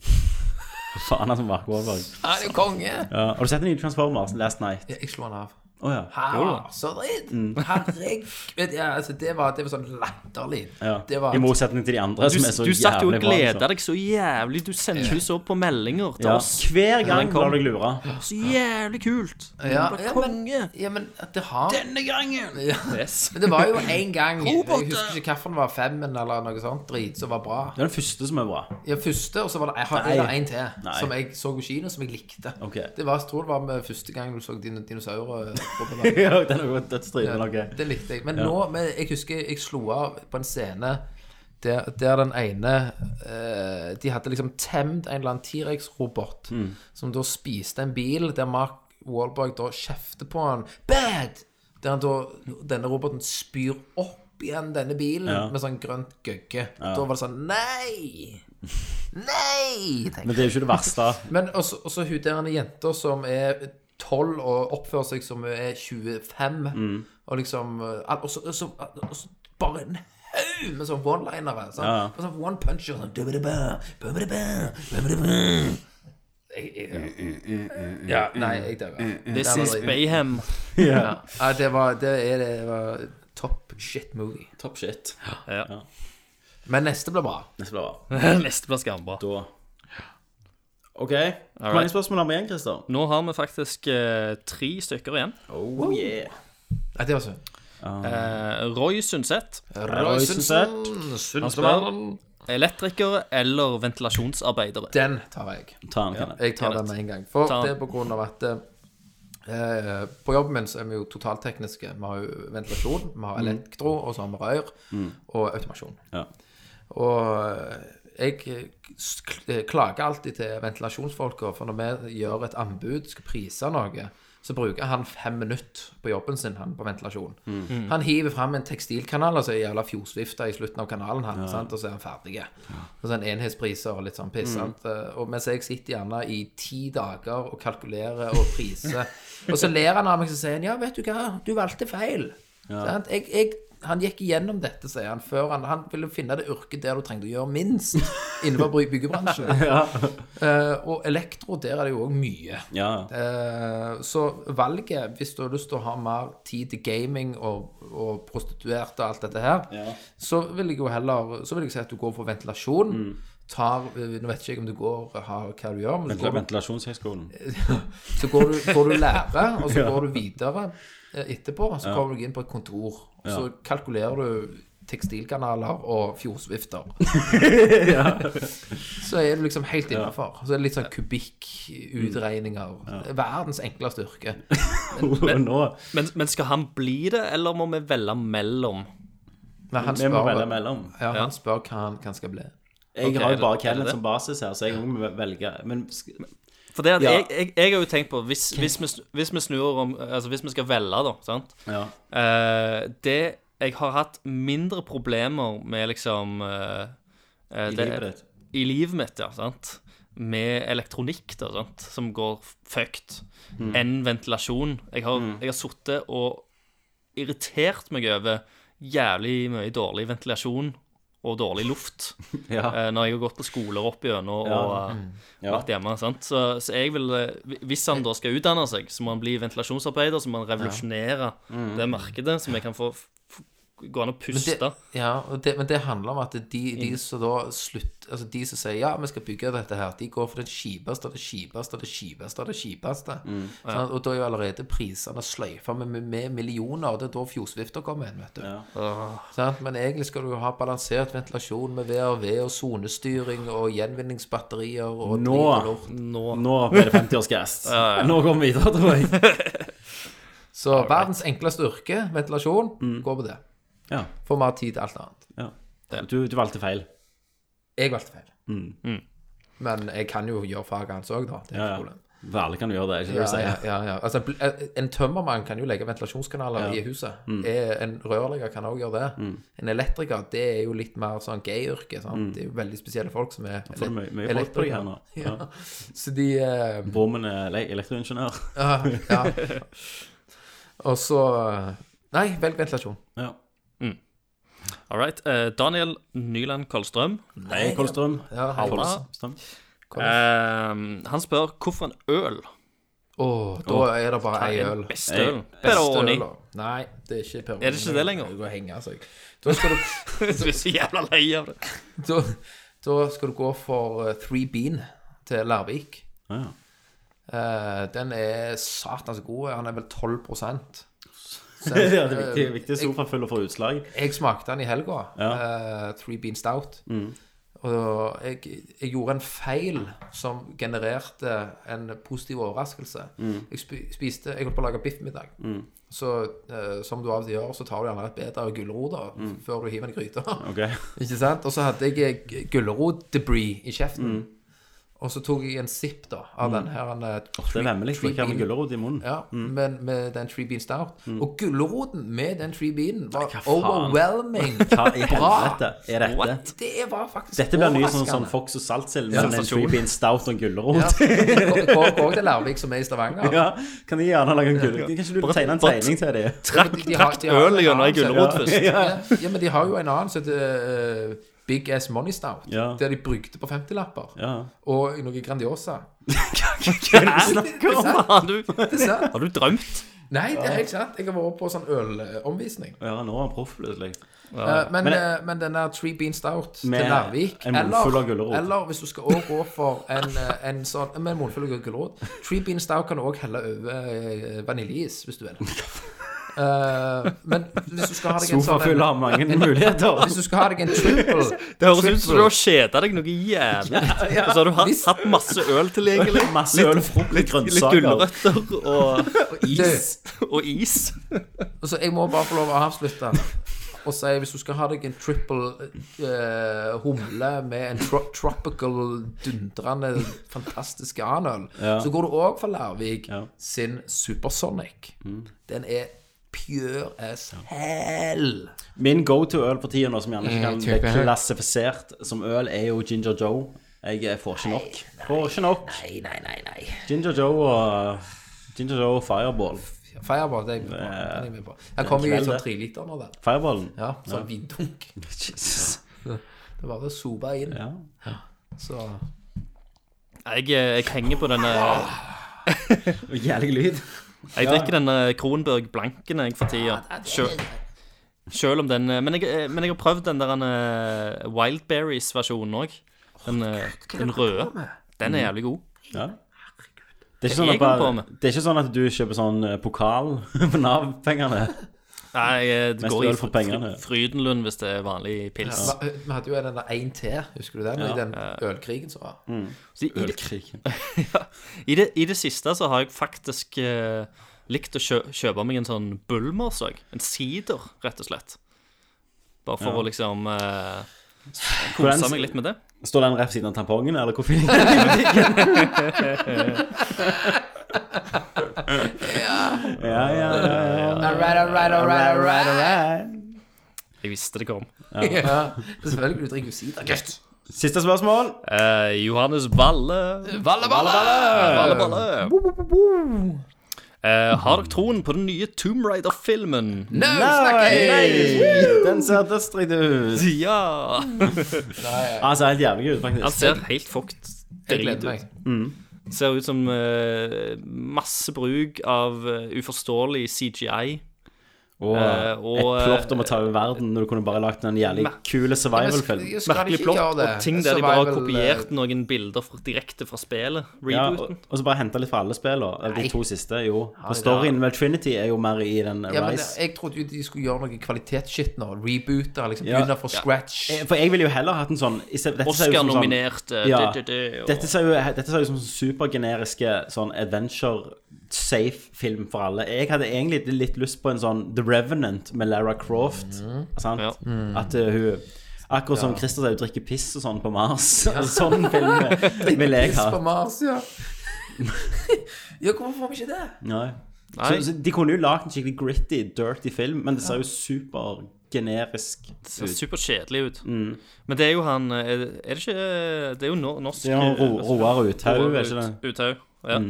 Speaker 2: Hva Faen, altså, Mark Wahlberg.
Speaker 3: Han er jo konge!
Speaker 2: Ja, har du sett den nye Transformers Last Night?
Speaker 3: Ja, Jeg slo han av.
Speaker 2: Å ja.
Speaker 3: Ha, Ah, så dritt!
Speaker 2: Mm.
Speaker 3: Herregud! Ja, altså, det, var, det var sånn latterlig.
Speaker 2: ja.
Speaker 3: Det var
Speaker 2: I motsetning til de andre,
Speaker 4: Du,
Speaker 2: som er så
Speaker 4: du satt jo og
Speaker 2: jævlig bra,
Speaker 4: gleda
Speaker 2: liksom.
Speaker 4: deg så jævlig. Du sendte jo så på meldinger til
Speaker 2: Ja.
Speaker 4: oss.
Speaker 2: Hver gang
Speaker 4: den kom.
Speaker 2: lar deg lure.
Speaker 4: Så jævlig kult.
Speaker 3: ja,
Speaker 4: Du var
Speaker 3: ja, men,
Speaker 4: konge.
Speaker 3: ja, men at det har
Speaker 4: Denne gangen.
Speaker 3: ja.
Speaker 4: Yes.
Speaker 3: Men det var jo en gang Jeg husker ikke hvilken var femmen eller noe sånt drit som var bra.
Speaker 2: Det er den første som er bra.
Speaker 3: Ja, første, og så var det, jeg har, er det en til
Speaker 2: Nei.
Speaker 3: som jeg så på kino som jeg likte.
Speaker 2: Ok.
Speaker 3: Det var, jeg tror det var med første gang du så din, dinosaurer etterpå. på dagen.
Speaker 2: Ja, den er jo dødsdriven. ok.
Speaker 3: Det likte jeg. Men nå, men jeg husker jeg slo av på en scene der, der den ene eh, De hadde liksom temt en eller annen T-rex-robot som da spiste en bil, der Mark Wahlberg da kjefter på han Bad! Der han da, denne roboten spyr opp igjen denne bilen med sånn grønt gøgge. Da var det sånn Nei! Nei! tenkte jeg.
Speaker 2: Men det er jo ikke det verste.
Speaker 3: Men også, også hun der ene jenta som er 12 og oppfører seg som hun er 25,
Speaker 4: Mm.
Speaker 3: og liksom eh, al- Og så og så- og så bare en haug med sånn one-linere. Sånn,
Speaker 2: Ja, ja.
Speaker 3: Bare sånn one puncher. Sånn, «Dubba-dubba, bubba-dubba, bubba-dubba». Jeg-
Speaker 4: Mm,
Speaker 3: jeg- Ja, nei, jeg dauer.
Speaker 4: This is Bayhem.
Speaker 3: Ja, det var Det er det var top shit movie.
Speaker 2: Top shit.
Speaker 4: Ja.
Speaker 3: Men neste blir bra.
Speaker 2: Neste blir bra.
Speaker 4: Neste blir skambra.
Speaker 2: Da OK. Hvor mange spørsmål har vi igjen, Christer?
Speaker 4: Nå har vi faktisk eh, tre stykker igjen.
Speaker 2: Oh yeah.
Speaker 3: Nei, det var sånn.
Speaker 2: Ah.
Speaker 4: Eh, Roy Sundset.
Speaker 2: Roysensett.
Speaker 4: Han spør elektriker eller ventilasjonsarbeidere.
Speaker 3: Den tar jeg.
Speaker 2: Ta den, Kenneth.
Speaker 3: Jeg tar
Speaker 4: Greit.
Speaker 3: den med en gang. For
Speaker 4: Ta den.
Speaker 3: det er på grunn av at eh, på jobben min så er vi jo totaltekniske. Vi har jo ventilasjon, vi
Speaker 4: Mm.
Speaker 3: har elektro, og så har vi rør og automasjon.
Speaker 2: Ja.
Speaker 3: Og eh, jeg sk- eh, klager alltid til ventilasjonsfolka, for når vi gjør et anbud, skal prise noe, så bruker han fem minutter på jobben sin han, på ventilasjon. Han hiver fram en tekstilkanal, altså en jævla fjordvifte i slutten av kanalen, han, sant? og så er han ferdig. Og så er han enhetspriser og litt sånn piss. Sant? Og mens jeg sitter gjerne i ti dager og kalkulerer og priser, og så ler han av meg og sier han, ja, vet du hva, du valgte feil. Sant? Jeg, jeg, han gikk igjennom dette, sier han, før han, han ville finne det yrket der du trengte å gjøre minst innenfor by- byggebransjen. Eh, og elektro, der er det jo òg mye.
Speaker 2: ja.
Speaker 3: Eh, så valget, hvis du har lyst til å ha mer tid til gaming og, og prostituerte og alt dette her, så vil jeg jo heller Så vil jeg si at du går for ventilasjon. Tar, eh, nå vet ikke jeg om du går har hva du gjør, men du
Speaker 2: Ventila-
Speaker 3: går,
Speaker 2: Ventilasjonshøgskolen.
Speaker 3: så går du, går du lære, og så går du videre eh, etterpå. Så kommer du inn på et kontor, og så kalkulerer du tekstilkanaler og fjordsvifter. så er du liksom helt innafor. Så er det litt sånn kubikkutregninger. Verdens enkleste yrke.
Speaker 2: Nå
Speaker 4: Eh, Men, men skal han bli det, eller må vi velge mellom?
Speaker 3: Men han
Speaker 2: Vi må velge
Speaker 3: spør,
Speaker 2: mellom.
Speaker 3: ja, han spør hva han, hva han skal bli.
Speaker 2: Jeg
Speaker 4: Ok,
Speaker 2: har
Speaker 4: er
Speaker 2: jo
Speaker 4: det-
Speaker 2: bare
Speaker 4: er det
Speaker 2: Kenneth
Speaker 4: det?
Speaker 2: som basis her, så jeg må velge. Men sk-
Speaker 4: For det at
Speaker 2: Ja.
Speaker 4: jeg, jeg, jeg har jo tenkt på Hvis, hvis, vi, snu- hvis vi snur om Altså hvis vi skal velge da, sant
Speaker 2: ja.
Speaker 4: Eh, Det Jeg har hatt mindre problemer med liksom eh, eh,
Speaker 2: I
Speaker 4: det-
Speaker 2: livet ditt.
Speaker 4: I livet mitt, ja, sant Med elektronikk da, sant Som går fucked
Speaker 2: Mm.
Speaker 4: Enn ventilasjon Jeg har, jeg har suttet og irritert meg over Jævlig mye dårlig ventilasjon Og dårlig luft
Speaker 2: Ja.
Speaker 4: eh, Når jeg har gått på skoler opp gjennom Og eh,
Speaker 2: Ja.
Speaker 4: vært hjemme. sant? Så, så jeg vil eh, hvi- Hvis han da skal utdanne seg, så må han bli ventilasjonsarbeider, så må han revolusjonere det markedet, så vi kan få f gå an å
Speaker 3: Mm.
Speaker 4: puste.
Speaker 3: Det, ja, og det, men det handler om at de,
Speaker 2: Mm.
Speaker 3: de som da slutt, altså de som sier ja, vi skal bygge dette her, de går for det kjipeste og det kjipeste og det kjipeste og det kjipeste.
Speaker 2: Mm.
Speaker 3: Sånn, og da er jo allerede prisene sløyfa med, med, med millioner, og det er da fjordsvifter kommer inn, vet du. Sant? Men egentlig skal du jo ha balansert ventilasjon med VRV og sonestyring og gjenvinningsbatterier og
Speaker 2: Nå.
Speaker 3: drit og lort.
Speaker 4: Nå
Speaker 2: Nå ble det 50-årsgast. Nå går vi videre, tror jeg.
Speaker 3: Så verdens enkleste yrke, ventilasjon,
Speaker 2: Mm.
Speaker 3: gå på det.
Speaker 2: Ja.
Speaker 3: Få mer tid til alt annet.
Speaker 2: Du, du valgte feil.
Speaker 3: Jeg valgte feil.
Speaker 4: Mm.
Speaker 3: Men jeg kan jo gjøre faget hans òg, da. Det er
Speaker 2: Ja,
Speaker 3: ikke
Speaker 2: ja.
Speaker 3: problem.
Speaker 2: Vel, alle kan du gjøre det, ikke det
Speaker 3: Ja,
Speaker 2: du
Speaker 3: ja,
Speaker 2: sier?
Speaker 3: ja, ja. Altså, bl- en- en tømmermann kan jo legge ventilasjonskanaler i huset.
Speaker 2: Mm.
Speaker 3: Eh, En rørlegger kan òg gjøre det. En elektriker, det er jo litt mer sånn gay-yrke. sant? Det er jo veldig spesielle folk som er
Speaker 2: Mm. Får du mye, mye folk på deg her nå? Ja.
Speaker 3: Så de eh,
Speaker 2: Brummen er le- elektroingeniør.
Speaker 3: Ja. ja. Og så eh, Nei, velg ventilasjon.
Speaker 2: Ja.
Speaker 4: All right. eh, Daniel Nyland Kolstrøm.
Speaker 2: Hei, Kolstrøm.
Speaker 3: Ja, hei.
Speaker 2: Kolstrøm.
Speaker 4: Eh, han spør hvorfor en øl
Speaker 3: Å, da er det bare ei
Speaker 4: er
Speaker 3: øl.
Speaker 4: den beste ølen.
Speaker 3: Støl,
Speaker 4: Peroni.
Speaker 3: da. Nei, det er ikke Peroni.
Speaker 4: Er det ikke det lenger?
Speaker 3: Du går og henger seg. Da skal du
Speaker 4: Du er så jævla lei av det.
Speaker 3: da, da skal du gå for eh, Three Bean til Larvik.
Speaker 2: Ja.
Speaker 3: Eh, den er satans god. Han er vel 12 Så,
Speaker 2: Ja, det er viktig,
Speaker 3: eh,
Speaker 2: viktig sofa full og får utslag.
Speaker 3: Jeg smakte den i helga.
Speaker 2: Ja. Mm.
Speaker 3: eh, Three Bean Stout. Og jeg, jeg gjorde en feil som genererte en positiv overraskelse.
Speaker 2: Mm.
Speaker 3: Jeg spi- spiste Jeg holdt på å lage biffmiddag. Så eh, som du av og til gjør, så tar du gjerne et bed av gulrota
Speaker 2: Mm.
Speaker 3: før du hiver den i gryta.
Speaker 2: Ok.
Speaker 3: Ikke sant? Og så hadde jeg eh, gulrot-debris i kjeften.
Speaker 2: Mm.
Speaker 3: Og så tok jeg en sipp da av den her en, eh,
Speaker 2: Det er vemmelig å drikke med gulrot Mm. i munnen.
Speaker 3: ja, men med den Tree Bean Stout. Og gulroten med den Tree Beanen var
Speaker 2: hva faen?
Speaker 3: overwhelming
Speaker 2: Hva i
Speaker 3: bra.
Speaker 2: helvete er dette?
Speaker 3: Det var faktisk
Speaker 2: Dette blir ny sånn, sånn
Speaker 3: overraskende.
Speaker 2: Fox og saltsild med en
Speaker 4: Sensasjon.
Speaker 2: freebie, en stout og en gulrot.
Speaker 3: Ja, Går- går- går til Larvik, som er i Stavanger.
Speaker 2: Ja, kan de gjerne lage en gulrot? Kan ikke du tegne en
Speaker 4: bare-
Speaker 2: tegning til dem?
Speaker 4: Trakk
Speaker 3: de har-
Speaker 4: trakk
Speaker 3: de har-
Speaker 4: øl gjennom ei gulrot først.
Speaker 3: Ja, ja, men de har jo en annen som heter eh, Big Ass Money Stout,
Speaker 2: Ja.
Speaker 3: der de brukte på 50-lapper.
Speaker 2: Ja.
Speaker 3: Og i noe Grandiosa.
Speaker 4: Hva har du,
Speaker 3: Det er sant.
Speaker 4: har du drømt?
Speaker 3: Nei, det er helt sant. Jeg har vært på sånn ølomvisning.
Speaker 2: ja, nå er han proff, plutselig.
Speaker 3: Eh, men,
Speaker 2: Men-
Speaker 3: eh, men den der Tree Bean Stout
Speaker 2: Med
Speaker 3: til Larvik
Speaker 2: en
Speaker 3: eller-
Speaker 2: munnfull av gulrot.
Speaker 3: Eller hvis du skal også gå for en, eh, en sånn Med en munnfull av gulrot. Tree Bean Stout kan du også helle over eh, vaniljeis, hvis du vil. Eh, men hvis du skal ha deg en sånn
Speaker 2: Sofafyll har mange muligheter.
Speaker 3: Hvis du skal ha deg en triple
Speaker 4: Det høres ut som du har kjeda deg noe jævlig. Og så har du hatt, hatt masse øl tilgjengelig.
Speaker 2: Masse øl, frukt, litt
Speaker 4: Litt
Speaker 2: grønnsaker.
Speaker 4: gulrøtter og,
Speaker 3: is.
Speaker 4: og is.
Speaker 3: Så jeg må bare få lov å avslutte og si hvis du skal ha deg en triple eh, humle med en tro tropical, dundrende, fantastisk anøl, så går du òg for Larvik sin Supersonic. Den er pure as hell.
Speaker 2: Min go to øl for tida nå, som gjerne ikke kan
Speaker 3: type
Speaker 2: bli
Speaker 3: øl.
Speaker 2: klassifisert som øl, er jo Ginger Joe. Jeg eh, får ikke nok. Får ikke nok.
Speaker 3: Nei, nei, nei, nei.
Speaker 2: Ginger Joe og eh, Ginger Joe og Fireball.
Speaker 3: Fireball, det er jeg med på. Den er jeg med på. Jeg kommer jo i en sånn treliter nå, den.
Speaker 2: Fireballen?
Speaker 3: Ja, sånn vindunk.
Speaker 2: Jesus.
Speaker 3: Det er bare å sope inn.
Speaker 2: Ja.
Speaker 3: Så
Speaker 4: Jeg, eh, jeg henger på denne
Speaker 2: Og Jævlig lyd.
Speaker 4: Jeg drikker denne Kronberg Blanken jeg for tida. Sjøl, om den eh, men jeg, men jeg har prøvd den der eh, Wildberries-versjonen òg. Den, eh, den røde. Den
Speaker 2: Mm.
Speaker 4: er jævlig god.
Speaker 2: Ja. Det er, ikke
Speaker 4: Hva
Speaker 2: sånn at
Speaker 4: er jeg god på
Speaker 2: bare,
Speaker 4: med?
Speaker 2: det er ikke sånn at du kjøper sånn eh, pokal på Nav-pengene.
Speaker 4: Nei, eh, det
Speaker 2: Mest
Speaker 4: går i
Speaker 2: øl for
Speaker 4: fry-
Speaker 2: pengene.
Speaker 4: Frydenlund hvis det er vanlig pils.
Speaker 3: Vi vi hadde jo den der 1T, husker du den? I den ølkrigen som var.
Speaker 4: Så i, det,
Speaker 2: Ølkrigen.
Speaker 4: i, det, I det siste så har jeg faktisk eh, likt å kjø, kjøpe meg en sånn Bulmers òg. En sider, rett og slett. Bare for å liksom eh,
Speaker 2: Hvordan-
Speaker 4: kose meg litt med det.
Speaker 2: Står den rett ved siden av tampongen, eller hvorfor ligger den i butikken? ja, ja, ja, ja.
Speaker 3: Alright, alright, alright, alright,
Speaker 4: Jeg visste det kom.
Speaker 3: Ja, selvfølgelig. Du drikker jo sider. Gøst!
Speaker 2: Siste spørsmål.
Speaker 4: Eh, Johannes Valle.
Speaker 3: Valle, valle,
Speaker 4: Valle, Valle. Eh, har dere troen på den nye Tomb Raider-filmen?
Speaker 3: No, snakker jeg!
Speaker 2: Den ser dødsdritt ut.
Speaker 4: Ja!
Speaker 2: Han ser helt jævlig ut, faktisk.
Speaker 4: Han ser helt fucked
Speaker 3: Jeg
Speaker 4: drit
Speaker 3: gleder
Speaker 4: ut.
Speaker 3: meg.
Speaker 4: Ser ut som eh, masse bruk av eh, uforståelig CGI.
Speaker 2: og,
Speaker 4: eh, og,
Speaker 2: et plott om å ta over verden når du kunne bare lagt en jævlig
Speaker 4: Men-
Speaker 2: kul survival-film.
Speaker 3: Jeg skal
Speaker 4: Merkelig
Speaker 3: ikke
Speaker 4: plott
Speaker 3: gjøre
Speaker 4: og
Speaker 3: det.
Speaker 4: ting der de bare
Speaker 3: Survival,
Speaker 4: har
Speaker 3: eh,
Speaker 4: kopiert noen bilder fra, direkte fra spillet.
Speaker 2: Ja, og,
Speaker 4: Rebooten.
Speaker 2: og så bare hente litt fra alle spillene. Eller de to siste, jo. For
Speaker 3: det-
Speaker 2: storyen med Trinity er jo mer i den
Speaker 3: eh, Ja, men
Speaker 2: Rise.
Speaker 3: jeg trodde jo de skulle gjøre noe kvalitetsshit nå. Reboote, liksom
Speaker 2: Ja.
Speaker 3: begynne fra scratch.
Speaker 2: Eh, For jeg ville jo heller hatt en sånn i stedet- dette ser jo ut som sånn-
Speaker 4: Oscar-nominert. eh,
Speaker 2: Ja.
Speaker 4: det, det, det, og-
Speaker 2: Dette ser jo, dette ser jo som supergeneriske sånn adventure safe film for alle. Jeg hadde egentlig litt lyst på en sånn The Revenant med Lara Croft. Sant?
Speaker 4: Ja.
Speaker 2: At eh, hun Akkurat som Christer sier, hun drikker piss og sånn på Mars. sånn film vil jeg
Speaker 3: Piss på
Speaker 2: ha.
Speaker 3: Mars, ja. ja, hvorfor får vi ikke det?
Speaker 2: Nei.
Speaker 4: Nei.
Speaker 2: Så, så de kunne jo lagd en skikkelig gritty, dirty film, men det ser jo supergenerisk
Speaker 4: ser
Speaker 2: ut.
Speaker 4: super kjedelig ut. Men det er jo han eh, Er det ikke eh, Det er jo no- norsk eh,
Speaker 2: Det er jo Ro- Roar Uthaug, er ikke det?
Speaker 4: Uthaug, ja.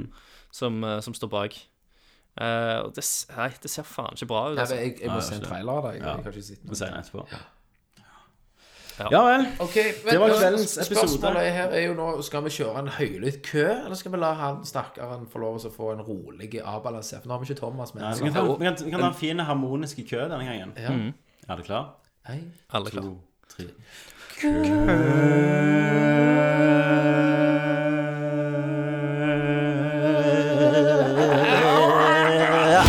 Speaker 4: Som, eh, som står bak. Eh, og det, s- nei, det ser faen ikke bra ut.
Speaker 3: Jeg,
Speaker 4: Altså.
Speaker 3: jeg, jeg må se en trailer av det. Jeg, jeg kan ikke sitte
Speaker 2: Vi
Speaker 3: med.
Speaker 2: ser den etterpå.
Speaker 4: Ja.
Speaker 2: Ja vel.
Speaker 3: Ok, men,
Speaker 2: Det var
Speaker 3: men
Speaker 2: kveldens episode.
Speaker 3: Spørsmålet her er jo nå Skal vi kjøre en høylytt kø, eller skal vi la han stakkaren få lov til å få en rolig, avbalansert For nå har vi ikke Thomas med.
Speaker 2: Vi kan ta, vi kan, vi kan ta en fin harmonisk kø denne gangen.
Speaker 3: Ja.
Speaker 2: Er du klar?
Speaker 3: Hei.
Speaker 4: Alle klar.
Speaker 5: Come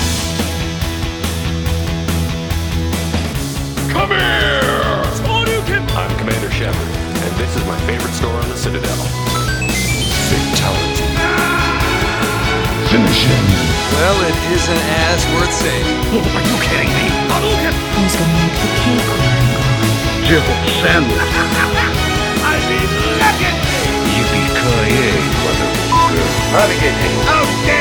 Speaker 5: here! I'm Commander Shepard, and this is my Finish him.
Speaker 6: Well, it isn't as worth saving.
Speaker 5: Are you kidding me?
Speaker 9: Who's gonna make the cake when I'm gone?
Speaker 5: Civil sandwich. I mean, look at me! Yippee-ki-yay, motherfucker. Out there!